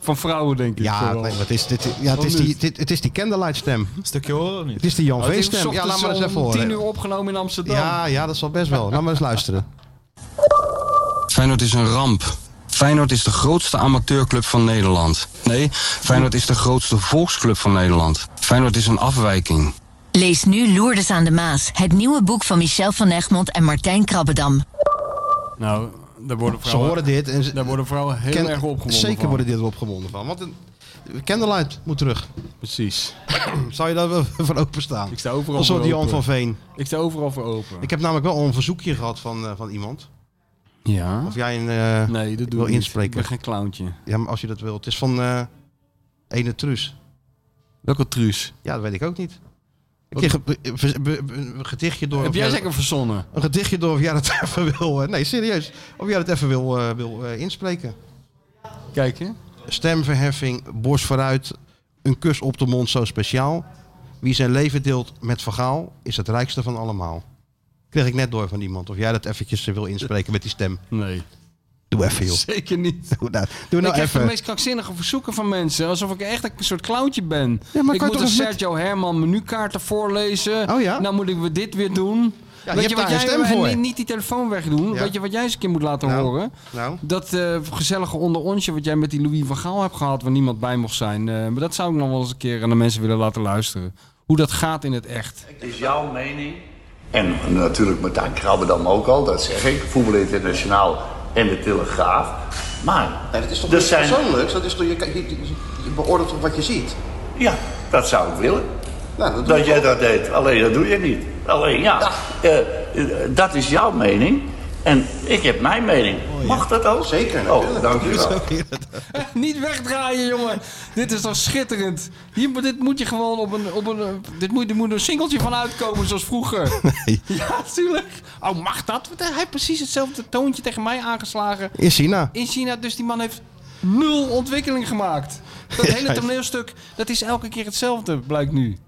Van vrouwen, denk ik. Ja, vooral. nee, maar het is, dit, ja, het is die, dit, het is die candlelight stem. Stukje horen of niet? Het is die Jan Oh, het Veen is stem. Ja, ochtends laat maar eens om even tien uur horen. opgenomen in Amsterdam. Ja, ja, dat zal best wel. Laat maar eens luisteren. Feyenoord is een ramp. Feyenoord is de grootste amateurclub van Nederland. Nee, Feyenoord is de grootste volksclub van Nederland. Feyenoord is een afwijking. Lees nu Loerdes aan de Maas, het nieuwe boek van Michel van Egmond en Martijn Krabbedam. Nou, daar worden Ze vrouwen, horen dit en ze, daar worden vrouwen heel ken- erg opgewonden zeker van. worden dit er opgewonden van. Want een, candlelight moet terug. Precies. Zou je daar wel voor openstaan? Ik sta overal Een soort voor Jan open. van Veen. Ik sta overal voor open. Ik heb namelijk wel een verzoekje gehad van, eh, van iemand. Ja? Of jij een... eh, Nee, dat doe wil ik niet. inspreken. Ik ben geen clowntje. Ja, maar als je dat wilt. Het is van eh Ene Truus. Welke truus? Ja, dat weet ik ook niet. Ik kreeg een, be- be- be- be- een gedichtje door... Heb of jij dat- zeker verzonnen? Een gedichtje door of jij dat even wil... eh, nee, serieus. Of jij dat even wil, eh, wil eh, inspreken. Kijk, hè? Stemverheffing, borst vooruit, een kus op de mond zo speciaal. Wie zijn leven deelt met vergaal, is het rijkste van allemaal. Kreeg ik net door van iemand. Of jij dat eventjes eh, wil inspreken met die stem. Nee. Doe even, joh. Zeker niet. Doe nou, doe nou ik heb de even. meest krankzinnige verzoeken van mensen. Alsof ik echt een soort clowntje ben. Ja, maar ik kan je toch moet een eens met- Sergio Herman menukaarten voorlezen. Oh ja? Dan moet ik weer dit weer doen. je hebt daar een stem en voor. niet, niet die telefoon wegdoen. Ja. Weet je wat jij eens een keer moet laten Nou. horen? Nou, Dat eh, gezellige onderontje wat jij met die Louis van Gaal hebt gehad... waar niemand bij mocht zijn. Eh, maar dat zou ik nog wel eens een keer aan de mensen willen laten luisteren. Hoe dat gaat in het echt. is jouw mening. En natuurlijk Martijn Krabbedam ook al, dat zeg ik. Voetbal Internationaal en de Telegraaf. Maar... Nee, dat is toch er niet zijn- persoonlijks? Dat is toch, je, je, je- je beoordeelt toch wat je ziet? Ja, dat zou ik willen. Nou, dat doe Dat jij dat deed. Alleen dat doe je niet. Alleen ja, eh, eh, dat is jouw mening. En ik heb mijn mening. Oh, Mag dat ook? Zeker, Oh, dankjewel. Niet wegdraaien, jongen. Dit is toch schitterend. Hier, dit moet je gewoon op een... Op een eh, dit moet, er moet een singeltje van uitkomen, zoals vroeger. Ja, tuurlijk. Oh, mag dat? Want hij heeft precies hetzelfde toontje tegen mij aangeslagen. In China. In China, dus die man heeft nul ontwikkeling gemaakt. Dat hele toneelstuk, dat is elke keer hetzelfde, blijkt nu.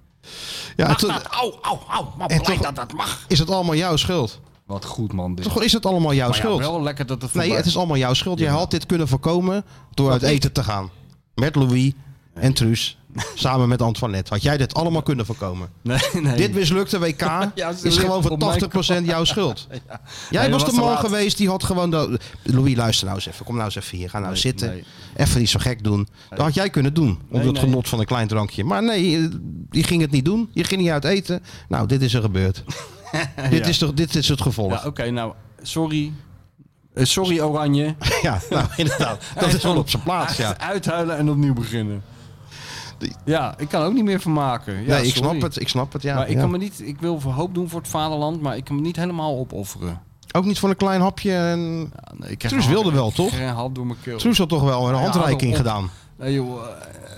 Ja, Ah, oh, en mag toen- dat? Au, au, au. Maar en blijkt toch- dat dat mag. Is het allemaal jouw schuld? Wat goed, man. Dit. Toch is het allemaal jouw Maar ja, schuld? wel lekker dat nee, het voorbij- het is allemaal jouw schuld. Jij had dit kunnen voorkomen door uit eten te gaan. Met Louis en Truus. Samen met Antoinette. Had jij dit allemaal kunnen voorkomen? Nee, nee. Dit mislukte WK Ja, ze is ligt gewoon op mijn voor 80% jouw schuld. Jij was de Nee, dat was te man laat. geweest die had gewoon... dat- Louis, luister nou eens even. Kom nou eens even hier. Ga nou zitten. nee. Even niet zo gek doen. Dat had jij kunnen doen. Onder Nee, het nee. genot van een klein drankje. Maar nee, eh, je ging het niet doen. Je ging niet uit eten. Nou, dit is er gebeurd. dit, is toch, dit is het gevolg. Ja, oké, nou, sorry. Eh, sorry, Oranje. Ja, nou inderdaad. Dat is wel op zijn plaats, ja. Echt Uithuilen en opnieuw beginnen. Ja, ik kan er ook niet meer van maken. Ja, nee, ik sorry. snap het, ik snap het, ja. maar ik, ja. kan me niet, ik wil voor hoop doen voor het vaderland, maar ik kan me niet helemaal opofferen. Ook niet voor een klein hapje. En... Ja, nee, ik krijg Truus een wilde hap- wel, ik toch? krijg een hap door mijn keel. Truus had toch wel een handreiking op. gedaan. Nee, joh,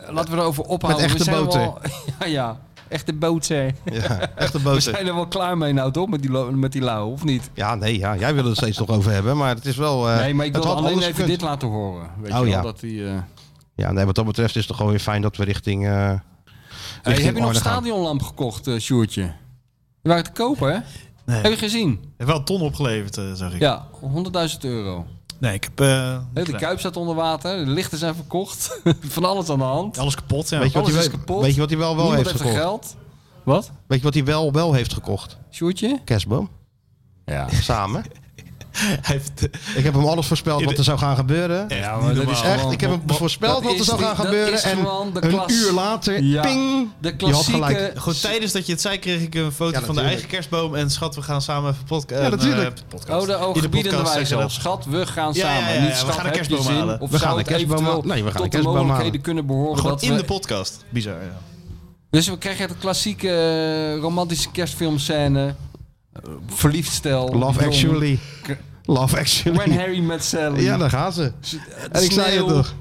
eh, laten we erover ophouden. echte We zijn boter. wel- ja, ja, echte boter. Ja, echt een We boze. zijn er wel klaar mee nou, toch? Met die, lo- met die lauw, of niet? Ja, nee, ja. jij wil het steeds nog over hebben, maar het is wel... eh, Nee, maar ik het wil had alleen even anders gekund. dit laten horen. Weet Oh, je wel, ja. dat die... eh, Ja, nee, wat dat betreft is het toch gewoon weer fijn dat we richting... eh, Hey, richting heb je nog een Arnhem gaan. stadionlamp gekocht, eh Sjoertje? Die waren te koop, hè? Nee. Heb je gezien? Heeft wel een ton opgeleverd, eh, zag ik. Ja, 100.000 euro. Nee, ik heb... eh, Hè, De kuip staat onder water, de lichten zijn verkocht. Van alles aan de hand. Alles kapot, ja. Weet je wat Alles hij is wel- kapot. weet je wat hij wel- wel Niemand heeft heeft er geld. Wat? Weet je wat hij wel, wel heeft gekocht? Sjoertje? Kerstboom. Ja. Samen. Hij heeft, Ik heb hem alles voorspeld wat er zou gaan gebeuren. Echt Ja, niet maar dat normaal. is Echt, gewoon- ik heb hem dat voorspeld wat er is zou die- gaan dat gebeuren. is En gewoon de een klas- uur later, Ja, ping, je De had klassieke... gelijk. Goed, tijdens dat je het zei kreeg ik een foto Ja, van de natuurlijk. eigen kerstboom. En schat, we gaan samen even podca- Ja, een, eh, natuurlijk. podcast. Oh, de In ooggebiedende podcast wijze. zeggen al. dat- Schat, we gaan Ja, samen. ja, ja, Niet, we schat, gaan een heb je kerstboom zin? halen. Of We zou gaan het een kerstboom eventueel halen. nou, Nee, we gaan een tot de kerstboom halen. mogelijkheden kunnen behoren Gewoon dat in we- de podcast. Bizar, ja. Dus we krijgen de klassieke eh, romantische kerstfilmscène. Eh, Verliefd stel. Love jong. Actually. Love When Actually. Harry met Sally. Ja, daar gaan ze. en En ik zei het nog.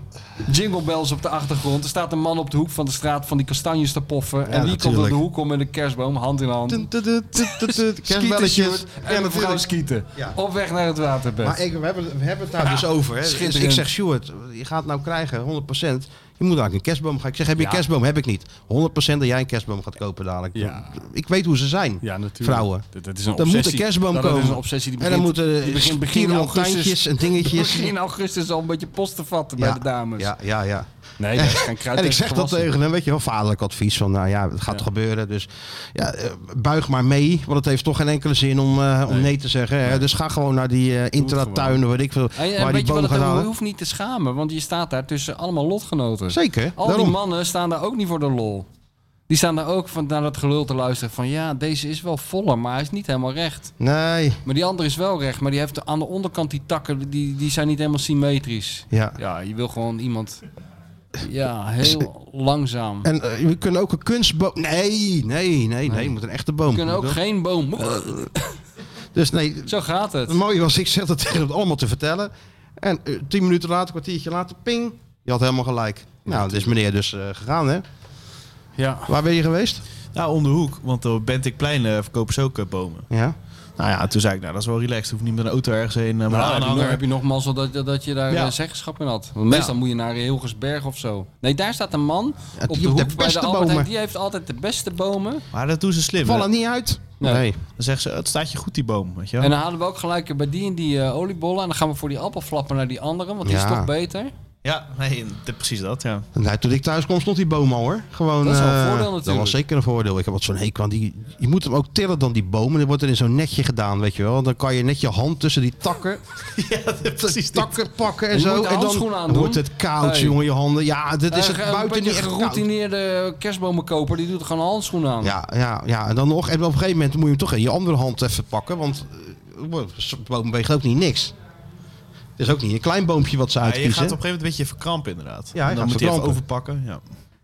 Jingle bells op de achtergrond. Er staat een man op de hoek van de straat van die kastanjes te poffen. en wie komt op natuurlijk. de hoek om met een kerstboom hand in hand? Tut, tut, tut, tut, tut, tut. Skieten, Kerstbelletjes. Sjoerd, Ja, En een vrouw natuurlijk. skieten. Ja. Op weg naar het waterbed. Maar ik, we, hebben, we hebben het daar dus over. Hè. Dus schitterend. ik zeg, Stuart, je gaat het nou krijgen, 100%. Je moet eigenlijk een kerstboom gaan. Ik zeg, heb je een kerstboom? Heb ik niet. 100% dat jij een kerstboom gaat kopen dadelijk. Ja. Ik weet hoe ze zijn, Ja, natuurlijk. vrouwen. Dat, dat is een Dan obsessie. moet een kerstboom dat, komen. Dat is een obsessie die en begint, dan moeten die begint begin tierlantijntjes augustus. en dingetjes. Begin augustus al een beetje post te vatten Ja, bij de dames. Ja, ja, ja. Nee, dat is geen kruid En ik tegen zeg dat gewassen. tegen hem, weet je wel, vaderlijk advies van, nou ja, het gaat gebeuren, dus ja, eh, buig maar mee, want het heeft toch geen enkele zin om, eh, om nee. te zeggen. hè. Dus ga gewoon naar die eh intratuin, of weet ik veel, En, en waar die weet je wat boom het gaat ook- je halen. hoeft niet te schamen, want je staat daar tussen allemaal lotgenoten. Zeker, Al daarom. die mannen staan daar ook niet voor de lol. Die staan daar ook van, naar dat gelul te luisteren van ja, deze is wel voller, maar hij is niet helemaal recht. Nee, Maar die andere is wel recht, maar die heeft aan de onderkant die takken, die, die zijn niet helemaal symmetrisch. ja. Ja, je wil gewoon iemand, ja, heel langzaam. En eh, we kunnen ook een kunstboom, nee, nee, nee, nee, je moet een echte boom. We kunnen ook Moet wel. geen boom. Dus nee, Zo gaat het. het mooie was, ik zeg dat tegen hem allemaal te vertellen. En eh, tien minuten later, kwartiertje later, ping, je had helemaal gelijk. Nou, dat is meneer dus eh, gegaan, hè. Ja. Waar ben je geweest? Nou, om de hoek. Want op Bentikplein eh, verkopen ze ook eh, bomen. Ja. Nou ja, toen zei ik, nou, dat is wel relaxed. Hoef niet met een auto ergens heen. eh, maar Nou, een heb, je, nog- aanhanger. heb je nog mazzel dat, dat je daar Ja. eh, zeggenschap in had. Want meestal moet je naar Hilgersberg of zo. Nee, daar staat een man die op de heeft hoek de bij de beste Albert Heijn. bomen. Die heeft altijd de beste bomen. Maar dat doen ze slim. Val er Dan niet uit. Nee. zeggen ze, "Eh, het staat je goed, die boom. Weet je wel? En dan halen we ook gelijk eh, bij die en die eh, oliebollen. En dan gaan we voor die appelflappen naar die andere, want die is Ja. toch beter. Ja, nee, dit- precies dat, ja. Nou, toen ik thuis kwam stond die boom al hoor. Gewoon, Dat is wel een eh, voordeel Dat natuurlijk. was zeker een voordeel. Ik heb wat zo'n hekel aan die. Je moet hem ook tillen dan die bomen. Dan wordt er in zo'n netje gedaan, weet je wel. Dan kan je net je hand tussen die takken, ja, precies. dat. takken pakken en Je zo. moet de en dan handschoenen aandoen. wordt het koud, Hey. jongen, je handen. Ja, dit is Eh, het een buiten beetje niet echt koud. geroutineerde kerstbomenkoper, die doet er gewoon een handschoen aan. Ja, ja, ja. En dan nog. En op een gegeven moment moet je hem toch in je andere hand even pakken, want eh, zo'n boom weegt ook niet niks. Het is ook niet een klein boompje wat ze Ja, je uitkiezen. gaat op een gegeven moment een beetje verkrampen, inderdaad. Ja, je En dan gaat moet je even verkrampen. overpakken. Ja.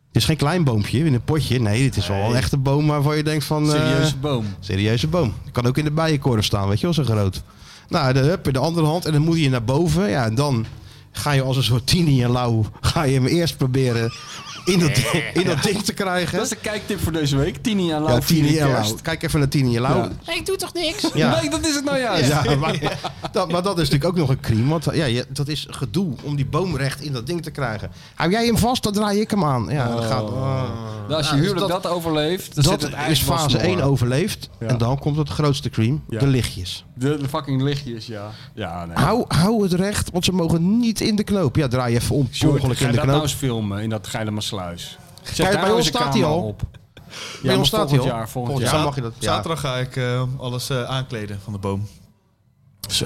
Het is geen klein boompje in een potje. Nee, dit is wel een echte boom waarvan je denkt van... eh, Serieuze boom. Serieuze boom. Kan ook in de bijenkorf staan, weet je wel, zo groot. Nou, de, hup, in de andere hand. En dan moet je naar boven. Ja, en dan ga je als een soort tini en lauw... ga je hem eerst proberen in dat, in dat ding te krijgen. Dat is de kijktip voor deze week. Tini en Lau. Ja, Tini vierde en kerst. Lau. Kijk even naar Tini en Lau. Ja. ik doe toch niks? Ja. Nee, dat is het nou juist. Ja, maar, dat, maar dat is natuurlijk ook nog een crime. Want ja, je- dat is gedoe om die boom recht in dat ding te krijgen. Hou jij hem vast, dan draai ik hem aan. Ja, Oh. dat gaat, Nou, als je Ja, dus huwelijk dat, dat- overleeft, dan zit dat het is eigenlijk wel fase snor. 1 overleefd. Ja. En dan komt het grootste crime, Ja. de lichtjes. De, de fucking lichtjes, ja. Ja, nee. Hou, hou het recht, want ze mogen niet in de knoop. Ja, draai even om, per Sjoerd, ongeluk ga in de dat nou knoop. eens filmen in dat Geilemarsluis. Zet Kijk, daar bij eens ons een staat hij camera al. op. bij maar ons staat hij volgend al. jaar, volgend Volgend jaar. mag je dat. ja. Zaterdag ga ik eh, alles eh, aankleden van de boom.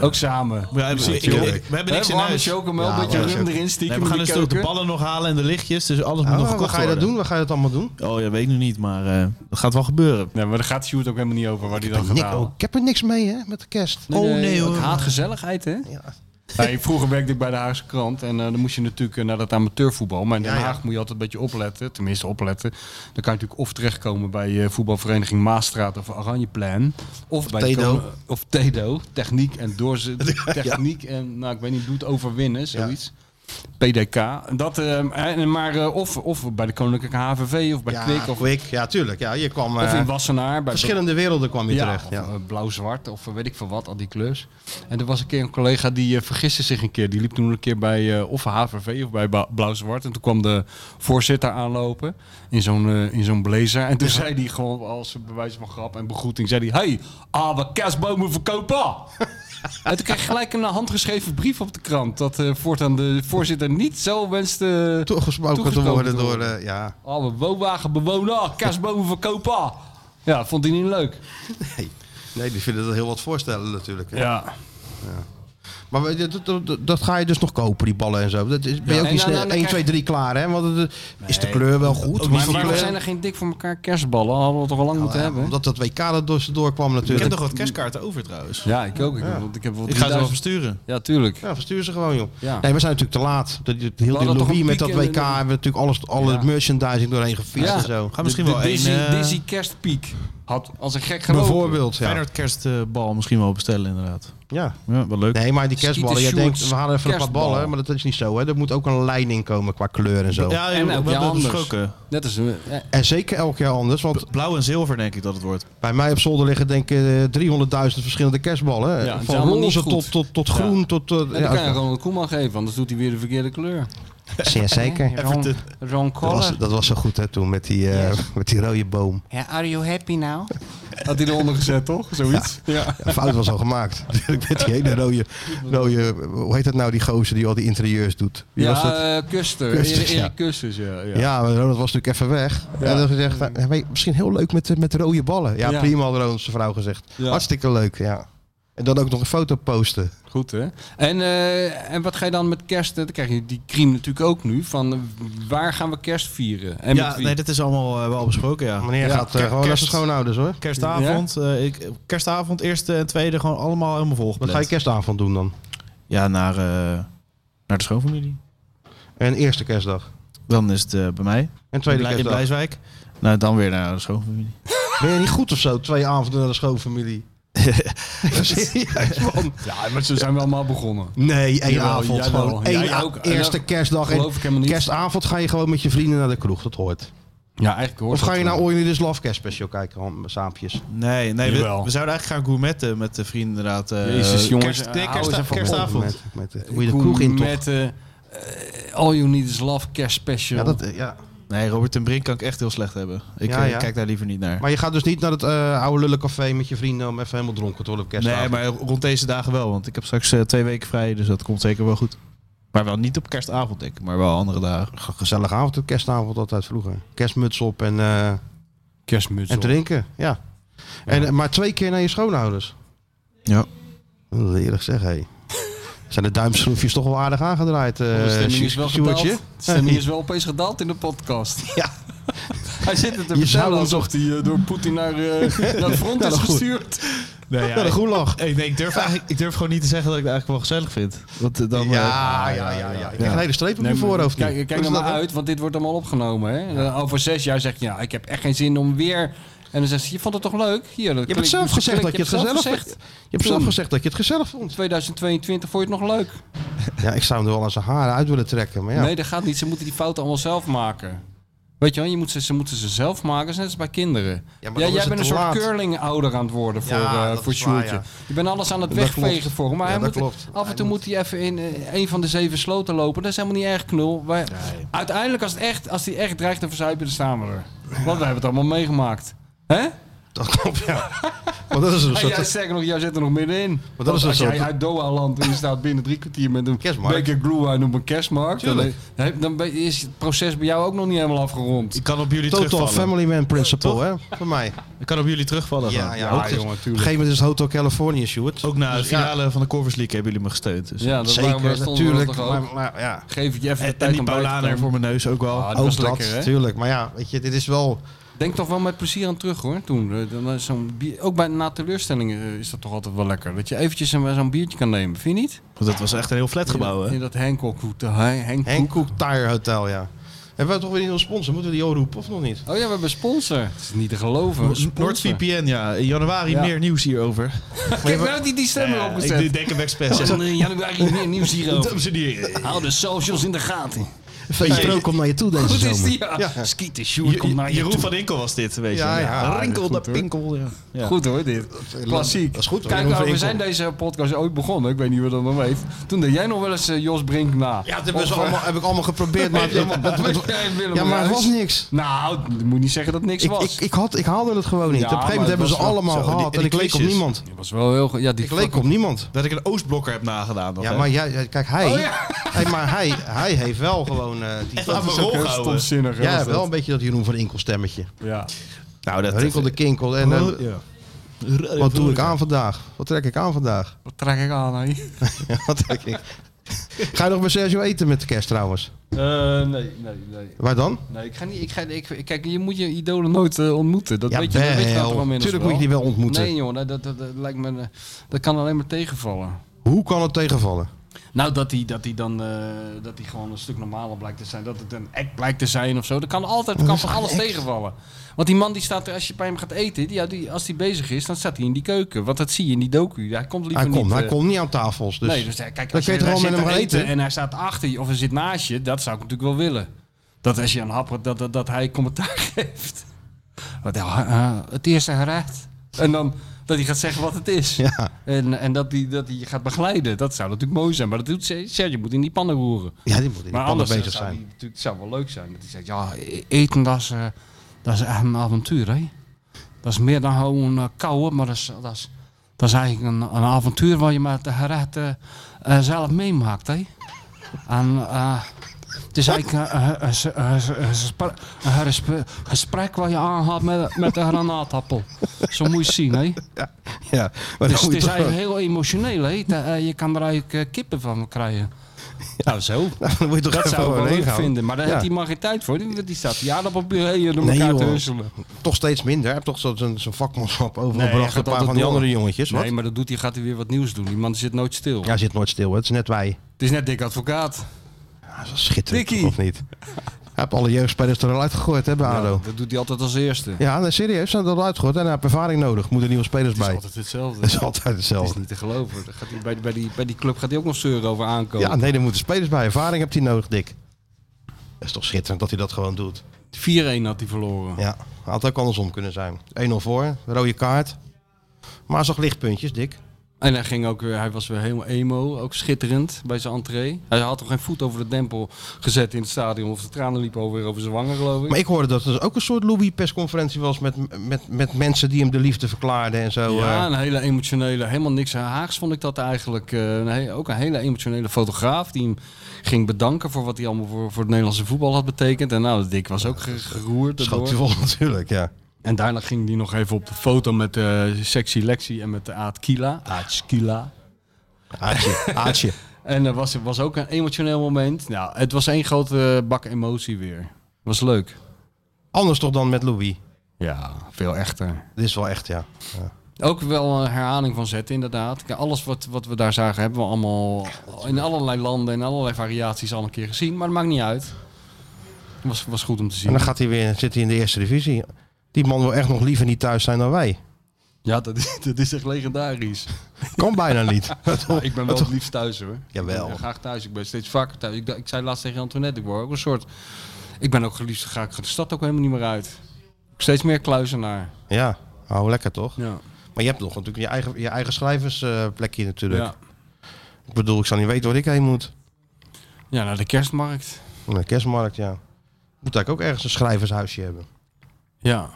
Ook samen. Ja, Precies, ik- joh. ik- we hebben niks Hè, in warme huis. chocomel, Ja, een beetje warme rum chocomel. erin Nee, stiekem we gaan in de dus ook de koken. ballen nog halen en de lichtjes. Dus alles Ah, moet nog waar gekocht ga je dat worden. doen? Waar ga je dat allemaal doen? Oh, ja, weet ik nu niet, maar eh, dat gaat wel gebeuren. Nee, maar daar gaat Sjoerd ook helemaal niet over waar hij dan Nick, gaat oh, halen. ik heb er niks mee, hè, met de kerst. oh nou. nee, hoor. Ik haat gezelligheid, hè? Nee, vroeger werkte ik bij de Haagse krant en eh, dan moest je natuurlijk eh, naar dat amateurvoetbal. Maar in Den Ja, ja. Haag moet je altijd een beetje opletten, tenminste opletten. Dan kan je natuurlijk of terechtkomen bij eh, voetbalvereniging Maastraat of Oranjeplein. Of bij de Tedo. Koninklijke- Of Tedo, techniek en doorzet. Techniek en, nou ik weet niet, doet overwinnen, zoiets. PDK. Dat, eh, en, maar eh, of, of bij de Koninklijke HVV of bij Ja, Kwik. Of, Kwik, ja, tuurlijk. Ja, je kwam... of eh, in Wassenaar. Bij verschillende werelden kwam je ja, terecht. of, Ja. eh, blauw-zwart of eh, weet ik veel wat, al die kleurs. En er was een keer een collega die eh, vergiste zich een keer. Die liep toen een keer bij eh, of HVV of bij ba- blauw-zwart. En toen kwam de voorzitter aanlopen in zo'n, eh, in zo'n blazer. En toen zei hij gewoon als bewijs van grap en begroeting, zei hij... Hey, ah, we kerstbomen verkopen! en toen kreeg ik gelijk een eh, handgeschreven brief op de krant. Dat eh, voortaan de voorzitter niet zo wenste... Toegesproken te toegesproken worden te door... worden. eh, ja. Ah, we woonwagenbewoner, kerstbomen verkopen! Ja, vond hij niet leuk. Nee, die vinden dat heel wat voorstellen natuurlijk. hè. Ja. Maar we- dat, dat- dat, dat ga je dus nog kopen, die ballen en zo. Dat is, ben je Ja, ook en niet dan- snel dan 1, 2, krijg- 3 klaar, hè? Want het, eh, is de kleur wel goed? Wie Maar voor waarom kleur? zijn er geen dik voor elkaar kerstballen? Hadden we toch al lang moeten Ja, hebben? omdat dat WK er door, doorkwam Ik heb natuurlijk. nog wat kerstkaarten over trouwens. Ja, ik ook. Ik, heb wel- ik heb wel Ik ga ze wel 3000 versturen. Ja, tuurlijk. Ja, verstuur ze gewoon, joh. Ja. Nee, we zijn natuurlijk te laat. Dat- dat- Heel die hadden toch lobby een met dat piek WK in de- hebben we natuurlijk alles, alle Ja. merchandising doorheen gefietst Ja. en zo. Ga misschien de, wel de Dizzy, één... eh, Dizzy kerstpiek had als een gek gelopen. Bijvoorbeeld, ja. Feyenoord kerstbal misschien wel bestellen inderdaad. ja. Ja, wel leuk. Nee, maar die kerstballen, jij Schieten, denkt, shorts, we halen even een paar kerstballen. ballen, maar dat is niet zo, hè. Er moet ook een lijn in komen qua kleur en zo. Ja, En we ook hebben ja, het anders. besproken. Net als... eh, eh, En zeker elk jaar anders, want Blauw en zilver denk ik dat het wordt. Bij mij op zolder liggen denk ik eh, 300.000 verschillende kerstballen. Ja, het is van allemaal niet roze goed. tot, tot, tot groen, tot... tot en dan kan je gewoon een Koeman geven, anders doet hij weer de verkeerde kleur. Zeer zeker. Dat Ron, Ron was, Collar. dat was zo goed hè, toen met die, eh, met die rode boom. Ja, are you happy now? Had hij eronder gezet, toch? Zoiets. Ja. De fout was al gemaakt. Natuurlijk met die hele rode, rode... Hoe heet dat nou, die gozer die al die interieurs doet? Wie was dat? Ja, eh, Kuster. Kusters, Erik- ja. Erik Kusters, ja. ja. Ja, maar Ronald was natuurlijk even weg. En dan gezegd, nou, hey, misschien heel leuk met, eh, met rode ballen. Ja, Ja. prima had Ronald zijn vrouw gezegd. Ja. Hartstikke leuk, ja. En dan ook nog een foto posten. Goed hè. En, eh, en wat ga je dan met kerst? eh, Dan krijg je die crime natuurlijk ook nu. Van eh, waar gaan we kerst vieren? En met Ja, wie? nee, dat is allemaal eh, wel besproken, ja. Meneer Ja, gaat eh, gewoon naar kerst- zijn schoonouders hoor. Kerstavond, eh, ik, kerstavond, eerste en tweede, gewoon allemaal helemaal Wat volgepland. ga je kerstavond doen dan? Ja, naar, eh, naar de schoonfamilie. En eerste kerstdag. Dan is het eh, bij mij. En tweede in, Blij- in kerstdag. Blijswijk. Nou, dan weer naar de schoonfamilie. Ben je niet goed of zo? Twee avonden naar de schoonfamilie. Serieus, man. Ja, maar ze zijn wel allemaal begonnen. Nee, één Jawel, avond jawel. gewoon. Jij Eén a- ook. Eerste Ja, kerstdag. En geloof ik helemaal niet. Kerstavond ga je gewoon met je vrienden naar de kroeg, dat hoort. Ja, eigenlijk hoor. Of ga je naar Oil in Love Kerst Special kijken, man, saampjes. Nou, Nee, nee we, Jawel. we zouden eigenlijk gaan gourmetten met de vrienden inderdaad. eh, Jezus, jongens, kerst- nee, hou kersta- eens even op. kerstavond. Met, met, met- hoe je de kroeg in toch? Met eh, eh, All You Need Is Love Kerst Special. Ja, dat, eh, ja. Nee, Robert ten Brink kan ik echt heel slecht hebben. Ik Ja, eh, ja. kijk daar liever niet naar. Maar je gaat dus niet naar het eh, oude lullencafé met je vrienden om even helemaal dronken te worden op kerstavond. nee, maar rond deze dagen wel. Want ik heb straks eh, twee weken vrij, dus dat komt zeker wel goed. Maar wel niet op kerstavond, denk ik. Maar wel andere dagen. Ge- Gezellige avond op kerstavond altijd vroeger. Kerstmuts op en, eh, Kerstmuts en op. drinken, ja. En, eh, maar twee keer naar je schoonouders. Ja. Dat wil ik eerlijk zeggen, hé. Zijn de duimschroefjes toch wel aardig aangedraaid, eh De stemming is wel gedaald. Sjoerdje? De stemming is wel opeens gedaald in de podcast. Ja. Hij zit het te Je zou vertellen hem alsof hij eh, door Poetin naar, eh, naar het front Ja, is dat goed. gestuurd. Nee, ja, Ja, de ik, Goelag. ik, nee, ik durf eigenlijk, ik durf gewoon niet te zeggen dat ik het eigenlijk wel gezellig vind. Want eh, dan, eh, Ja, ja, ja, ja. Ik krijg een hele streep op je maar voorhoofd nu. Kijk, kijk Hoe er is maar dat dan? Eh, uit, want dit wordt allemaal opgenomen. Hè? Over zes jaar zeg je, ja, ik heb echt geen zin om weer En dan zegt ze, je vond het toch leuk? Hier, Je hebt het zelf gezegd dat je het gezellig vindt. Je hebt zelf gezegd dat je het gezellig vond. 2022 vond je het nog leuk? Ja, ik zou hem er wel aan zijn haren uit willen trekken. Maar ja. Nee, dat gaat niet. Ze moeten die fouten allemaal zelf maken. Weet je wel, je moet ze, ze moeten ze zelf maken, net als bij kinderen. Ja, Ja, maar dan jij is het bent een te soort laat. curling-ouder aan het worden voor, Ja, eh, dat voor is waar, Sjoertje. ja. Je bent alles aan het Dat wegvegen klopt. voor hem. Maar Ja, hij dat moet, klopt. af en toe moet hij even in eh, een van de zeven sloten lopen. Dat is helemaal niet erg knul. Wij, Uiteindelijk, als, het echt, als hij echt dreigt te verzuipen, dan staan we er. Want we hebben het allemaal meegemaakt. Hè? Dat klopt, ja. Want dat is een Hey, soort- jij, sterker nog, jij zit er nog middenin. Want dat is een als soort- jij uit Doha landt en je staat binnen drie kwartier met een beker glühwein op een kerstmarkt, dan, Tuurlijk. he- dan ben- is het proces bij jou ook nog niet helemaal afgerond. Ik kan op jullie Total family man principle, hè? Voor mij. Ik kan op jullie terugvallen. Ja, gewoon. ja, ook ja, dus- jongen, Op een gegeven moment is het Hotel California, Sjoerd. Dus Ook na de finale van de Corvus League hebben jullie me gesteund. Dus. Ja, dat waren we- stonden we natuurlijk. toch ook. Maar, maar ja. Geef het je even de En, en tijd die om bij te Paulaner komen. voor mijn neus ook wel. Ah, ook was dat, lekker, hè? tuurlijk. Maar ja, weet je, dit is wel... Denk toch wel met plezier aan terug hoor. Toen, eh, dan is zo'n bier- ook bij, na teleurstellingen eh, is dat toch altijd wel lekker. Dat je eventjes een- zo'n biertje kan nemen, vind je niet? Want dat was echt een heel flat gebouw, hè? In dat Hancock Hotel. Hancock. Hankook Tire Hotel, ja. Hebben we toch weer een sponsor? Moeten we die al roepen of nog niet? Oh ja, we hebben een sponsor. Het is niet te geloven. Een sponsor. NordVPN, ja. In januari Ja. meer nieuws hierover. Kijk, nou die, die stem erop gezet. Ik denk hem expres. Zeg, in januari meer nieuws hierover. Dames en heren. Hou de socials in de gaten. Feestje Nee. Pro komt naar je toe deze Goed zomer. is die, ja. Ja. Skieten, Sjoerd komt naar je Jeroen toe. van Inkel was dit, weet je. Ja, ja. Rinkel Goed, de hoor. Pinkel, ja. Ja. Goed hoor, dit. Klassiek. Dat is goed hoor, Kijk, Jeroen nou, van Inkel. we zijn deze podcast ooit begonnen. Ik weet niet wie dat nog weet. Toen deed jij nog wel eens eh, Jos Brink na. Ja, dat hebben Of, ze eh, allemaal, heb ik allemaal geprobeerd, maar, het- het- het- het- jij en Willem ja, maar het Ruijs. was niks. Nou, ik moet niet zeggen dat niks Ik, ik, was. ik, had, ik haalde het gewoon niet. Ja, op een gegeven maar moment hebben het ze was wel- allemaal zo, en die- gehad en en die ik leek op klisjes. niemand. Het was wel heel... ge- Ja, die Ik leek op niemand. Dat ik een Oostblokker heb nagedaan. nog, Ja, hè? maar jij, jij- kijk, hij, Oh, ja. hij, maar hij, hij heeft wel gewoon eh, die... Echt aan mijn Ook rol heel gehouden. stomzinnig. hè, Jij was hebt wel dat. een beetje dat Jeroen van Inkel stemmetje. Ja. Nou, dat Rinkel de kinkel en Oh, eh, Ja. wat doe ik aan vandaag? Wat trek ik aan vandaag? Wat trek ik aan, hé? Ja, wat trek ik? Ga je nog met Sergio eten met de kerst trouwens? Eh, nee, nee, nee. Waar dan? Nee, ik ga niet. Ik ga, ik, kijk, je moet je idolen nooit eh, ontmoeten. Dat Ja, weet je, dat wel. weet je later wel inmiddels Tuurlijk moet je die wel ontmoeten. Nee, joh, dat, dat, dat, dat lijkt me, eh, dat kan alleen maar tegenvallen. Hoe kan het tegenvallen? Nou, dat hij dat die dan eh, dat die gewoon een stuk normaler blijkt te zijn. Dat het een act blijkt te zijn of zo. Dat kan altijd kan van alles tegenvallen. Want die man die staat er, als je bij hem gaat eten, die, ja, die, als hij bezig is, dan staat hij in die keuken. Want dat zie je in die docu. Hij komt liever Hij komt, niet. hij eh, komt niet aan tafels. Dus. nee, dus eh, kijk, kun als je je, toch hij wel met zit hem te gaan eten? eten en hij staat achter je of hij zit naast je, dat zou ik natuurlijk wel willen. Dat als je aan happert, dat, dat, dat hij commentaar geeft. Wat, ja, eh, het eerste gerecht. En dan dat hij gaat zeggen wat het is. Ja. En, en dat hij dat hij je gaat begeleiden. Dat zou natuurlijk mooi zijn. Maar dat doet Ser- Sergio moet in die pannen roeren. Ja, die moet in de maar pannen anders eh, bezig zou zijn. die natuurlijk, het zou wel leuk zijn. Dat hij zegt, ja, e- eten dat is, eh, dat is echt een avontuur, hè. Dat is meer dan gewoon eh, kauwen, maar dat is, dat is, dat is eigenlijk een, een avontuur waar je met de gerechten eh, zelf meemaakt, hè. En eh, het is eigenlijk een, een- een- een- een gespre- een gespe- gesprek waar je aangaat met, met de granaatappel. Zo moet je het zien, hè. Ja, maar Dus dan het moet je is toch- eigenlijk heel emotioneel, hè? Dat, eh, je kan er eigenlijk eh, kippen van krijgen. Nou, zo. dan moet je toch Dat even zou ik wel overheen leuk gaan. vinden, maar daar Ja. heeft die man geen tijd voor. Die, die staat die aardappelpuree hier door Nee, elkaar te joh. husselen. Toch steeds minder. Hij heeft toch zo- zo'n zo'n vakmanschap overal Nee, hij bracht gaat Een paar altijd van die door. andere jongetjes. Wat? Nee, maar dat doet hij, gaat hij weer wat nieuws doen. Die man zit nooit stil. Ja, hij zit nooit stil. hè. Het is net wij. Het is net dik advocaat. Ja, dat is wel schitterend, Dikkie. of niet? Hij heeft alle jeugdspelers er al uitgegooid, hè, bij Ja, ADO. dat doet hij altijd als eerste. Het Ja, nee, serieus, zijn er al uitgegooid. En hij heeft ervaring nodig. Moeten nieuwe spelers is bij. altijd hetzelfde. Dat is altijd Het is hetzelfde. niet te geloven. Dan gaat hij bij, bij, die, bij die club gaat hij ook nog zeuren over aankomen. Ja, nee, er moeten spelers bij. Ervaring hebt hij nodig, Dick. Dat is toch schitterend dat hij dat gewoon doet. 4-1 had hij verloren. Ja, had ook andersom kunnen zijn. 1-0 voor, rode kaart. Maar hij zag lichtpuntjes, Dick. En hij, ging ook weer, hij was weer helemaal emo, ook schitterend bij zijn entree. Hij had toch geen voet over de dempel gezet in het stadion. Of de tranen liepen over, over zijn wangen, geloof ik. Maar ik hoorde dat er ook een soort Louis-persconferentie was met, met, met mensen die hem de liefde verklaarden en zo. ja, eh. een hele emotionele, helemaal niks haags vond ik dat eigenlijk. Eh, een he- ook een hele emotionele fotograaf die hem ging bedanken voor wat hij allemaal voor, voor het Nederlandse voetbal had betekend. En nou, Dick was ook ge- geroerd. Schoot hij daardoor. vol natuurlijk, ja. En daarna ging hij nog even op de foto met eh, Sexy Lexi en met de Aad Kila. Aad Kila. Aatje, aatje. En er was, was ook een emotioneel moment. Nou, het was één grote eh, bak emotie weer. Was leuk. Anders toch dan met Louis. Ja, veel echter. Dit is wel echt, ja. ja. Ook wel een herhaling van zetten, inderdaad. Kijk, Alles wat, wat we daar zagen hebben we allemaal in allerlei landen en allerlei variaties al een keer gezien. Maar dat maakt niet uit. Het was, was goed om te zien. En dan gaat hij weer, zit hij in de eerste divisie. Die man wil echt nog liever niet thuis zijn dan wij. Ja, dat is, dat is echt legendarisch. Kan bijna niet. Ja, ik ben wel het liefst thuis hoor. Jawel. Ik ben graag thuis. Ik ben steeds vaker thuis. Ik, dacht- ik zei laatst tegen Antoinette, ik word ook een soort... Ik ben ook geliefd, ga ik de stad ook helemaal niet meer uit. Steeds meer kluizenaar. Ja, hou lekker toch? Ja. Maar je hebt nog natuurlijk je eigen, je eigen schrijversplekje natuurlijk. Ja. Ik bedoel, ik zou niet weten waar ik heen moet. Ja, naar de kerstmarkt. Naar de kerstmarkt, ja. Moet eigenlijk ook ergens een schrijvershuisje hebben. Ja.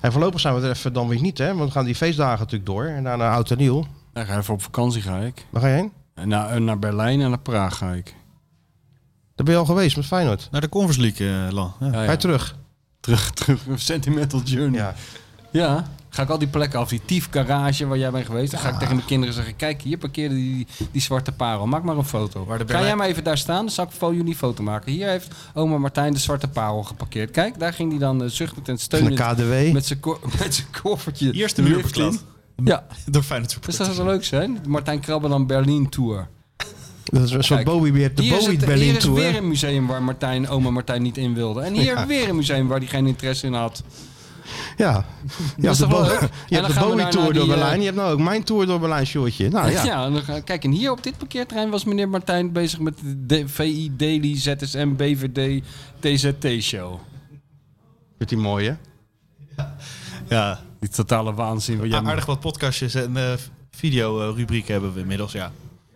En voorlopig zijn we er even dan weer niet, hè? Want we gaan die feestdagen natuurlijk door. En daarna oud en nieuw. Daar ga ik even op vakantie ga ik. Waar ga je heen? En naar, naar Berlijn en naar Praag ga ik. Daar ben je al geweest met Feyenoord. Naar de Conference League, eh, Lan. Ja. Ja, ja. Ga je terug? Terug, terug. Een sentimental journey. Ja. Ja, ga ik al die plekken af. Die tief garage waar jij bent geweest. Dan ga Ah. ik tegen mijn kinderen zeggen... Kijk, hier parkeerde die, die zwarte parel. Maak maar een foto. Waar Kan Berlijn- jij maar even daar staan? Dan zal ik voor jullie een foto maken. Hier heeft oma Martijn de zwarte parel geparkeerd. Kijk, daar ging hij dan eh, zuchtend en Van de steunend... KDW. Met zijn ko- met zijn koffertje. Eerste de muur lift beklad. in. Ja, Door Feyenoord dus supporters. dat zou leuk zijn. Martijn Krabbe dan Berlijn Tour. Dat is een soort Kijk, Bowie weer. De hier is, Bowie het- Berlin hier is Tour. weer een museum waar Martijn, oma Martijn niet in wilde. En hier Ja. weer een museum waar hij geen interesse in had. Ja. Je hebt is de, toch wel Bo- leuk? En je dan hebt de gaan we Bowie daarna Tour door die, eh, Berlijn. Je hebt nou ook mijn Tour door Berlijn, shortje. Nou ja. ja. en dan ga- kijk, en hier op dit parkeerterrein was meneer Martijn bezig met de D- VI, Daily, ZSM, BVD, TZT-show. Met die mooie. Ja, Die totale waanzin. Wat jij Ah, Ja, aardig wat podcastjes en eh videorubrieken hebben we inmiddels, ja.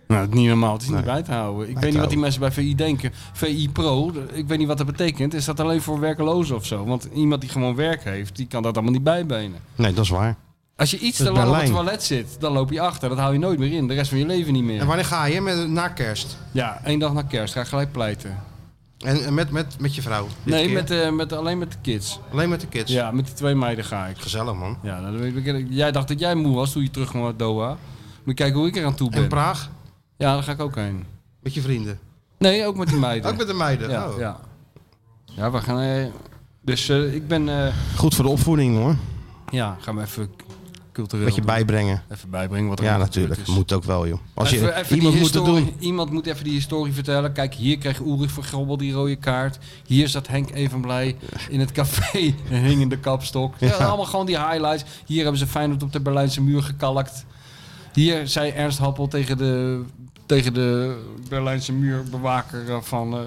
Nou, het is niet normaal. Het is niet bij te houden. Ik te weet niet wat die houden. mensen bij VI denken. VI Pro, d- ik weet niet wat dat betekent. Is dat alleen voor werklozen of zo? Want iemand die gewoon werk heeft, die kan dat allemaal niet bijbenen. Nee, dat is waar. Als je iets Dat te is lang op het Berlijn. toilet zit, dan loop je achter. Dat hou je nooit meer in. De rest van je leven niet meer. En wanneer ga je? Met, na kerst. Ja, één dag na kerst ga ik gelijk pleiten. En en met, met, met je vrouw? dit Nee, keer? met, eh, met, alleen met de kids. Alleen met de kids? Ja, met die twee meiden ga ik. Gezellig, man. Ja, nou, dan weet ik- jij dacht dat jij moe was toen je terug kwam uit Doha. Moet je kijken hoe ik eraan toe En ben. Praag? Ja, daar ga ik ook heen. Met je vrienden? Nee, ook met die meiden. Ook met de meiden? ja, Oh. ja. ja, we gaan... eh, dus eh, ik ben... eh, Goed voor de opvoeding, hoor. ja, gaan we even k- cultureel... Wat je bijbrengen. Even bijbrengen wat er Ja, allemaal gebeurd natuurlijk. is. Moet ook wel, joh. Als je Even- even die iemand moet het historie- doen. Iemand moet even die historie vertellen. Kijk, hier kreeg Ulrich van Grobbel die rode kaart. Hier zat Henk Evenblij in het café en hing in de kapstok. Ja, Ja. Allemaal gewoon die highlights. Hier hebben ze Feyenoord op de Berlijnse muur gekalkt. Hier zei Ernst Happel tegen de, tegen de Berlijnse muurbewaker eh, van... eh,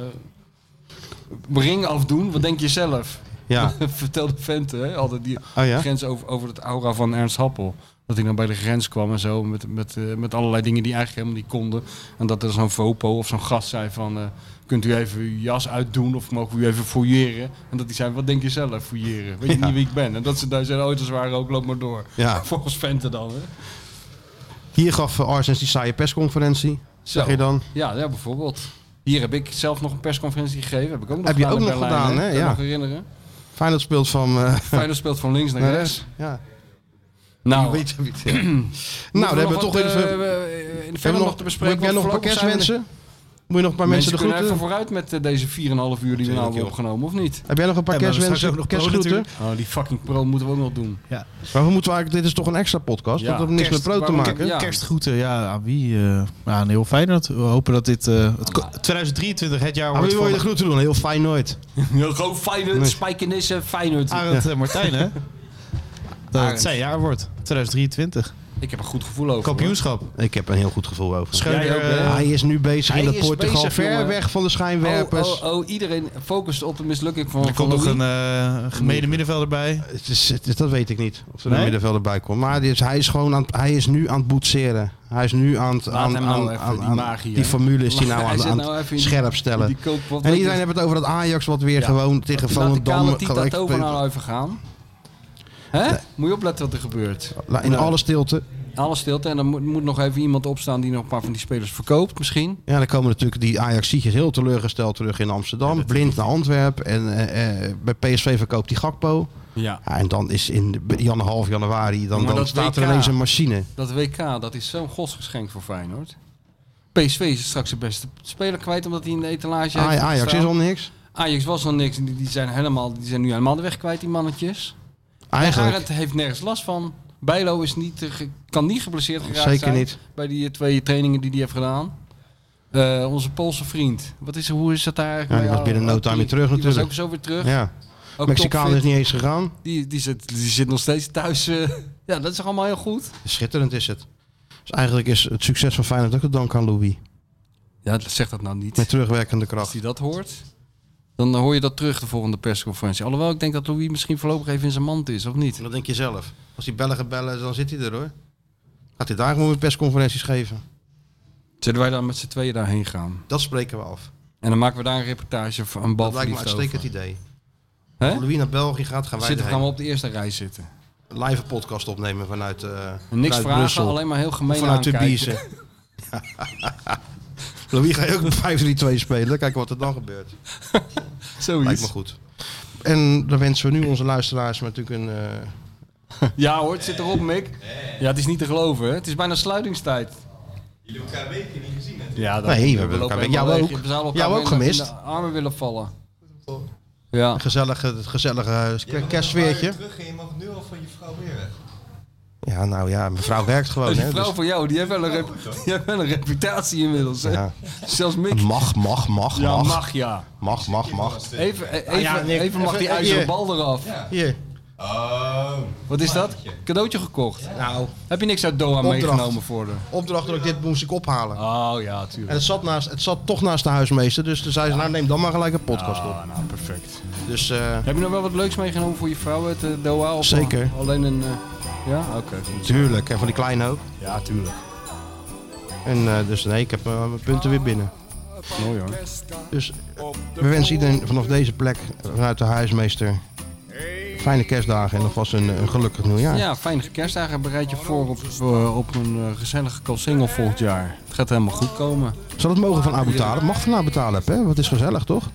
ring afdoen, wat denk je zelf? Ja. Vertel de vent, hè? Altijd die Oh ja? grens over, over het aura van Ernst Happel. Dat hij dan bij de grens kwam en zo, met, met, eh, met allerlei dingen die eigenlijk helemaal niet konden. En dat er zo'n VOPO of zo'n gast zei van, eh, kunt u even uw jas uitdoen of mogen we u even fouilleren? En dat hij zei, wat denk je zelf, fouilleren? Weet je niet wie ik ben? En dat ze daar zijn auto's waren ook, loop maar door. Ja. Volgens venten dan, hè? Hier gaf eh, Arsens die saaie persconferentie. Zeg je dan? Ja, ja, bijvoorbeeld. Hier heb ik zelf nog een persconferentie gegeven. Heb ik ook nog Heb je gedaan ook in nog Berlijn, gedaan, hè? Kan je Ja. nog herinneren. Feyenoord speelt van... eh, Feyenoord speelt van links naar, naar rechts. rechts. Ja. Nou, Weet je niet. Ja. Nou, dan hebben we toch even... even... in de hebben eh, verder we nog te bespreken. Heb jij nog want een paar voorlopig zijn we- kerstwensen? Moet je nog een paar mensen, kunnen de even groeten? vooruit met eh, deze 4,5 uur die we nou hebben opgenomen, of niet? Heb jij nog een paar Ja, maar we hebben straks kerstwensen? ook nog pro kerstgroeten? natuurlijk. Oh, die fucking pro moeten we ook nog doen. Maar we moeten eigenlijk... Dit is toch een extra podcast? Ja. Dat heeft niks Kerst, met pro te waarom- maken. Ja. Kerstgroeten, ja, aan wie? eh aan heel Feyenoord. We hopen dat dit... eh, het ko- 2023 het jaar Maar wordt wie wil je de van groeten doen? Heel fijn nooit. Gewoon Feyenoord, Spijkenissen, Feyenoord. Arend eh, Martijn, hè? Dat het zijn jaar wordt. 2023. Ik heb een goed gevoel over. Kampioenschap. Ik heb een heel goed gevoel over. Schreuder, Jij ook, hè? eh, Hij is nu bezig Hij in dat is Portugal. bezig, ver jongen. weg van de hoor. schijnwerpers. Oh, oh, oh, iedereen focust op de mislukking van er komt nog van een Louis. eh gemene middenvelder bij. Het is, het is- dat weet ik niet. Of er Nee? een middenvelder bij komt. Maar dit is- hij, is gewoon aan, het- hij is nu aan het boetseren. Hij is nu aan het. aan, hem aan, nou aan, even, die aan- magie, die hè? formule is die nou Hij aan, zit aan nou even in het die- scherp stellen. Die koop, wat en weet iedereen je- heeft het over dat Ajax wat weer Ja. gewoon tegen Laat de kale Volendam Tita gelijk Tover speelt. nou even gaan. Hè? Moet je opletten wat er gebeurt. La- In alle stilte. Alles stilte en dan moet, moet nog even iemand opstaan die nog een paar van die spelers verkoopt misschien. Ja, dan komen natuurlijk die Ajaxietjes heel teleurgesteld terug in Amsterdam. Blind naar Antwerpen. En eh, eh, bij PSV verkoopt die Gakpo. Ja. Ja, en dan is in de- jan- half januari, dan, Maar dan dat staat WK. er ineens een machine. Ah, Dat WK, dat is zo'n godsgeschenk voor Feyenoord. PSV is straks zijn beste speler kwijt omdat hij in de etalage Aj- heeft Ajax gestaan. is al niks. Ajax was al niks en die, die zijn helemaal, die zijn nu helemaal de weg kwijt, die mannetjes. Eigenlijk. Arend heeft nergens last van. Bijlo is niet, eh, ge- kan niet geblesseerd geraakt Zeker zijn niet. bij die eh, twee trainingen die hij heeft gedaan. Eh, onze Poolse vriend. Wat is, hoe is dat daar eigenlijk? Ja, die mee? was binnen no time weer terug die was natuurlijk. ook zo weer terug. Ja. Ook Mexicaan is topfit. niet eens gegaan. Die, die, zit, die zit nog steeds thuis. eh. ja, dat is toch allemaal heel goed. Schitterend is het. Dus eigenlijk is het succes van Feyenoord ook te danken aan Louis. Ja, zeg dat nou niet. Met terugwerkende kracht. Als hij dat hoort, dan hoor je dat terug de volgende persconferentie. Alhoewel, ik denk dat Louis misschien voorlopig even in zijn mand is, of niet? Dat denk je zelf. Als die Belgen bellen, dan zit hij er hoor. Gaat hij daar gewoon weer persconferenties geven? Zullen wij dan met z'n tweeën daarheen gaan? Dat spreken we af. En dan maken we daar een reportage van een bal Dat lijkt me een uitstekend idee. Hè? Als Louis naar België gaat, gaan wij Zitten erheen. we gaan we op de eerste rij zitten. een live podcast opnemen vanuit eh Niks vanuit vragen, Brussel. alleen maar heel Of gemeen vanuit de aankijken. biezen. Louis ga je ook 5-3-2 spelen. Kijken wat er dan gebeurt. Zoiets. Lijkt me goed. En dan wensen we nu onze luisteraars natuurlijk een... eh, Ja hoor, het zit erop, Mick. Ja, het is niet te geloven, hè? Het is bijna sluitingstijd. Jullie hebben elkaar weken niet gezien, hè? Ja, Nee, we hebben elkaar- jou ook. Jou ook gemist. armen willen vallen. een gezellige, het gezellige eh, Je mag kerstsfeertje. nog een paar uur terug en je mag nu al van je vrouw weer weg. Ja, nou ja, mijn vrouw werkt gewoon. die hè, vrouw dus- van jou, die heeft wel een, rep- die heeft wel een reputatie inmiddels. Hè? Ja. Zelfs Mick. dus Mag, mag, mag, Ja, mag. mag, ja. Mag, mag, mag. Even, e- even, Nou ja, Nick, even mag even- die ijzeren hier. bal eraf. Hier. Wat is dat? Cadeautje gekocht. Nou, Heb je niks uit Doha Opdracht. meegenomen voor de... opdracht dat ik dit moest ik ophalen. Oh ja, En tuurlijk. het zat, naast, het zat toch naast de huismeester. Dus toen zei ze, nou neem dan maar gelijk een podcast op. Ah, nou, perfect. Dus eh, Heb je nog wel wat leuks meegenomen voor je vrouw uit eh, Doha? Of Zeker. Alleen een... eh, Ja? Oké. tuurlijk, en van die kleine ook. Ja, tuurlijk. En eh, dus nee, ik heb eh, mijn punten weer binnen. Mooi hoor. Dus eh, we wensen iedereen vanaf deze plek, eh, vanuit de huismeester, fijne kerstdagen en alvast een, een gelukkig nieuwjaar. Ja, fijne kerstdagen. Bereid je voor op, eh, op een eh, gezellige kalsingel volgend jaar. Het gaat helemaal goed komen. Zal het mogen van Abu Talib? Mag van Abu Talib, hè? Wat is gezellig, toch?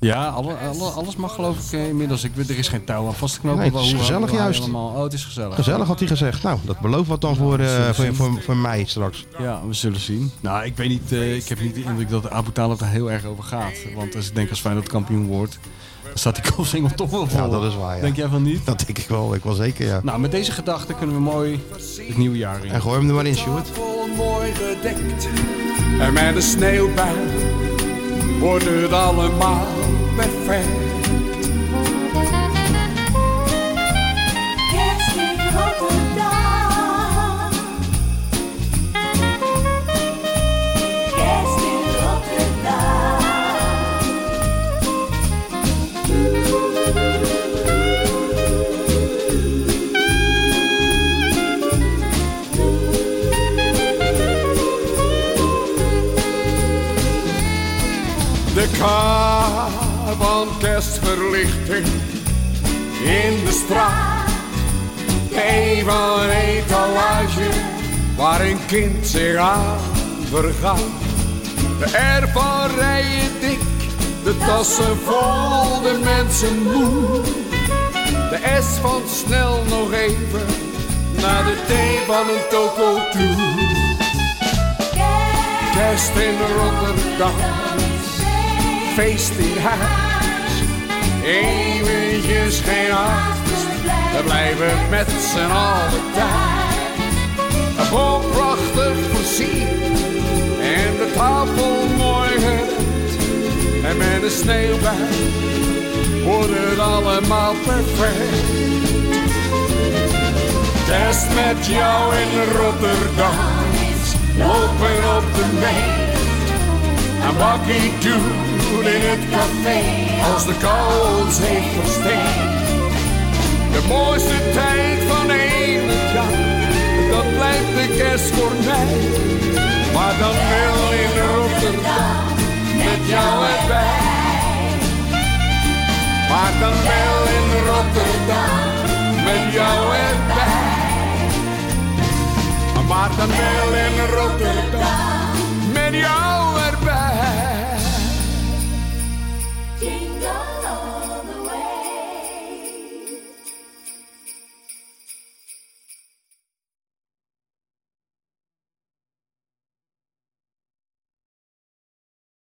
Ja, alle, alle, alles mag geloof ik eh, inmiddels. Ik, weet- er is geen touw aan vast te knopen. Nee, het is Hoe- hoe- gezellig hoe- juist. Helemaal. Oh, het is gezellig. Gezellig had hij gezegd. Nou, dat belooft wat dan voor, eh, voor, voor, voor mij straks. Ja, we zullen zien. Nou, ik weet niet. eh, ik heb niet de indruk dat Abu Talib daar heel erg over gaat. Want als ik denk als Feyenoord kampioen wordt, dan staat die kalsingel toch wel vol. Ja, dat is waar, ja. Denk jij van niet? Dat denk ik wel, ik wel zeker, ja. Nou, met deze gedachte kunnen we mooi het nieuwe jaar in. En gooi hem er maar in, Sjoerd. Vol mooi gedekt en met een sneeuwbui wordt het allemaal perfect. Kerst in Rotterdam. Kerst in Rotterdam. De kar van kerstverlichting in de straat. De een van een etalage waar een kind zich aan vergaat. De er van rijen dik, de tassen vol, de mensen moe. De S van snel nog even naar de T van een toko toe. Kerst in Rotterdam feest in huis. Eventjes geen haast, we blijven met z'n allen thuis. Het bol prachtig voorzien en de tafel mooi gedekt. En met een sneeuwbui wordt het allemaal perfect. Test met jou in Rotterdam, lopen op de mee. En bakkie doen in het café als de kou ons heeft versteend. De mooiste tijd van heel het jaar, dat blijft de kerstkornij. Maar dan wel in Rotterdam, met jou erbij. Maar dan wel in Rotterdam, met jou erbij. Maar dan wel in Rotterdam.